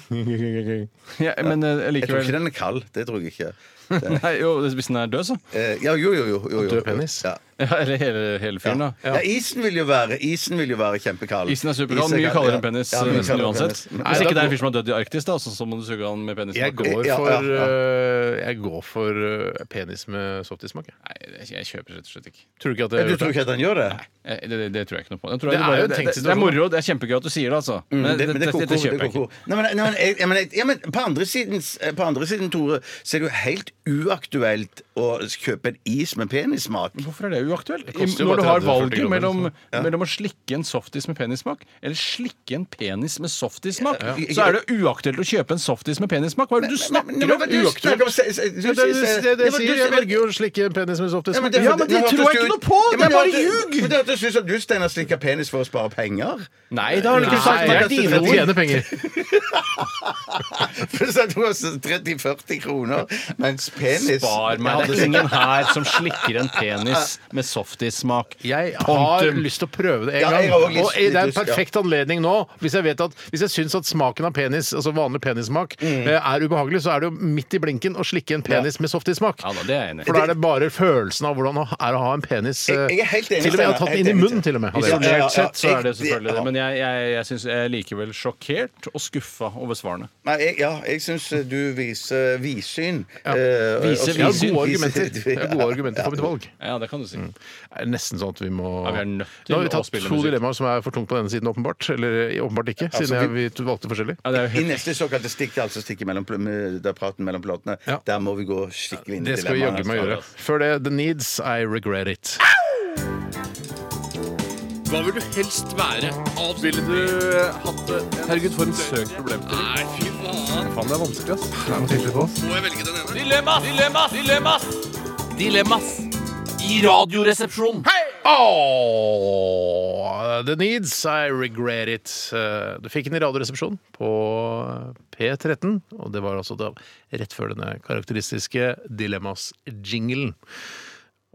Speaker 2: ja men eh,
Speaker 3: Jeg tror
Speaker 2: likevel
Speaker 3: ikke den er kald. Det tror jeg
Speaker 2: [laughs]
Speaker 3: ikke.
Speaker 2: Nei, jo, hvis den er død, så.
Speaker 3: Eh, Ja, jo, jo, jo. jo, jo.
Speaker 4: Død penis.
Speaker 3: Ja.
Speaker 2: Ja, eller hele, hele fyren, da.
Speaker 3: Ja. isen vil jo være Isen vil jo være kjempekald.
Speaker 2: Isen er superkald.
Speaker 3: Isen
Speaker 2: Mye kaldere enn
Speaker 3: ja.
Speaker 2: penis eh,
Speaker 3: Ja, mye
Speaker 2: nesten
Speaker 3: kaldere enn
Speaker 2: uansett.
Speaker 3: penis.
Speaker 2: Hvis ikke det er en fyr som har dødd i Arktis, da, så, så må du suge han med penis.
Speaker 4: Jeg går
Speaker 3: Ja,
Speaker 4: for,
Speaker 3: ja, ja.
Speaker 4: øh, Jeg går for øh, penis med softismak. jeg.
Speaker 2: Nei, det- jeg kjøper rett og slett ikke.
Speaker 4: Tror du ikke at
Speaker 3: Ja, Du
Speaker 4: det,
Speaker 3: tror ikke at han gjør det?
Speaker 2: Jeg, det, det, det tror jeg ikke noe på. Jeg tror
Speaker 4: Det
Speaker 2: jeg
Speaker 4: er jo en
Speaker 2: det,
Speaker 4: tenkt
Speaker 2: det, det er
Speaker 4: situasjon.
Speaker 2: moro, det er kjempegøy at du sier det, altså. Men,
Speaker 3: Men Mm. det, men det er
Speaker 2: dette-
Speaker 3: koko,
Speaker 2: dette
Speaker 3: det er
Speaker 2: kjøper jeg
Speaker 3: koko.
Speaker 2: ikke.
Speaker 3: Nei, men, nei, men, jeg, jeg, men, jeg, ja, men på, andre siden, på andre siden, Tore, så er det jo helt uaktuelt å kjøpe en is med penissmak.
Speaker 2: Hvorfor er det uaktuelt? I,
Speaker 4: koster jo
Speaker 2: når
Speaker 4: bare
Speaker 2: du har
Speaker 4: 30-40
Speaker 2: valget
Speaker 4: kroner,
Speaker 2: mellom,
Speaker 4: liksom.
Speaker 2: mellom å slikke en softis med penissmak eller slikke en penis med softismak,
Speaker 3: Ja, ja.
Speaker 2: så er det uaktuelt å kjøpe en softis med penissmak. Hva er det du snakker
Speaker 3: Nei, men hva-
Speaker 2: om?
Speaker 3: du
Speaker 2: Uaktuelt?
Speaker 3: snakker om se- se- du
Speaker 4: Ja, det, er det,
Speaker 3: sier-
Speaker 4: det, det
Speaker 3: Ja, men
Speaker 4: sier,
Speaker 3: du-
Speaker 4: jeg velger jo å slikke en penis med
Speaker 3: Ja,
Speaker 4: softismak.
Speaker 3: det-
Speaker 2: Ja, men det
Speaker 3: hørtes
Speaker 2: tror jeg
Speaker 3: jo
Speaker 2: ikke
Speaker 3: ut-
Speaker 2: noe på!
Speaker 3: Ja, men
Speaker 2: Det er bare
Speaker 3: hørtes-
Speaker 2: ljug!
Speaker 3: men Det hørtes ut som du, Steinar, slikker penis for å spare penger. [laughs]
Speaker 2: Nei, det har du ikke sagt.
Speaker 4: Nei,
Speaker 2: Det er
Speaker 4: jeg
Speaker 2: dine ord.
Speaker 4: tjener penger.
Speaker 3: For så tror jeg også 30-40 kroner, mens penis
Speaker 2: Spar meg. Det er ingen her som slikker en penis med softismak.
Speaker 4: Jeg har
Speaker 2: Punktum.
Speaker 4: lyst til å prøve det en
Speaker 3: Ja, jeg
Speaker 4: gang.
Speaker 3: har også lyst-
Speaker 4: og eh, det er en
Speaker 3: lyst, ja.
Speaker 4: perfekt anledning nå. Hvis jeg, vet at, hvis jeg syns at smaken av penis, altså vanlig penissmak, eh, er ubehagelig, så er det jo midt i blinken å slikke en penis med softismak.
Speaker 2: Ja da, det er jeg enig i.
Speaker 4: For da er det bare følelsen av hvordan det er å ha en penis eh,
Speaker 3: Jeg- jeg er helt enig,
Speaker 4: Til og med jeg
Speaker 3: Steinar.
Speaker 4: har tatt
Speaker 3: Helt
Speaker 4: den inn i
Speaker 3: enig,
Speaker 4: munnen, til og med. hadde jeg gjort.
Speaker 3: Ja, ja, ja,
Speaker 2: Isolert sett så er det
Speaker 3: jeg-
Speaker 2: selvfølgelig det,
Speaker 3: ja.
Speaker 2: men jeg, jeg, jeg, synes jeg er likevel sjokkert og skuffa over svarene.
Speaker 3: Nei, jeg, ja, jeg syns du viser vidsyn. Eh, Ja.
Speaker 2: Viser
Speaker 4: Jeg
Speaker 2: vidsyn,
Speaker 4: har gode argumenter, jeg har gode argumenter for mitt valg.
Speaker 2: Ja, det kan du si.
Speaker 4: Det er nesten sånn at vi må
Speaker 2: Ja, vi er nødt til
Speaker 4: Nå har
Speaker 2: å
Speaker 4: vi tatt
Speaker 2: spille
Speaker 4: to
Speaker 2: musikk.
Speaker 4: dilemmaer som er for tungt på denne siden, åpenbart. Eller eh, åpenbart ikke, siden jeg, vi to- valgte forskjellig.
Speaker 2: Ja, det er jo
Speaker 3: I
Speaker 2: helt
Speaker 3: neste såkalte stikk, altså stikket mellom, pl- med- der praten mellom platene,
Speaker 4: Ja.
Speaker 3: der må vi gå skikkelig inn i
Speaker 4: Det skal vi jaggu meg
Speaker 3: altså.
Speaker 4: gjøre. Før det The Needs, I Regret It.
Speaker 10: Hva vil du helst være? Ville du eh, hatt det? Herregud, for en søk problemstilling. Nei, fy faen. Faen, det er vanskelig, ass. Det er noe tydelig på oss. Må jeg velge den ene? Dilemmas! Dilemmas! Dilemmas! Dilemmas! I radioresepsjonen.
Speaker 4: Åh, The Needs, I Regret It. Eh, Du fikk den i Radioresepsjonen på P13, og det var altså da rett før denne karakteristiske Dilemmas-jinglen.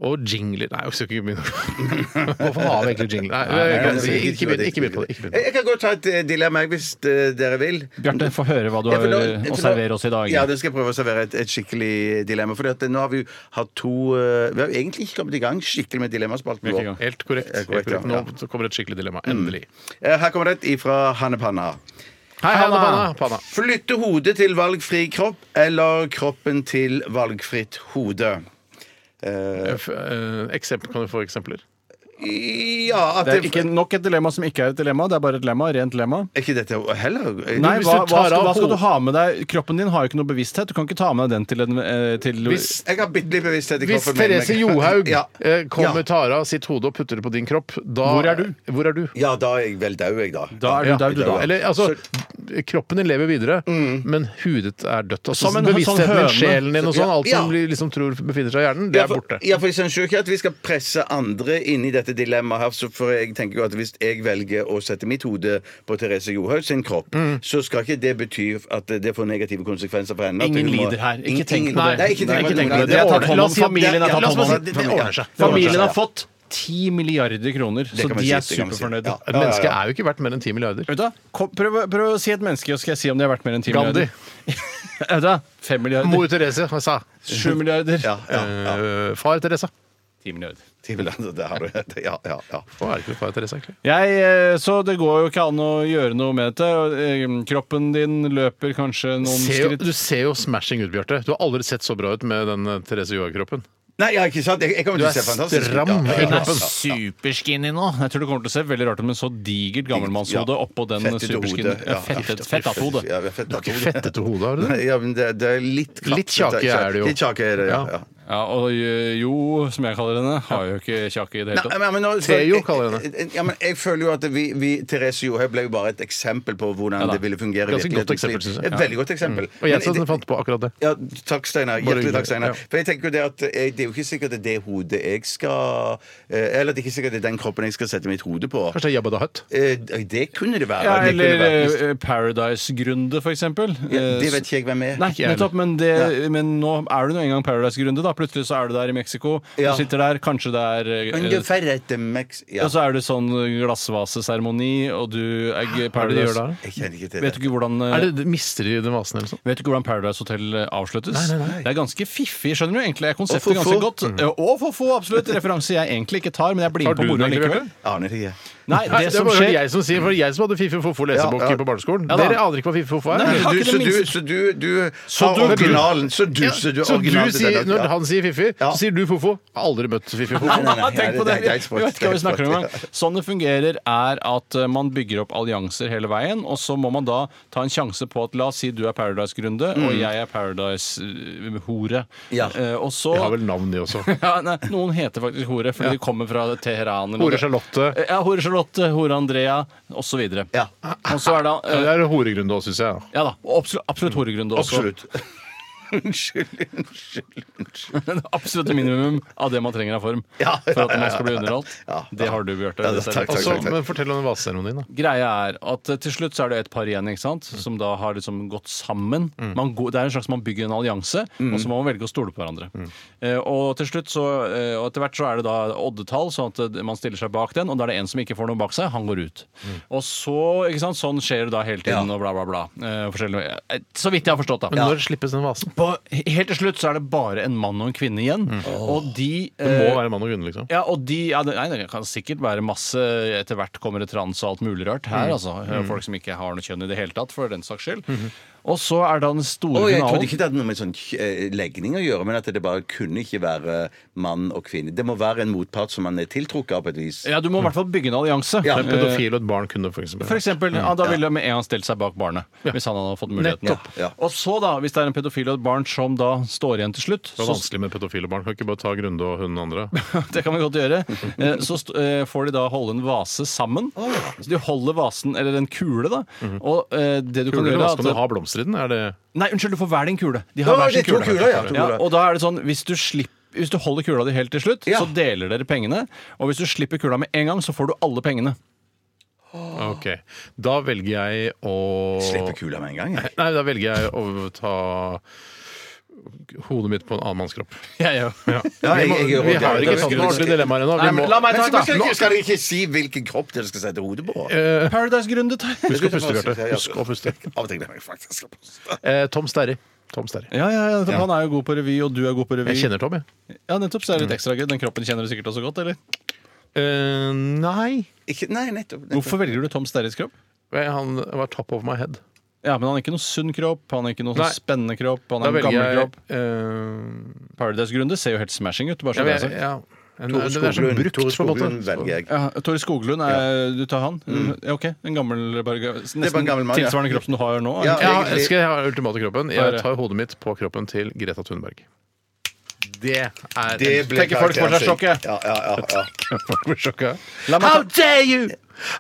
Speaker 4: Og jingler Nei, jeg skal ikke begynne. [laughs] Hvorfor har vi egentlig jingler? Nei, ikke- ikke begynn- ikke begynn på det. Ikke begynn på det.
Speaker 3: Jeg, jeg kan godt ta et eh, dilemma jeg, hvis eh, dere vil.
Speaker 2: Bjarte, få høre hva du
Speaker 3: Ja,
Speaker 2: har
Speaker 3: for da-
Speaker 2: å
Speaker 3: for da-
Speaker 2: servere oss i dag.
Speaker 3: Ja, det skal jeg prøve å servere et, et skikkelig dilemma. For nå har vi jo hatt to eh, Vi har jo egentlig ikke kommet i gang skikkelig med dilemmaspalten
Speaker 2: Vi er ikke i gang.
Speaker 3: vår.
Speaker 4: Helt korrekt.
Speaker 3: Eh, korrekt,
Speaker 4: Helt korrekt.
Speaker 3: ja.
Speaker 4: Nå kommer det et skikkelig dilemma. Endelig.
Speaker 3: Eh, Her kommer det et ifra Hanne Panna.
Speaker 4: Hei, Hanna Panna. Panna.
Speaker 3: Flytte hodet til valgfri kropp eller kroppen til valgfritt hode? Eh,
Speaker 4: Eh, f- eh, Eksempel, kan du få eksempler?
Speaker 3: Ja at
Speaker 2: Det er ikke nok et dilemma som ikke er et dilemma. Det er bare et lemma. Rent lemma.
Speaker 3: Er ikke dette heller
Speaker 2: Nei,
Speaker 3: Hvis
Speaker 2: hva,
Speaker 3: du tar
Speaker 2: hva, skal,
Speaker 3: av
Speaker 2: hva skal du
Speaker 3: ho-
Speaker 2: ha med deg? Kroppen din har jo ikke noe bevissthet. Du kan ikke ta med deg den til en eh, til,
Speaker 4: Hvis-
Speaker 3: Jeg har bitte litt bevissthet i
Speaker 4: Hvis
Speaker 3: kroppen min,
Speaker 4: Therese
Speaker 3: men-
Speaker 4: Johaug
Speaker 3: [laughs] ja.
Speaker 4: eh, kommer
Speaker 3: Ja.
Speaker 4: og tar av sitt hode og putter det på din kropp, da
Speaker 2: Hvor er du?
Speaker 4: Hvor er du?
Speaker 3: ja, da er jeg vel daud, jeg, da. Mm.
Speaker 2: Da er du
Speaker 4: Ja.
Speaker 2: daud, du, da.
Speaker 4: Eller altså, kroppen din lever videre, men hudet er dødt. Altså,
Speaker 2: Som en
Speaker 4: bevisstheten
Speaker 2: sånn høne.
Speaker 4: din, sjelen din og sånn, alt
Speaker 3: Ja.
Speaker 4: som vi liksom tror befinner seg i hjernen, det
Speaker 3: Ja,
Speaker 4: er
Speaker 3: for-
Speaker 4: borte.
Speaker 3: Ja, for jeg synes jo ikke at vi skal presse andre inn i dette dilemmaet her. så For jeg tenker jo at hvis jeg velger å sette mitt hode på Therese Johaug sin kropp,
Speaker 2: Mm.
Speaker 3: så skal ikke det bety at det får negative konsekvenser for henne. at
Speaker 2: Ingen
Speaker 3: hun må-
Speaker 2: lider her. Ikke
Speaker 3: Ingen-
Speaker 2: tenk på det.
Speaker 3: Nei, ikke
Speaker 2: Nei,
Speaker 3: tenk på
Speaker 2: ikke tenk på
Speaker 3: det.
Speaker 2: det. Det er tatt hånd
Speaker 4: La
Speaker 2: om
Speaker 4: oss si at-
Speaker 2: familien. er
Speaker 4: ja,
Speaker 2: tatt
Speaker 4: la oss
Speaker 2: hånd
Speaker 4: bare
Speaker 2: om
Speaker 4: si-
Speaker 2: den.
Speaker 4: det ordner seg. Det ordner
Speaker 2: Familien
Speaker 4: seg.
Speaker 2: har fått 10 milliarder kroner, så
Speaker 3: kan man
Speaker 2: de
Speaker 3: si, det kan
Speaker 2: er
Speaker 3: man si.
Speaker 2: superfornøyde.
Speaker 3: Ja.
Speaker 4: Et menneske er jo ikke verdt mer enn 10 milliarder.
Speaker 2: Vet du, hva? Kom, prøv, prøv å si et menneske, og skal jeg si om de er verdt mer enn 10
Speaker 4: Gandhi.
Speaker 2: milliarder. [laughs] Vet du hva? 5 milliarder.
Speaker 4: Mor Therese hva sa
Speaker 2: 7 milliarder.
Speaker 3: Ja, ja, ja.
Speaker 4: Eh, Far Therese.
Speaker 2: 10 milliarder.
Speaker 3: Det har du. Ja, ja, ja.
Speaker 4: Hva er det ikke far Therese, egentlig?
Speaker 2: Jeg, eh, så det går jo ikke an å gjøre noe med dette. og, eh, Kroppen din løper kanskje noen
Speaker 4: Se jo,
Speaker 2: skritt
Speaker 4: du ser jo smashing ut, Bjarte. Du har aldri sett så bra ut med den eh, Therese Johaug-kroppen.
Speaker 3: Nei, ja, ikke sant? Jeg, jeg kommer til å se fantastisk ut.
Speaker 4: Stram
Speaker 3: Ja, ja,
Speaker 4: i
Speaker 3: ja, ja.
Speaker 4: kroppen.
Speaker 2: superskinny nå. Jeg tror det kommer til å se veldig rart ut med så digert gammelmannshode
Speaker 3: Ja.
Speaker 2: oppå den
Speaker 3: Fettete
Speaker 2: superskinny.
Speaker 3: hode.
Speaker 2: Ja,
Speaker 3: Ja,
Speaker 2: fettet-
Speaker 3: ja.
Speaker 2: Fettat hode.
Speaker 3: Ja, fettet hode.
Speaker 4: Fettete hode, har du det?
Speaker 3: Nei, Ja, men det, det er litt kraft-
Speaker 4: Litt kjake er det jo.
Speaker 3: Litt kjake er det, ja.
Speaker 4: Ja.
Speaker 3: ja.
Speaker 2: Ja, og eh, Jo, som jeg kaller henne, har jo ikke kjakke i
Speaker 3: Nei,
Speaker 2: det hele tatt.
Speaker 3: men- men nå-
Speaker 4: Theo kaller jeg
Speaker 3: Ja, men jeg føler jo at vi, vi Therese Johaug ble jo bare et eksempel på hvordan
Speaker 2: da.
Speaker 3: det ville fungere. i
Speaker 4: Ganske godt
Speaker 3: virkelighetens
Speaker 4: eksempel,
Speaker 3: liv.
Speaker 4: synes jeg. Mm.
Speaker 3: Et veldig godt eksempel.
Speaker 4: Og
Speaker 3: Men
Speaker 4: jeg som
Speaker 3: det-
Speaker 4: fant på akkurat det.
Speaker 3: ja, takk, Steinar. Hjertelig
Speaker 4: hyggelig.
Speaker 3: takk, Steinar.
Speaker 4: Ja.
Speaker 3: For jeg tenker jo Det at jeg, det er jo ikke sikkert det er det hodet jeg skal eh, Eller det er ikke sikkert det er den kroppen jeg skal sette mitt hode på.
Speaker 4: Kanskje det er Jabba the Hutt?
Speaker 3: Eh, Det kunne det være.
Speaker 2: Ja,
Speaker 3: det kunne
Speaker 2: eller
Speaker 3: være.
Speaker 2: eh, Paradise-Grunde, for eksempel.
Speaker 3: Ja,
Speaker 2: Eh,
Speaker 3: det vet ikke jeg hvem er.
Speaker 2: Nei,
Speaker 4: Ikke jeg
Speaker 2: nettopp, men, det, men nå er du nå engang Paradise-Grunde. da Plutselig så er du der i Mexico.
Speaker 3: Ja.
Speaker 2: Du sitter der, kanskje det er eh,
Speaker 3: Ungefär etter Mex... Ja.
Speaker 2: Og så er det sånn glassvaseseremoni, og du er g-
Speaker 4: Hva er det de
Speaker 2: Paradise
Speaker 4: gjør da?
Speaker 3: Jeg kjenner ikke til
Speaker 2: Vet du ikke hvordan eh,
Speaker 4: Er det, mister de den vasen eller sånn?
Speaker 2: Vet du ikke hvordan Paradise Hotel eh, avsluttes?
Speaker 4: Nei, nei, nei.
Speaker 2: Det er ganske fiffig, skjønner du. Egentlig er
Speaker 3: Og for
Speaker 2: konseptet ganske
Speaker 3: få.
Speaker 2: godt. Og for få, absolutt. Referanse jeg egentlig ikke tar, men jeg blir
Speaker 4: Mm. Har
Speaker 2: med på
Speaker 4: du
Speaker 2: moroa
Speaker 4: den egentlig,
Speaker 2: likevel.
Speaker 3: Aner ikke.
Speaker 2: Nei,
Speaker 4: Nei,
Speaker 2: det
Speaker 4: det
Speaker 2: som
Speaker 4: var jo
Speaker 2: skjer
Speaker 4: jeg som sier, for jeg som hadde Fifi for få lesebok
Speaker 3: Ja, ja.
Speaker 4: på barneskolen.
Speaker 2: Ja da.
Speaker 4: Dere aner ikke hva Fifi for få er.
Speaker 2: Nei,
Speaker 3: Så
Speaker 2: har
Speaker 3: du,
Speaker 2: ikke det
Speaker 3: så du,
Speaker 2: minste-
Speaker 3: så du, du
Speaker 2: Så
Speaker 3: har
Speaker 2: du-
Speaker 3: originalen Så du,
Speaker 4: Ja,
Speaker 3: så du,
Speaker 4: så du
Speaker 3: originalen til
Speaker 4: sier,
Speaker 3: denne-
Speaker 4: når
Speaker 3: Ja.
Speaker 4: han sier Fifi,
Speaker 3: Ja.
Speaker 4: så sier du Fofo. Jeg har aldri møtt Fifi Fofo.
Speaker 3: Nei, nei, nei, det
Speaker 2: Tenk på det!
Speaker 3: er- det
Speaker 2: Vi
Speaker 3: er sport,
Speaker 2: vet ikke hva vi snakker om
Speaker 3: det er
Speaker 4: [laughs]
Speaker 2: engang. Sånn det fungerer, er at eh, man bygger opp allianser hele veien, og så må man da ta en sjanse på at la oss si du er Paradise-Grunde,
Speaker 4: Mm.
Speaker 2: og jeg er Paradise-hore. Eh,
Speaker 3: Ja.
Speaker 2: Og så
Speaker 4: De har vel navn, de også.
Speaker 2: ja, nei, Noen heter faktisk hore, fordi de kommer fra Teheran. eller-
Speaker 4: Hore Charlotte.
Speaker 2: Ja, Hore Charlotte, Hore Andrea osv.
Speaker 3: Ja.
Speaker 2: Og så er det
Speaker 4: Ja,
Speaker 2: eh,
Speaker 4: Det er horegrunn da, syns jeg.
Speaker 2: Ja da. Absolutt, absolutt horegrunde også.
Speaker 3: Absolutt. Unnskyld, unnskyld, unnskyld.
Speaker 2: [laughs] Det absolutte minimum av det man trenger av form
Speaker 3: Ja, ja,
Speaker 2: for at
Speaker 3: ja,
Speaker 2: man
Speaker 3: ja,
Speaker 2: skal bli underholdt.
Speaker 3: ja, ja.
Speaker 2: Det har du, Bjarte.
Speaker 3: Ja,
Speaker 2: Det ser
Speaker 3: takk,
Speaker 2: jeg.
Speaker 3: takk,
Speaker 4: Så,
Speaker 3: takk, takk.
Speaker 4: men fortell om den vaseseremonien, da.
Speaker 2: Greia er at eh, til slutt så er det et par igjen ikke sant?
Speaker 4: Mm.
Speaker 2: som da har liksom gått sammen. Man går, det er en slags man bygger en allianse,
Speaker 4: Mm.
Speaker 2: og så må man velge å stole på hverandre. Eh, og til slutt så, eh, og etter hvert så er det da oddetall, sånn at eh, man stiller seg bak den, og da er det en som ikke får noe bak seg, han går ut.
Speaker 4: Mm.
Speaker 2: Og så, ikke sant, sånn skjer det da hele tiden,
Speaker 3: Ja.
Speaker 2: og bla, bla, bla. Eh, forskjellige- eh, så vidt jeg har forstått, da.
Speaker 4: Men når slippes den vasen?
Speaker 2: På, helt til slutt så er det bare en mann og en kvinne igjen, og de
Speaker 4: Mm. Det må
Speaker 2: eh,
Speaker 4: være mann og kvinne, liksom.
Speaker 2: ja, og de, ja, det, nei, det kan sikkert være masse Etter hvert kommer det trans og alt mulig rart her. altså. Folk som ikke har noe kjønn i det hele tatt, for den saks skyld. Og så er da den store
Speaker 3: Og jeg trodde
Speaker 2: finalen.
Speaker 3: ikke det hadde noe med sånn eh, legning å gjøre, men at det bare kunne ikke være mann og kvinne. Det må være en motpart som man er tiltrukket av på et vis.
Speaker 2: Ja, Du må i hvert fall bygge en allianse. Eh,
Speaker 3: Ja.
Speaker 4: En pedofil og et barn kunne for eksempel.
Speaker 2: For eksempel, ja, da ville med en gang stilt seg bak barnet. Hvis han hadde fått muligheten.
Speaker 4: Nettopp.
Speaker 3: Ja, ja.
Speaker 2: Og så, da, hvis det er en pedofil og et barn som da står igjen til slutt,
Speaker 4: Det var
Speaker 2: så
Speaker 4: vanskelig med pedofile barn. Kan ikke bare ta Grunde og hun
Speaker 3: [laughs]
Speaker 4: andre?
Speaker 2: [laughs] det kan vi godt gjøre. Eh, Så st- eh, får de da holde en vase sammen. Så de holder vasen, eller en kule, da. Og eh, det du kan
Speaker 4: Kule,
Speaker 2: gjøre
Speaker 4: da,
Speaker 2: er
Speaker 4: skal du
Speaker 2: at
Speaker 4: ha blomster i den? Er det
Speaker 2: Nei, unnskyld, du får hver din kule. De
Speaker 3: Ja, det er to kuler, ja, to kuler.
Speaker 2: og da er det sånn, hvis du slipper hvis du holder kula di helt til slutt,
Speaker 3: Ja.
Speaker 2: så deler dere pengene. Og hvis du slipper kula med en gang, så får du alle pengene.
Speaker 4: OK. Da velger jeg å
Speaker 3: Slipper kula med en gang. jeg.
Speaker 4: Nei, da velger jeg å ta hodet mitt på en annen manns kropp. Ja.
Speaker 3: jeg- jeg gjør
Speaker 4: vi
Speaker 3: det.
Speaker 4: har ikke
Speaker 3: Det er
Speaker 4: tatt noen
Speaker 3: skummelt.
Speaker 4: ordentlige dilemmaer ennå. Vi
Speaker 2: Nei, men
Speaker 4: må-
Speaker 2: la meg
Speaker 3: Men så,
Speaker 2: ta
Speaker 3: men
Speaker 2: et, da.
Speaker 3: skal, dere- skal dere ikke si hvilken kropp dere skal sette hodet på?
Speaker 4: Eh,
Speaker 2: Paradise-grunde tar jeg.
Speaker 4: Husk å puste, Bjarte.
Speaker 3: Ja, ja.
Speaker 4: Husk å puste.
Speaker 3: Av og til glemmer jeg faktisk å puste.
Speaker 4: Eh, Tom Sterry. Tom Sterry.
Speaker 2: [laughs] Ja, ja, ja, nettopp. Han er jo god på revy, og du er god på revy.
Speaker 4: Jeg kjenner Tom, jeg.
Speaker 2: Ja, nettopp, så er
Speaker 3: Mm.
Speaker 2: det litt ekstra gøy. Den kroppen kjenner du sikkert også
Speaker 3: [laughs]
Speaker 2: godt, eller?
Speaker 4: Eh, nei
Speaker 3: Ikke, nei, nettopp. nettopp.
Speaker 2: Hvorfor velger du Tom Sterris kropp?
Speaker 4: Vel, Eh, Han var top of my head.
Speaker 2: Ja, men han er ikke noe sunn kropp, han er ikke noe
Speaker 4: Nei.
Speaker 2: sånn spennende kropp, han er
Speaker 4: Da
Speaker 2: en
Speaker 4: velger
Speaker 2: gammel
Speaker 4: jeg
Speaker 2: kropp.
Speaker 4: eh,
Speaker 2: Paradise-grunde ser jo helt smashing ut, bare
Speaker 4: ja,
Speaker 2: så det altså?
Speaker 4: men
Speaker 2: er
Speaker 4: jeg-
Speaker 2: sagt.
Speaker 4: ja. En,
Speaker 3: Tore
Speaker 4: den Eh, er så
Speaker 3: Skoglund.
Speaker 4: brukt,
Speaker 3: Tore
Speaker 4: på en måte.
Speaker 3: Skoglund velger jeg.
Speaker 2: Ja, Tore Skoglund, er, du tar han? Ja, OK. En gammel bare, Nesten
Speaker 3: Mm. bare en gammel mann, ja.
Speaker 2: tilsvarende kropp som du har nå? er
Speaker 3: Ja.
Speaker 2: det ikke?
Speaker 4: Ja, jeg skal ha ultimate kroppen. Jeg
Speaker 2: Bare-
Speaker 4: tar hodet mitt på kroppen til Greta Thunberg. Det er
Speaker 3: Det ble
Speaker 2: Tenker folk får seg
Speaker 3: karakteren
Speaker 2: sjokket.
Speaker 3: sin. Ja, ja, ja, ja.
Speaker 4: Folk blir [laughs] sjokka.
Speaker 2: La meg
Speaker 4: How
Speaker 2: ta-
Speaker 4: dare you!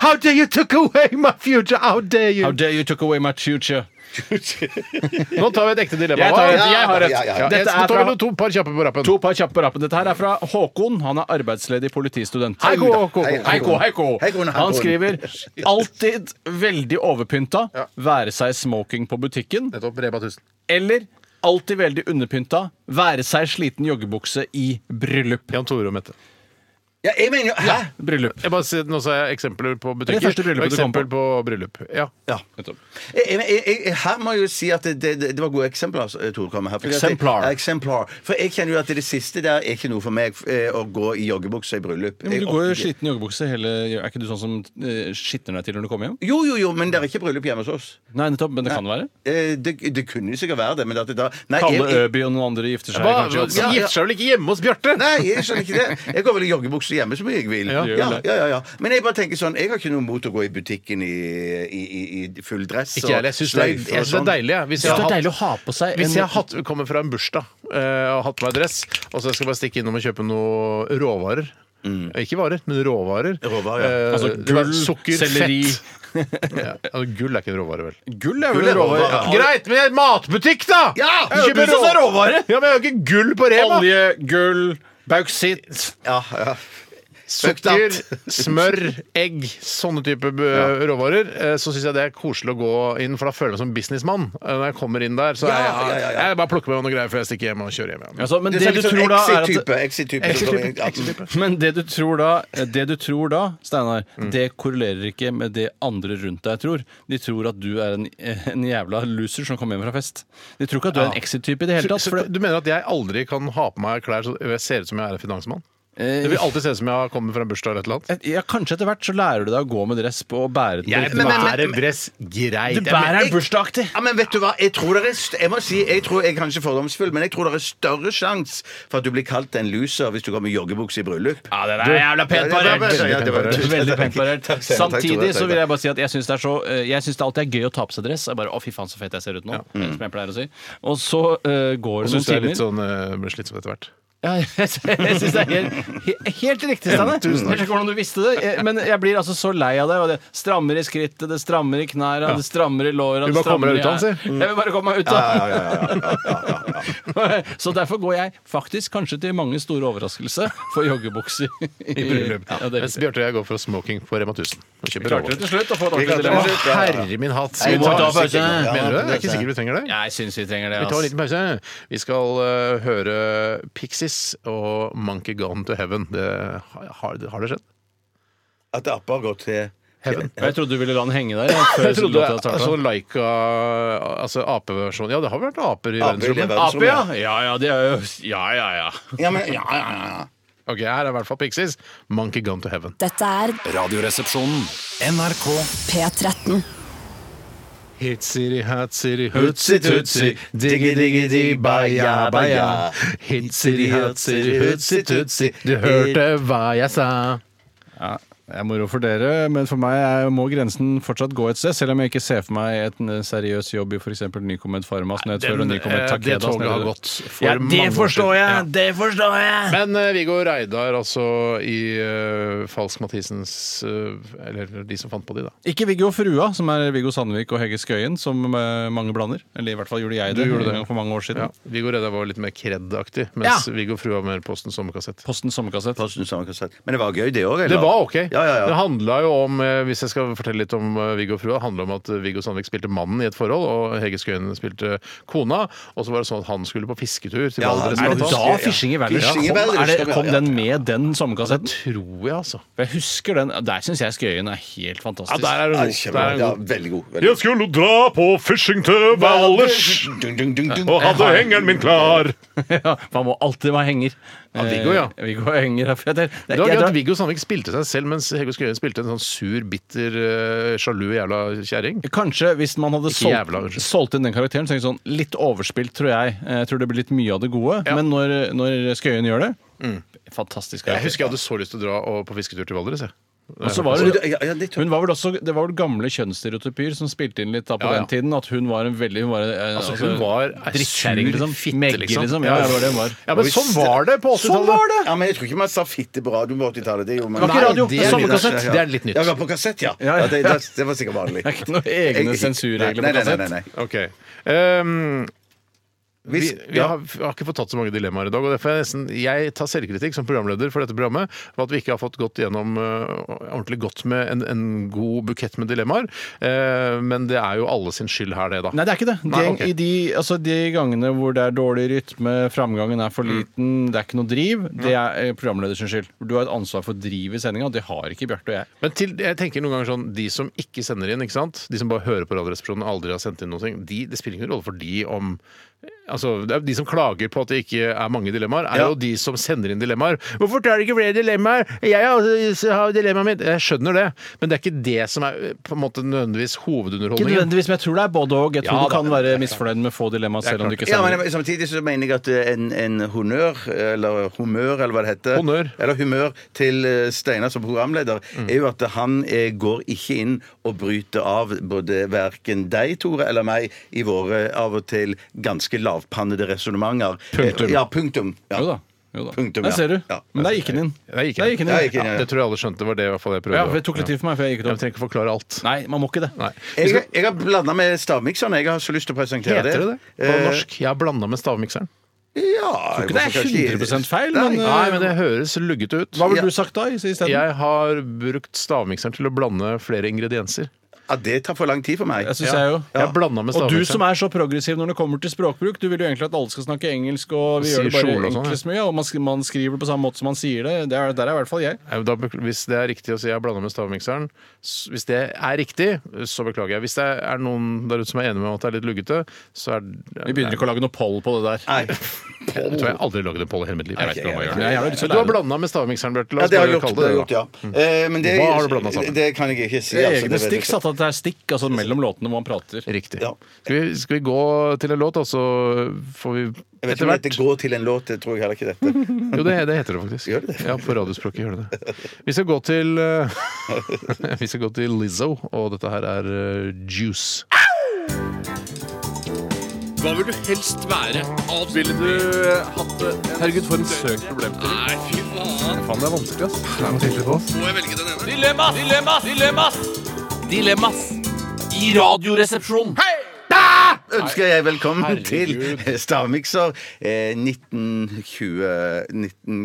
Speaker 4: How dare you took away my future! How dare you!
Speaker 2: How dare you took away my future?
Speaker 4: Nå tar vi et ekte dilemma.
Speaker 2: Jeg tar
Speaker 4: Hva?
Speaker 2: et- jeg har et.
Speaker 4: Ja, ja, ja.
Speaker 2: Dette
Speaker 4: Nå
Speaker 2: er
Speaker 4: tar vi
Speaker 2: fra-
Speaker 4: noen to par kjappe på rappen.
Speaker 2: To par kjappe på rappen. Dette her er fra Håkon. Han er arbeidsledig politistudent.
Speaker 4: Hei, Ko, Ko, Ko.
Speaker 2: Hei, Ko, hei, Ko.
Speaker 3: Hei, Ko, hei, Ko.
Speaker 2: Han skriver alltid veldig overpynta, være seg smoking på butikken,
Speaker 4: Nettopp. Reba 1000.
Speaker 2: eller alltid veldig underpynta, være seg sliten joggebukse i bryllup.
Speaker 4: Jan Tore og Mette.
Speaker 3: ja, jeg mener jo Hæ?
Speaker 2: Bryllup.
Speaker 4: Jeg bare sier, nå sa jeg eksempler
Speaker 2: er
Speaker 4: på
Speaker 2: det
Speaker 4: butikker.
Speaker 2: første bryllupet
Speaker 4: og
Speaker 2: du kom
Speaker 4: eksempel på bryllup. Ja.
Speaker 3: Jeg, jeg, jeg, jeg, her må jeg jo si at det, det, det var gode eksempler Tor kom med her. fordi at jeg-
Speaker 2: Exemplar.
Speaker 3: Ja, exemplar. For jeg kjenner jo at det siste der er ikke noe for meg, eh, å gå i joggebukse i bryllup.
Speaker 2: Men
Speaker 3: Jeg
Speaker 2: du går jo
Speaker 3: orker
Speaker 2: i
Speaker 3: ikke.
Speaker 2: sliten joggebukse hele Er ikke du sånn som eh, skitner deg til når du kommer hjem?
Speaker 3: Jo, jo, jo, men det er ikke bryllup hjemme hos oss.
Speaker 2: Nei, nettopp. Men det kan være.
Speaker 3: Eh, det, det kunne jo sikkert være det, men at det da Nei,
Speaker 2: Kalle
Speaker 3: jeg, jeg,
Speaker 2: Øby og noen andre gifter seg
Speaker 4: Hva,
Speaker 2: kanskje også.
Speaker 3: ja, ja.
Speaker 4: Gifter seg vel ikke hjemme hos Bjarte?
Speaker 3: nei, jeg skjønner ikke det. Jeg går vel i joggebukse hjemme som jeg vil.
Speaker 4: Ja,
Speaker 2: gjør
Speaker 3: ja,
Speaker 2: det.
Speaker 3: ja, ja, ja. Men jeg bare tenker sånn Jeg har ikke noe mot å gå i butikken i, i, i, i full dress.
Speaker 4: Ikke jeg heller. Jeg syns det, er- jeg synes det
Speaker 3: sånn.
Speaker 4: er deilig. jeg. Hvis jeg,
Speaker 2: Jeg synes
Speaker 4: har
Speaker 2: det er
Speaker 4: hatt-
Speaker 2: deilig å ha på seg
Speaker 4: hvis
Speaker 2: en-
Speaker 4: jeg har hatt, kommer fra en bursdag eh, og har hatt på meg dress, og så skal jeg bare stikke innom og kjøpe noe råvarer Eh, Ikke varer, men råvarer.
Speaker 3: Mm. Råvarer, ja.
Speaker 4: Eh,
Speaker 2: Altså
Speaker 4: det var
Speaker 2: gull,
Speaker 4: sukker,
Speaker 2: selleri. [laughs]
Speaker 4: fett. ja, altså, gull er ikke en råvare, vel?
Speaker 2: Gull er
Speaker 3: Gull
Speaker 2: vel
Speaker 3: er
Speaker 2: en råvare.
Speaker 3: råvare.
Speaker 2: Ja.
Speaker 4: Greit, men jeg er en matbutikk, da!
Speaker 3: Ja,
Speaker 4: jeg
Speaker 2: du synes det er råvare.
Speaker 4: Ja, Men jeg har ikke gull på Rema!
Speaker 2: Olje, gull, bauksitt.
Speaker 3: Ja, ja.
Speaker 4: Sukker,
Speaker 3: Søktatt.
Speaker 4: smør, egg, sånne type eh, råvarer. eh, Så syns jeg det er koselig å gå inn, for da føler jeg meg som businessmann. Eh, Når jeg kommer inn der, så er jeg,
Speaker 3: Ja, ja, ja, ja.
Speaker 4: jeg bare plukker med meg noen greier før jeg stikker hjem og kjører hjem. igjen.
Speaker 2: Altså, men
Speaker 3: Det
Speaker 2: det,
Speaker 3: er
Speaker 2: du
Speaker 3: litt sånn
Speaker 2: tror da er at
Speaker 3: exit-type. Exit-type. som kommer inn. Ja.
Speaker 2: men det du tror da, det du tror da Steinar,
Speaker 4: Mm.
Speaker 2: det korrelerer ikke med det andre rundt deg tror. De tror at du er en, en jævla loser som kommer hjem fra fest. De tror ikke at du er en exit-type i det hele tatt.
Speaker 4: Så,
Speaker 2: For
Speaker 4: så,
Speaker 2: det,
Speaker 4: du mener at jeg aldri kan ha på meg klær så jeg ser ut som jeg er en finansmann? Det vil alltid se ut som jeg har kommet fra en bursdag eller et eller annet.
Speaker 2: Eh, ja, kanskje etter hvert så lærer du deg å gå med dress på og bære den. på riktig måte.
Speaker 4: dress greit.
Speaker 2: Du bærer
Speaker 3: jeg-
Speaker 2: den bursdagaktig.
Speaker 3: Ja, men vet du hva? Jeg tror det er st- Jeg må si, jeg tror jeg er kanskje fordomsfull, men jeg tror det er større sjanse for at du blir kalt en loser hvis du går med joggebukse i bryllup.
Speaker 2: Ja, det der er jævla
Speaker 3: Ja,
Speaker 2: pent
Speaker 3: det var-
Speaker 2: parert.
Speaker 3: ja, det var-
Speaker 2: Veldig pent parert.
Speaker 3: Takk, Steinar. Takk, Tore.
Speaker 2: Samtidig
Speaker 3: Takk,
Speaker 2: så vil
Speaker 3: takk.
Speaker 2: jeg bare si at jeg syns det, er så, eh, jeg synes det alltid er gøy å ta på seg dress. Jeg bare, å fy faen så fett jeg ser ut nå, som jeg pleier å si. Og så eh, går det noen
Speaker 4: Syns det er
Speaker 2: timer.
Speaker 4: litt sånn eh, slitsomt etter hvert.
Speaker 2: Ja, [laughs] jeg syns det er helt, he- helt riktig, Steinar. Jeg vet ikke hvordan du visste det, jeg- men jeg blir altså så lei av det. Og det strammer i skrittet, det strammer i knærne, det strammer i låra
Speaker 4: Du bare kommer deg ut av den, si.
Speaker 2: Jeg vil bare komme meg ut av den. [laughs] Så derfor går jeg faktisk, kanskje til mange store overraskelse, for joggebukser i
Speaker 4: bryllup.
Speaker 2: [laughs] Ja, det er
Speaker 4: Mens
Speaker 2: riktig.
Speaker 4: Bjarte og jeg går for smoking på Rema 1000. Og kjøper
Speaker 2: Klarte det
Speaker 4: råvarer.
Speaker 2: til slutt å få et
Speaker 3: Vi klarte
Speaker 2: ordentlig
Speaker 3: det
Speaker 2: dilemma.
Speaker 3: til slutt. Ja, ja.
Speaker 4: Herre min hatt!
Speaker 2: Nei, vi må ta pause.
Speaker 4: Mener du det? Det er ikke
Speaker 3: altså,
Speaker 4: sikkert vi trenger det.
Speaker 2: Jeg syns vi trenger det.
Speaker 4: Vi tar en liten pause. Vi skal eh, høre Pixies og Monkey Gone to Heaven. Det, har, har det skjedd?
Speaker 3: At det apper går til
Speaker 4: Heaven.
Speaker 2: Jeg trodde du ville la den henge der. jeg, Før
Speaker 4: [laughs] Jeg trodde
Speaker 2: låta startet.
Speaker 4: altså Laika Altså apeversjon Ja, det har vært aper i
Speaker 3: Aper i
Speaker 4: verdensrommet.
Speaker 3: verdensrommet.
Speaker 2: Ape, ja. Ja ja, det er jo Ja ja ja.
Speaker 3: Ja, men ja, ja, ja.
Speaker 4: Ok, Her er i hvert fall Pixies. Monkey Gone to Heaven.
Speaker 5: Dette er
Speaker 7: Radioresepsjonen.
Speaker 6: NRK
Speaker 5: P13.
Speaker 4: Hit city, hat city,
Speaker 3: Hutsi tutsi, diggi diggi di, baja, baja.
Speaker 4: Hit city, hat city, hutsi tutsi. Du hørte hva jeg sa.
Speaker 2: Det er moro for dere, men for meg er, må grensen fortsatt gå et sted. Selv om jeg ikke ser for meg et eh, seriøs jobb i f.eks. Nycomed Pharmas Nødfør og
Speaker 4: Den,
Speaker 2: Nycomed
Speaker 4: eh,
Speaker 2: Takeda.
Speaker 4: det toget har
Speaker 2: Snødfør.
Speaker 4: gått for mange år siden. Ja.
Speaker 2: Det forstår jeg!
Speaker 4: Men eh, Viggo Reidar, altså i eh, Falsk Mathisens eh, Eller de som fant på de, da.
Speaker 2: Ikke Viggo Frua, som er Viggo Sandvik og Hegge Skøyen, som eh, mange blander. Eller i hvert fall gjorde jeg det,
Speaker 4: gjorde det.
Speaker 2: en gang for mange år siden.
Speaker 4: Ja. Viggo Reidar var litt mer kred-aktig, mens
Speaker 2: Ja.
Speaker 4: Viggo Frue var mer Posten sommerkassett.
Speaker 2: Posten sommerkassett.
Speaker 3: Posten sommerkassett. Men det var gøy, det òg?
Speaker 4: Det var ok.
Speaker 3: Ja, ja,
Speaker 4: Det
Speaker 3: ja.
Speaker 4: handla jo om eh, hvis jeg skal fortelle litt om eh, Viggo og frua, det handla om at eh, Viggo Sandvik spilte mannen i et forhold, og Hege Skøyen spilte kona. Og så var det sånn at han skulle på fisketur til
Speaker 3: Ja,
Speaker 4: Valdres.
Speaker 3: er
Speaker 2: Er
Speaker 3: det
Speaker 2: det
Speaker 4: Valdres.
Speaker 2: da
Speaker 3: da
Speaker 2: Fisking i Valdres
Speaker 3: Fishing i
Speaker 2: kom? Er
Speaker 3: Valdres,
Speaker 2: det,
Speaker 3: ja,
Speaker 2: kom
Speaker 3: ja.
Speaker 2: den med den sommerkassetten?
Speaker 4: Tror jeg, altså.
Speaker 2: For jeg husker den. Der syns jeg Skøyen er helt fantastisk.
Speaker 4: Ja, der er hun
Speaker 3: Ja,
Speaker 4: god. Der
Speaker 3: kjempebra.
Speaker 4: er hun
Speaker 3: Ja,
Speaker 4: god.
Speaker 3: veldig god. Veldig.
Speaker 8: Jeg skulle dra på fishing til Valdres
Speaker 3: Dun, dun, dun, dun.
Speaker 8: og hadde hengeren min klar.
Speaker 2: [laughs] ja, man må alltid være henger.
Speaker 4: Ja, Viggo, ja.
Speaker 2: Eh, Viggo er henger. er fett. Det er-
Speaker 4: Det var
Speaker 2: jeg
Speaker 4: gøy
Speaker 2: drar-
Speaker 4: at Viggo Sandvik spilte seg selv, mens Hege Skøyen spilte en sånn sur, bitter, eh, sjalu jævla kjerring.
Speaker 2: Kanskje hvis man hadde
Speaker 4: Ikke
Speaker 2: solgt,
Speaker 4: jævla, unnskyld.
Speaker 2: solgt inn den karakteren, så tenkte jeg sånn litt overspilt, tror jeg. Eh, Jeg tror det blir litt mye av det gode. Men når, når Skøyen gjør det Fantastisk
Speaker 4: Jeg husker
Speaker 2: karakter.
Speaker 4: jeg hadde så lyst til å dra og- på fisketur til Valdres. jeg.
Speaker 2: Og så var det,
Speaker 3: Ja, ja, det tror jeg.
Speaker 2: hun var vel også, det var vel gamle kjønnsstereotypier som spilte inn litt da på
Speaker 4: Ja, ja.
Speaker 2: den tiden. At hun var en veldig hun var, eh,
Speaker 4: Altså, hun var ei
Speaker 2: drittkjerring,
Speaker 4: sur
Speaker 2: liksom.
Speaker 4: fitte,
Speaker 2: Megge,
Speaker 4: liksom.
Speaker 2: liksom. Ja, det var det hun var.
Speaker 4: Ja, men sånn var det på 80-tallet!
Speaker 3: Ja, men jeg tror ikke man sa fitte på radioen på 80-tallet. Det gjorde man
Speaker 2: Var ikke radio,
Speaker 3: det er
Speaker 2: samme
Speaker 3: nytt.
Speaker 2: kassett.
Speaker 3: Ja, ja.
Speaker 4: Det er litt nytt.
Speaker 3: Ja, det var på kassett, ja.
Speaker 2: Ja, ja.
Speaker 3: ja det, det, det var sikkert vanlig.
Speaker 2: Det er ikke noen egne
Speaker 3: Jeg-
Speaker 2: sensurregler
Speaker 3: nei, nei,
Speaker 2: på kassett.
Speaker 3: Nei, nei, nei.
Speaker 4: Ok. Ehm,
Speaker 3: Hvis,
Speaker 4: vi, vi, har, vi har ikke fått tatt så mange dilemmaer i dag. og derfor er Jeg, nesten, jeg tar selvkritikk som programleder for dette programmet for at vi ikke har fått gått gjennom eh, ordentlig godt med en, en god bukett med dilemmaer. Eh, men det er jo alle sin skyld her, det, da.
Speaker 2: Nei, det er ikke det. De,
Speaker 4: Nei, ok.
Speaker 2: i de, altså, de gangene hvor det er dårlig rytme, framgangen er for liten, det er ikke noe driv, det er eh, programleders skyld. Du har et ansvar for driv i sendinga, og det har ikke Bjarte og jeg.
Speaker 4: Men til, jeg tenker noen ganger sånn, de som ikke sender inn, ikke sant? de som bare hører på Radioresepsjonen og aldri har sendt inn noe, de, det spiller ingen rolle for de om altså, det er jo De som klager på at det ikke er mange dilemmaer, er
Speaker 3: Ja.
Speaker 4: jo de som sender inn dilemmaer. 'Hvorfor tar det ikke flere dilemmaer?' 'Jeg har også- har dilemmaet mitt.' Jeg skjønner det, men det er ikke det som er på en måte nødvendigvis
Speaker 2: Ikke
Speaker 4: hovedunderholdningen.
Speaker 2: nødvendigvis, men jeg tror det er både og. Jeg tror
Speaker 4: Ja,
Speaker 2: du
Speaker 4: da,
Speaker 2: kan være misfornøyd med få dilemmaer selv om du ikke
Speaker 3: ja,
Speaker 2: sender
Speaker 3: men Samtidig så mener jeg at eh, en, en honnør, eller humør, eller hva det heter
Speaker 4: Honnør.
Speaker 3: Eller humør til eh, Steinar som programleder,
Speaker 2: Mm.
Speaker 3: er jo at han eh, går ikke inn og bryter av både verken deg, Tore, eller meg i våre av og til ganske lavpannede resonnementer. Eh,
Speaker 2: Punktum.
Speaker 3: Ja, punktum. Ja.
Speaker 2: Jo da. Jo da.
Speaker 3: Punktum,
Speaker 2: Der
Speaker 3: ja.
Speaker 2: ser du.
Speaker 3: Ja.
Speaker 2: Men der gikk den inn.
Speaker 4: Der gikk den
Speaker 2: Der
Speaker 4: inn.
Speaker 2: gikk
Speaker 3: Der
Speaker 2: den
Speaker 3: gikk den
Speaker 2: inn.
Speaker 3: inn.
Speaker 4: Det tror jeg alle skjønte var det i hvert fall jeg prøvde.
Speaker 2: Ja, for det tok litt tid for meg før jeg gikk
Speaker 4: Ja,
Speaker 2: den
Speaker 4: Vi trenger ikke forklare alt.
Speaker 2: Nei, man må ikke det.
Speaker 4: Nei.
Speaker 3: Jeg, har- jeg har blanda med stavmikseren. Jeg har så lyst til å presentere
Speaker 4: Heter det det? På
Speaker 3: Eh,
Speaker 4: norsk. Jeg har blanda med stavmikseren.
Speaker 3: Ja
Speaker 2: ikke det er
Speaker 3: hvorfor kanskje-
Speaker 2: 100% feil,
Speaker 3: Nei.
Speaker 2: men, eh,
Speaker 4: Nei, men det høres luggete ut.
Speaker 2: Hva ville du sagt da i- isteden?
Speaker 4: Jeg har brukt stavmikseren til å blande flere ingredienser.
Speaker 3: ja, Det tar for lang tid for meg.
Speaker 2: Jeg syns jeg jo.
Speaker 4: Jeg blanda med
Speaker 2: Og du
Speaker 4: stavmikseren.
Speaker 2: som er så progressiv når det kommer til språkbruk, du vil jo egentlig at alle skal snakke engelsk, og vi
Speaker 4: Og
Speaker 2: gjør det
Speaker 4: sier
Speaker 2: bare
Speaker 4: kjole og sånn, ja.
Speaker 2: enklest mye, og man, sk man skriver det på samme måte som man sier det. det er, der er i hvert fall jeg.
Speaker 4: Nei, Da, bekl- hvis det er riktig å si jeg blanda med stavmikseren, s- hvis det er riktig, så beklager jeg. Hvis det er noen der ute som er enig med meg at det er litt luggete, så er
Speaker 2: Vi begynner ikke å lage noe poll på det der.
Speaker 3: Nei.
Speaker 2: [laughs]
Speaker 4: Jeg tror jeg aldri lagde en poll i hele mitt liv. Jeg vet ikke hva jeg gjør.
Speaker 2: Jeg har lyst til
Speaker 4: Du
Speaker 2: å
Speaker 4: har
Speaker 2: lære det.
Speaker 4: blanda med stavmikseren, Bjarte. La
Speaker 3: Ja,
Speaker 4: oss
Speaker 3: det har
Speaker 4: bare
Speaker 3: jeg gjort. Det
Speaker 4: kalle
Speaker 3: har jeg
Speaker 4: det
Speaker 3: gjort
Speaker 4: det.
Speaker 3: ja. Eh, men det,
Speaker 4: Hva har du blandet sammen?
Speaker 3: Det kan jeg ikke si.
Speaker 2: Det er
Speaker 3: altså,
Speaker 2: egne
Speaker 3: det vet jeg
Speaker 2: stikk, satt at det er stikk, altså mellom låtene hvor man prater.
Speaker 4: Riktig.
Speaker 3: Ja.
Speaker 4: Skal vi, skal vi gå til en låt, og så får vi
Speaker 3: ikke. Jeg vet
Speaker 4: etter
Speaker 3: ikke om dette
Speaker 4: hvert
Speaker 3: går til en låt. Det tror jeg heller ikke dette.
Speaker 4: Jo, det, det heter det faktisk.
Speaker 3: Gjør det det?
Speaker 4: Ja, På radiospråket gjør det det. Vi skal gå til eh, [laughs] Vi skal gå til Lizzo, og dette her er eh, Juice.
Speaker 9: Hva vil du helst være? Ville du
Speaker 3: eh,
Speaker 9: hatt det? Herregud, for en søkt problemstilling. Nei, fy faen. Faen, det er vanskelig, ass. Det Må jeg velge den ene? Dilemmas! Dilemmas! Dilemmas!
Speaker 11: Dilemmas i radioresepsjonen.
Speaker 3: Ønsker jeg velkommen til [laughs] Stavmikser eh, 1920 19,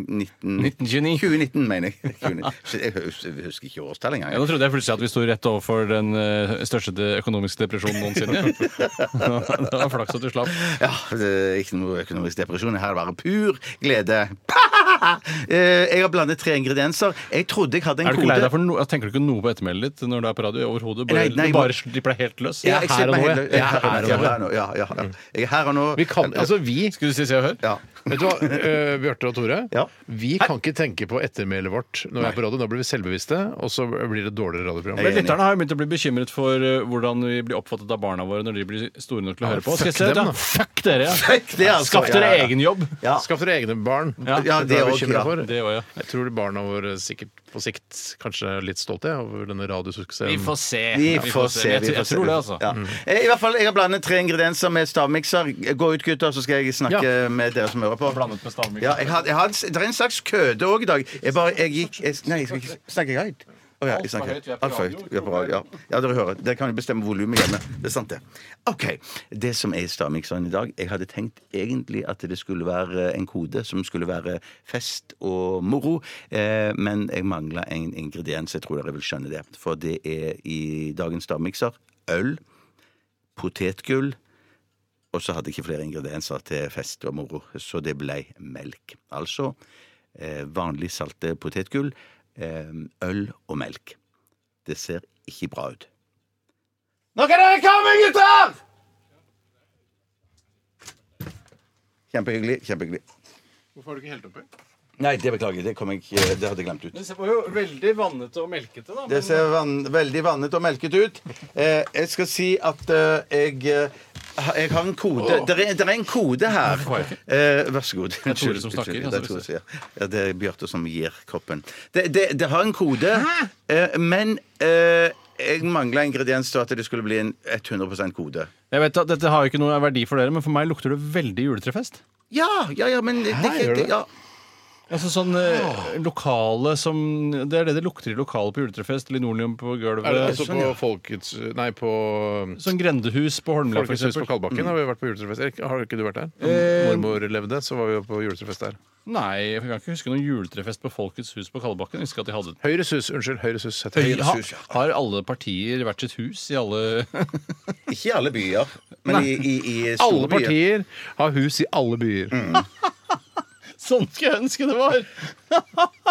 Speaker 3: 19,
Speaker 2: 1929.
Speaker 3: 2019, mener jeg. [laughs] 2019. Så Jeg hus- jeg husker ikke årstallet engang.
Speaker 2: Ja, nå trodde jeg plutselig at vi sto rett overfor den eh, største de- økonomiske depresjonen
Speaker 3: [laughs]
Speaker 2: noensinne. det var flaks at du slapp.
Speaker 3: Ja, det er ikke noe økonomisk depresjon. Her er det bare pur glede. [laughs] Eh, Jeg har blandet tre ingredienser. Jeg trodde jeg hadde en
Speaker 2: Er du ikke
Speaker 3: kode.
Speaker 2: lei deg for no Tenker du ikke noe på ettermælet ditt når du er på radio overhodet?
Speaker 3: Nei,
Speaker 2: Bare,
Speaker 3: nei,
Speaker 2: du bare slipper deg helt løs?
Speaker 3: Ja,
Speaker 4: Jeg er
Speaker 3: ser
Speaker 4: her og
Speaker 3: meg
Speaker 4: nå,
Speaker 3: helt-
Speaker 4: jeg.
Speaker 3: Jeg er her og nå.
Speaker 4: Jeg er her
Speaker 3: Ja, ja, ja. Jeg er her og nå.
Speaker 4: Vi kan, altså vi
Speaker 2: Skulle du si Se og Hør?
Speaker 3: Ja.
Speaker 4: Vet du hva, eh, Bjarte og Tore.
Speaker 3: Ja.
Speaker 4: Vi kan ikke tenke på ettermælet vårt når vi er på radio. Da blir vi selvbevisste, og så blir det et dårligere radioprogram.
Speaker 2: Men lytterne har jo begynt å bli bekymret for eh, hvordan vi blir oppfattet av barna våre når de blir store nok til å
Speaker 4: Ja,
Speaker 2: høre på.
Speaker 4: fuck
Speaker 2: Skal jeg se, da?
Speaker 4: dem, da.
Speaker 2: Fuck dere, ja.
Speaker 3: Fuck det, altså.
Speaker 2: Skaff dere
Speaker 3: Ja, ja, ja.
Speaker 2: egen jobb.
Speaker 3: Ja.
Speaker 4: Skaff dere egne barn.
Speaker 3: Ja,
Speaker 4: Dette
Speaker 3: det
Speaker 4: er vi
Speaker 3: også,
Speaker 4: bekymret
Speaker 3: ja.
Speaker 4: for.
Speaker 2: Det også, ja.
Speaker 4: Jeg tror de barna våre sikkert på sikt kanskje er litt stolte ja, over denne radiosuksessen.
Speaker 2: Vi
Speaker 3: Um,
Speaker 2: får se.
Speaker 3: Vi får se.
Speaker 2: Jeg,
Speaker 3: vi får
Speaker 2: tror- jeg
Speaker 3: se.
Speaker 2: tror det, altså.
Speaker 3: Ja. Eh, I hvert fall, Jeg har blandet tre ingredienser med stavmikser. Gå ut, gutter, så skal jeg snakke med dere som hører på.
Speaker 2: Blandet med stavmikser.
Speaker 3: Ja, jeg har, jeg har, en s- det er en slags køde òg i dag. Jeg bare, jeg gikk jeg, Nei, jeg skal ikke snakke høyt. Å ja, jeg snakker
Speaker 2: Alt for høyt, vi er på
Speaker 3: Alt for
Speaker 2: radio,
Speaker 3: høyt. Vi er på radio. Ja, ja dere hører. Dere kan jo bestemme volumet hjemme. Det er sant, det. OK. Det som er i stavmikseren i dag Jeg hadde tenkt egentlig at det skulle være en kode som skulle være fest og moro, eh, men jeg mangla en ingrediens. Jeg tror dere vil skjønne det. For det er i dagens stavmikser øl, potetgull og så hadde jeg ikke flere ingredienser til fest og moro, så det ble melk. Altså eh, vanlig salte potetgull, eh, øl og melk. Det ser ikke bra ut. Nå kan dere komme, gutter! Kjempehyggelig. kjempehyggelig.
Speaker 4: Hvorfor har du ikke helt oppi?
Speaker 3: Nei, det beklager. Det, kom jeg, ikke- det hadde jeg glemt ut.
Speaker 2: Det var jo veldig vannete og melkete, da.
Speaker 3: Det ser vann, veldig vannet og melket ut. Eh, jeg skal si at eh, jeg eh, ha- jeg har en kode. Det er, der er en kode her. Eh, vær så god. Det er
Speaker 9: Tore som snakker,
Speaker 3: Det er, Tore, som- altså, ja. ja, det er Bjarte som gir koppen. Det, det, det har en kode, eh, men eh, jeg mangla ingrediens til at det skulle bli en 100 kode.
Speaker 2: Jeg vet at Dette har jo ikke noe verdi for dere, men for meg lukter det veldig juletrefest.
Speaker 3: Ja, ja, ja, men det, det,
Speaker 4: gjør det
Speaker 3: det,
Speaker 4: det?
Speaker 3: ja.
Speaker 2: Altså sånn eh, lokale som Det er det det lukter i lokalet på juletrefest. Linoleum på
Speaker 4: Er det
Speaker 2: gulvet.
Speaker 4: altså på Folkets Nei, på um,
Speaker 2: Sånn grendehus på Holmlia, for
Speaker 4: Folkets hus på
Speaker 3: Mm.
Speaker 2: eksempel.
Speaker 4: Kalbakken har vi vært på juletrefest. Erik, Har ikke du vært der?
Speaker 3: Eh,
Speaker 4: Mormor levde, så var vi jo på juletrefest der.
Speaker 2: Nei, jeg kan ikke huske noen juletrefest på Folkets hus på Kalbakken. Jeg husker at de hadde
Speaker 4: Høyres hus, unnskyld. Høyres hus. heter det.
Speaker 2: Ha, har alle partier hvert sitt hus i alle [laughs]
Speaker 3: Ikke i alle byer, men i, i, i store byer.
Speaker 4: Alle
Speaker 3: Mm.
Speaker 4: partier har hus i alle byer.
Speaker 2: Sånn skulle jeg ønske det var!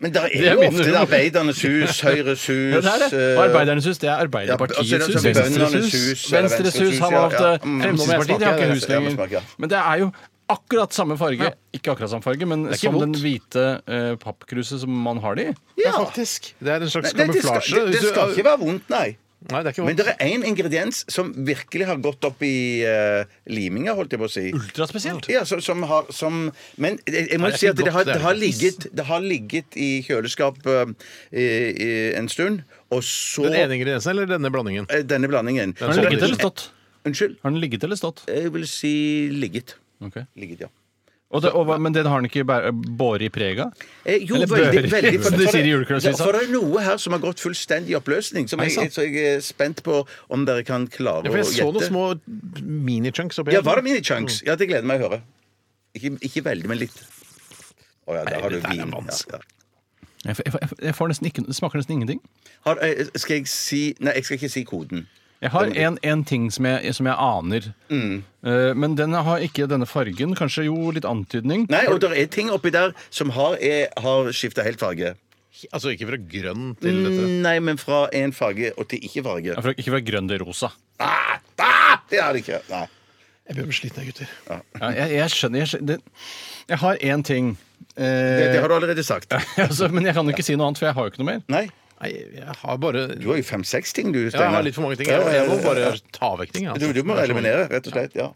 Speaker 3: Men der
Speaker 2: er
Speaker 3: er jo
Speaker 2: min
Speaker 3: ofte
Speaker 2: humor.
Speaker 3: Arbeidernes
Speaker 4: [laughs]
Speaker 3: hus, Høyres hus
Speaker 2: Ja, det er det.
Speaker 3: eh,
Speaker 2: Arbeidernes hus, det er
Speaker 3: Ja,
Speaker 2: Arbeiderpartiets
Speaker 3: altså,
Speaker 2: hus.
Speaker 3: det er sånn
Speaker 2: Venstres
Speaker 3: Bøndenes
Speaker 2: hus.
Speaker 3: hus, eller
Speaker 2: Venstres hus
Speaker 3: Venstres
Speaker 2: har
Speaker 3: hus,
Speaker 2: man
Speaker 3: ja,
Speaker 2: ofte.
Speaker 3: ja. Mm,
Speaker 2: Fremskrittspartiet de har
Speaker 3: ja,
Speaker 2: ikke
Speaker 3: det
Speaker 2: hus
Speaker 3: er- ja, det smaker, ja.
Speaker 2: lenger. Men det er jo akkurat samme farge.
Speaker 4: Ja.
Speaker 2: Ikke akkurat samme farge, men
Speaker 4: Det er ikke
Speaker 2: som den
Speaker 4: vondt.
Speaker 2: hvite eh, pappkruset som man har det i.
Speaker 3: Ja.
Speaker 4: faktisk. Det er en slags
Speaker 3: Nei, det, skal,
Speaker 4: kamuflasje.
Speaker 3: det, det skal ikke være vondt, nei.
Speaker 4: Nei, det er ikke
Speaker 3: Men
Speaker 4: vondt.
Speaker 3: det er én ingrediens som virkelig har gått opp i eh, liminga, holdt jeg på å si.
Speaker 2: Ultraspesielt.
Speaker 3: Ja, så, som har, som, men jeg, jeg må
Speaker 4: Nei, det er
Speaker 3: si at
Speaker 4: ikke
Speaker 3: det har,
Speaker 4: godt, det er
Speaker 3: det, har
Speaker 4: det ikke.
Speaker 3: ligget, det har ligget i kjøleskap eh, i, i en stund, og så
Speaker 4: Den ene ingrediensen eller denne blandingen?
Speaker 3: eh, denne blandingen.
Speaker 2: Har den ligget eller stått?
Speaker 3: Unnskyld.
Speaker 2: Har den ligget eller stått?
Speaker 3: Jeg vil si ligget.
Speaker 2: Ok.
Speaker 3: Ligget, ja.
Speaker 2: Og det, og, hva- men den har den ikke bæ- båret i preg av?
Speaker 3: Eh, jo,
Speaker 2: Eller
Speaker 3: veldig,
Speaker 2: bør,
Speaker 3: veldig
Speaker 2: som de
Speaker 3: for,
Speaker 2: sier i julekveldsvisa.
Speaker 3: ja, for det er noe her som har gått fullstendig i oppløsning, som jeg, så jeg er spent på om dere kan klare
Speaker 4: Ja,
Speaker 3: å
Speaker 4: for jeg så
Speaker 3: gjette.
Speaker 4: noen små Mm. mini-chunks oppi
Speaker 3: Ja, var det mini-chunks? Ja, det gleder meg å høre. Ikke, ikke veldig, men litt. Å ja, da har du
Speaker 4: dette er
Speaker 3: vin.
Speaker 4: vanskelig.
Speaker 3: Ja, ja.
Speaker 2: Jeg, f- jeg, f- jeg får nesten ikke, det smaker nesten ingenting.
Speaker 3: Har, eh, skal jeg si Nei, jeg skal ikke si koden.
Speaker 2: Jeg har en, en ting som jeg, som jeg aner.
Speaker 3: Mm.
Speaker 2: Eh, men den har ikke denne fargen. Kanskje jo litt antydning.
Speaker 3: Nei, og det er ting oppi der som har, er- har skifta helt farge.
Speaker 4: Altså ikke fra grønn til dette.
Speaker 3: Nei, men fra én farge og til ikke farge.
Speaker 2: Ja, fra- Ikke fra grønn til rosa.
Speaker 3: Ah, ah, det har det ikke. Nei.
Speaker 4: Jeg begynner å bli sliten, gutter.
Speaker 2: Ja, jeg, jeg skjønner. Jeg, skjønner det, jeg har én ting.
Speaker 3: Det,
Speaker 2: Eh,
Speaker 3: det har du allerede sagt.
Speaker 2: [laughs] altså, men jeg kan jo ikke si noe annet, for jeg har jo ikke noe mer.
Speaker 3: Nei.
Speaker 4: Nei, jeg har bare
Speaker 3: Du har jo fem-seks ting, du,
Speaker 4: Ja,
Speaker 3: Steinar.
Speaker 4: jeg har litt for mange ting.
Speaker 3: Ja,
Speaker 4: Jeg,
Speaker 3: ja,
Speaker 4: jeg må
Speaker 3: ja,
Speaker 4: bare
Speaker 3: ja.
Speaker 4: ta vekk ting. altså.
Speaker 3: du, du må
Speaker 2: sånn-
Speaker 3: eliminere, rett og slett. Ja.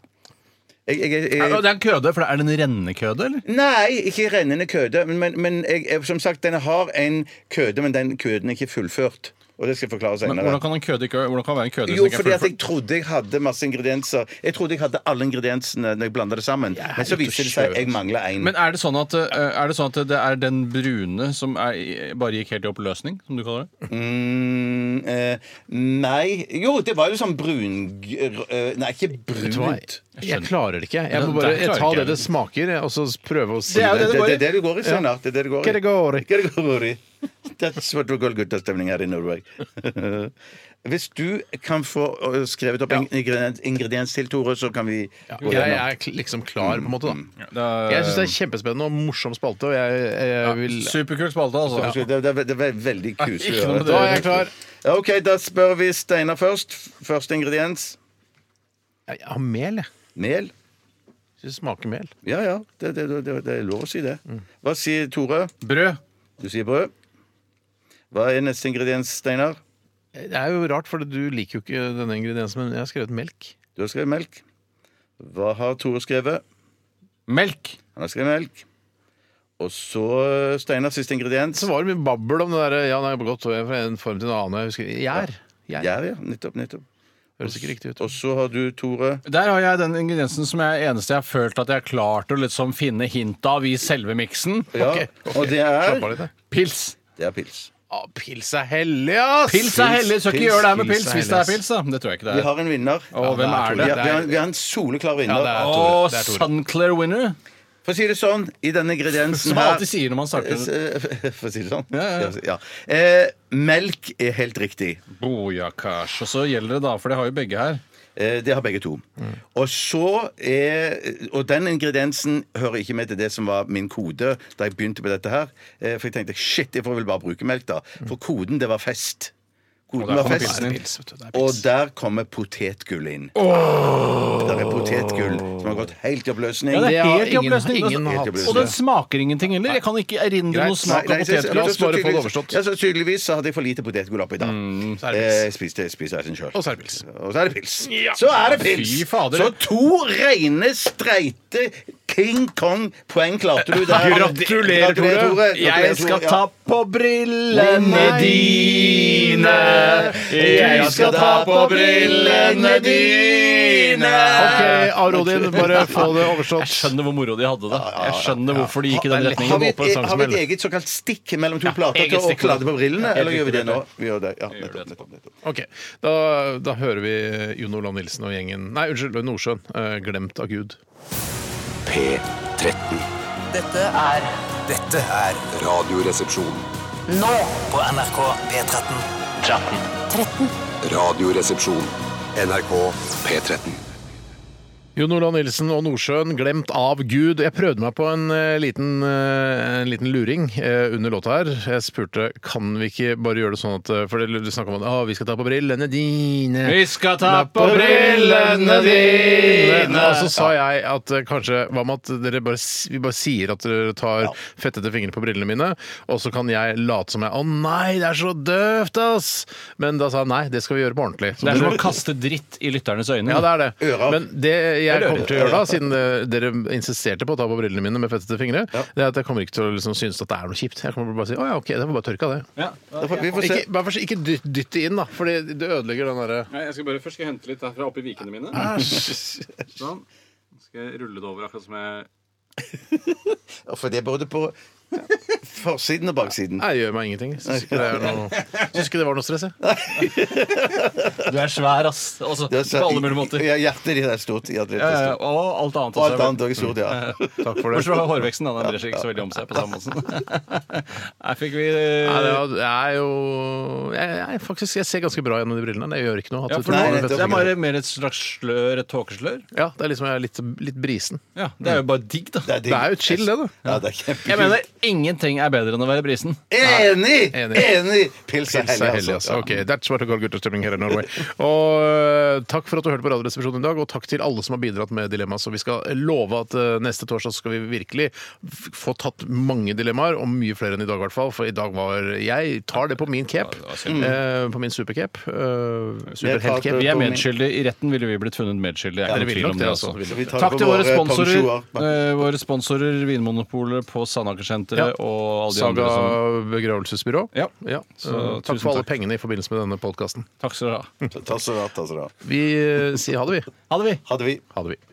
Speaker 3: Jeg, jeg, jeg,
Speaker 2: Ja, Det er en køde, for det er det en rennekøde, eller?
Speaker 3: Nei, ikke rennende køde. Men, men jeg, jeg, som sagt, den har en køde, men den køden er ikke fullført. Og det skal jeg forklare
Speaker 2: Men hvordan
Speaker 3: senere.
Speaker 2: kan en køde ikke Hvordan kan det være en køde som
Speaker 3: Jo,
Speaker 2: ikke er
Speaker 3: fordi at
Speaker 2: fullført?
Speaker 3: jeg trodde jeg hadde masse ingredienser. Jeg trodde jeg hadde alle ingrediensene når jeg blanda det sammen. Men så viste det seg at jeg mangla én.
Speaker 2: Men er det, sånn at, eh, er det sånn at det er den brune som er, i- bare gikk helt i oppløsning, som du kaller det?
Speaker 3: Mm, eh, nei Jo, det var jo sånn brun... gr- eh, nei, ikke
Speaker 4: Vet du hva?
Speaker 3: brunt.
Speaker 4: Jeg klarer det ikke. Jeg må
Speaker 2: Det-
Speaker 4: bare
Speaker 2: det
Speaker 4: jeg
Speaker 2: klarer
Speaker 4: tar
Speaker 2: ikke
Speaker 4: det det smaker, og så prøve å si
Speaker 2: Det er jo
Speaker 3: Det,
Speaker 4: det.
Speaker 3: det,
Speaker 2: det
Speaker 3: det er det du går i, Steinar. Det er det du går i.
Speaker 4: Hva det går i?
Speaker 3: Hva det går i. That's what we call guttastemning her i Norway. [laughs] Hvis du kan få øh, skrevet opp en ingrediens, ingrediens til, Tore, så kan vi
Speaker 4: Ja,
Speaker 3: gå
Speaker 4: jeg
Speaker 3: gjennom.
Speaker 4: er kl- liksom klar, på en måte, da.
Speaker 2: Det er-
Speaker 4: Jeg syns det er kjempespennende og morsom spalte, og jeg, jeg vil
Speaker 2: Superkul spalte, altså.
Speaker 3: Unnskyld, Det, det, det var veldig kuselig.
Speaker 2: ikke noe med
Speaker 4: Da er jeg klar.
Speaker 3: Ja, OK, da spør vi Steinar først. Første ingrediens.
Speaker 4: Jeg har mel, jeg.
Speaker 3: Mel.
Speaker 4: Syns det smaker mel.
Speaker 3: Ja ja, det, det, det, det er lov å si det.
Speaker 4: Mm.
Speaker 3: Hva sier Tore?
Speaker 2: Brød.
Speaker 3: Du sier brød. Hva er neste ingrediens, Steinar?
Speaker 4: Det er jo rart, for du liker jo ikke denne ingrediensen, men jeg har skrevet melk.
Speaker 3: Du har skrevet melk. Hva har Tore skrevet?
Speaker 2: Melk.
Speaker 3: Han har skrevet melk. Og så eh, Steinar, siste ingrediens.
Speaker 4: Så var det mye babbel om det derre ja, nei, godt, og jeg fra en form til en annen. Jeg husker Gjær. Gjær.
Speaker 3: Ja, ja, nettopp, nettopp.
Speaker 4: Høres ikke riktig ut.
Speaker 3: Og så har du, Tore
Speaker 2: Der har jeg den ingrediensen som jeg eneste jeg har følt at jeg har klart å liksom finne hint av i selve miksen.
Speaker 3: ja.
Speaker 4: Ok, ok.
Speaker 3: Og det
Speaker 4: Slapp av
Speaker 3: er
Speaker 4: litt, da.
Speaker 2: Pils.
Speaker 3: Det er pils.
Speaker 4: Å, pils er hellig, ass!
Speaker 2: Pils er hellig, så ikke
Speaker 3: pils,
Speaker 2: gjør det her med
Speaker 4: pils
Speaker 2: pils
Speaker 4: er
Speaker 2: hvis det er
Speaker 4: hellig,
Speaker 2: pils, da. Det tror jeg ikke det
Speaker 3: Vi
Speaker 2: er.
Speaker 3: har en vinner.
Speaker 2: Og hvem
Speaker 4: det er
Speaker 2: er
Speaker 4: Tore.
Speaker 3: Vi
Speaker 2: det?
Speaker 3: har, vi har, vi har en soleklar vinner.
Speaker 4: Ja, det er
Speaker 2: Å,
Speaker 4: Tore. Det er Tore.
Speaker 2: Sunclair winner.
Speaker 3: For å si det sånn, i denne ingrediensen
Speaker 2: Som jeg
Speaker 3: her
Speaker 2: alltid sier når man starter.
Speaker 3: [laughs] For å si det sånn?
Speaker 2: Ja, ja.
Speaker 3: Ja. Eh, melk er helt riktig.
Speaker 2: Bojakasj. Og så gjelder det da, for det har jo begge her.
Speaker 3: Eh, Det har begge to. Og så er, og den ingrediensen hører ikke med til det som var min kode da jeg begynte på dette her. Eh, For jeg tenkte shit, jeg får vel bare bruke melk, da. For koden, det var fest. Godmørfest.
Speaker 2: pilsen inn.
Speaker 3: Og der kommer potetgull inn. Der er potetgull som har gått helt i oppløsning.
Speaker 2: Ja, det er helt i
Speaker 4: ingen-
Speaker 2: oppløsning.
Speaker 4: ingen har hatt.
Speaker 2: Og den smaker ingenting heller. Jeg kan ikke erindre
Speaker 4: Greit.
Speaker 2: noe smak av
Speaker 3: Nei, så-
Speaker 2: potetgull.
Speaker 4: La
Speaker 3: så-
Speaker 4: oss
Speaker 3: så
Speaker 4: bare få det
Speaker 3: tydeligvis-
Speaker 4: overstått.
Speaker 3: Ja, så Tydeligvis så hadde jeg for lite potetgull oppi da.
Speaker 4: så er det pils.
Speaker 3: Eh, spiste spiste jeg sin sjøl.
Speaker 4: Og så er det pils.
Speaker 3: Og så er det pils. Så er det pils!
Speaker 2: Fy fader.
Speaker 3: Så to reine, streite King Kong-poeng klarte du der.
Speaker 2: Gratulerer, Tore. Jeg skal ta på brillene
Speaker 3: Nei.
Speaker 2: dine. Jeg skal ta på brillene dine.
Speaker 4: OK, Arodin, bare få det overstått.
Speaker 2: Jeg skjønner hvor moro de hadde det. Jeg skjønner hvorfor de gikk i den
Speaker 3: Har
Speaker 2: retningen.
Speaker 3: vi,
Speaker 2: og på en
Speaker 3: et, har vi et
Speaker 2: sangsmell.
Speaker 3: eget såkalt stikk mellom to plater
Speaker 2: eget
Speaker 3: til å
Speaker 2: stikk.
Speaker 3: klade på brillene?
Speaker 2: Ja,
Speaker 3: eller gjør vi det
Speaker 2: helt
Speaker 3: nå? Vi gjør det. Ja, nettopp, nettopp, nettopp.
Speaker 4: Ok, da, da hører vi Jon Olav Nilsen og gjengen Nei, unnskyld, Nordsjøen. eh, glemt av Gud.
Speaker 7: P13.
Speaker 6: Dette er Dette er
Speaker 7: Radioresepsjon.
Speaker 6: nå på NRK P13.
Speaker 5: 13.
Speaker 7: Radioresepsjon. NRK P13.
Speaker 4: Jon Olav Nilsen og Nordsjøen, glemt av Gud. Jeg prøvde meg på en eh, liten, eh, en liten luring eh, under låta her. Jeg spurte kan vi ikke bare gjøre det sånn at eh, For det- du snakka om at «Å, vi skal ta på brillene dine.
Speaker 2: Vi skal ta på brillene dine. altså,
Speaker 4: Og så sa jeg at eh, kanskje Hva med at dere bare, s- vi bare sier at dere tar fettete fingre på brillene mine, og så kan jeg late som jeg Å nei, det er så døvt, ass! Men da sa jeg nei, det skal vi gjøre på ordentlig.
Speaker 2: Det
Speaker 4: Så
Speaker 2: er som
Speaker 4: dere-
Speaker 2: å kaste dritt i lytternes øyne.
Speaker 4: ja, det er det.
Speaker 3: Øra.
Speaker 4: Men det jeg kommer til å gjøre da, siden eh, dere insisterte på å ta på brillene mine med fettete fingre, det er at jeg kommer ikke til å liksom synes at det er noe kjipt. Jeg kommer bare til å si å ja, ok, det var bare tørka det.
Speaker 3: Da får- Vi får se.
Speaker 4: Ikke, bare for, ikke dytt, dytt det inn, da, for det det ødelegger den derre
Speaker 9: Jeg skal bare først skal jeg hente litt derfra oppi vikene mine. Sånn. Så skal jeg rulle det over akkurat som jeg
Speaker 3: Ja, For det er både på [laughs] forsiden og baksiden.
Speaker 4: [laughs] Nei, det gjør meg ingenting. Syns ikke det, er noe, syns ikke det var noe stress, jeg.
Speaker 2: Du er svær, ass. Altså,
Speaker 3: Det er så-
Speaker 2: på alle mulige måter.
Speaker 3: Ja, hjertet ditt er stort. Hjertet ditt
Speaker 2: Ja,
Speaker 3: er
Speaker 2: ja,
Speaker 3: stort.
Speaker 2: Og alt annet
Speaker 3: Og alt
Speaker 2: også.
Speaker 3: annet også er stort, ja.
Speaker 4: Takk for
Speaker 2: Bortsett
Speaker 4: det.
Speaker 2: fra hårveksten. da, Den endrer seg ikke så veldig om seg på samme måten. Her fikk vi eh,
Speaker 4: Nei, det er- det er jo jeg, jeg, faktisk, jeg ser ganske bra gjennom de brillene. Det gjør ikke noe. At
Speaker 2: ja,
Speaker 4: du
Speaker 2: for
Speaker 4: tar
Speaker 3: Nei,
Speaker 2: nå,
Speaker 4: på
Speaker 2: det
Speaker 4: fettete
Speaker 2: er
Speaker 4: fingre.
Speaker 2: bare mer et slags slør, et tåkeslør.
Speaker 4: ja, det er liksom jeg er litt, litt brisen.
Speaker 2: Ja, det er jo bare digg, da.
Speaker 3: Det er,
Speaker 4: Det er jo chill, det, da.
Speaker 3: Ja, det er kjempekult.
Speaker 2: Jeg mener, ingenting er bedre enn å være brisen.
Speaker 3: Enig!
Speaker 4: Enig.
Speaker 3: Enig! Pils er
Speaker 4: Pils er hellig,
Speaker 3: hellig,
Speaker 4: altså.
Speaker 3: altså.
Speaker 4: Ok, that's what I call gutterstemning her i Norway. Og eh, takk for at du hørte på Radioresepsjonen i dag, og takk til alle som har bidratt med dilemma. Så vi skal love at eh, neste torsdag skal vi virkelig f- få tatt mange dilemmaer, og mye flere enn i dag i hvert fall, for i dag var Jeg tar det på min cape. eh, på min supercape. eh, Superheltcape.
Speaker 2: Vi er medskyldige. I retten ville vi blitt funnet medskyldige.
Speaker 4: Ja,
Speaker 2: Jeg er
Speaker 4: dere
Speaker 2: ikke
Speaker 4: vil
Speaker 2: noe tvil
Speaker 4: nok
Speaker 2: om
Speaker 4: det,
Speaker 2: det,
Speaker 4: altså.
Speaker 2: altså.
Speaker 3: Så vi tar
Speaker 2: Takk
Speaker 3: på
Speaker 2: til våre sponsorer,
Speaker 3: pensjoner.
Speaker 2: eh, våre sponsorer Vinmonopolet på Sandaker-senteret og alle de
Speaker 4: Saga
Speaker 2: andre som
Speaker 4: begravelsesbyrå.
Speaker 2: Ja.
Speaker 4: Så,
Speaker 2: Så,
Speaker 4: takk
Speaker 2: tusen
Speaker 4: for alle
Speaker 2: takk.
Speaker 4: pengene i forbindelse med denne podkasten.
Speaker 2: Takk skal dere ha.
Speaker 3: Ta så rart, altså. da.
Speaker 4: Vi eh, sier ha det, vi.
Speaker 2: Ha det, vi.
Speaker 3: Hadde vi
Speaker 4: Ha det, vi.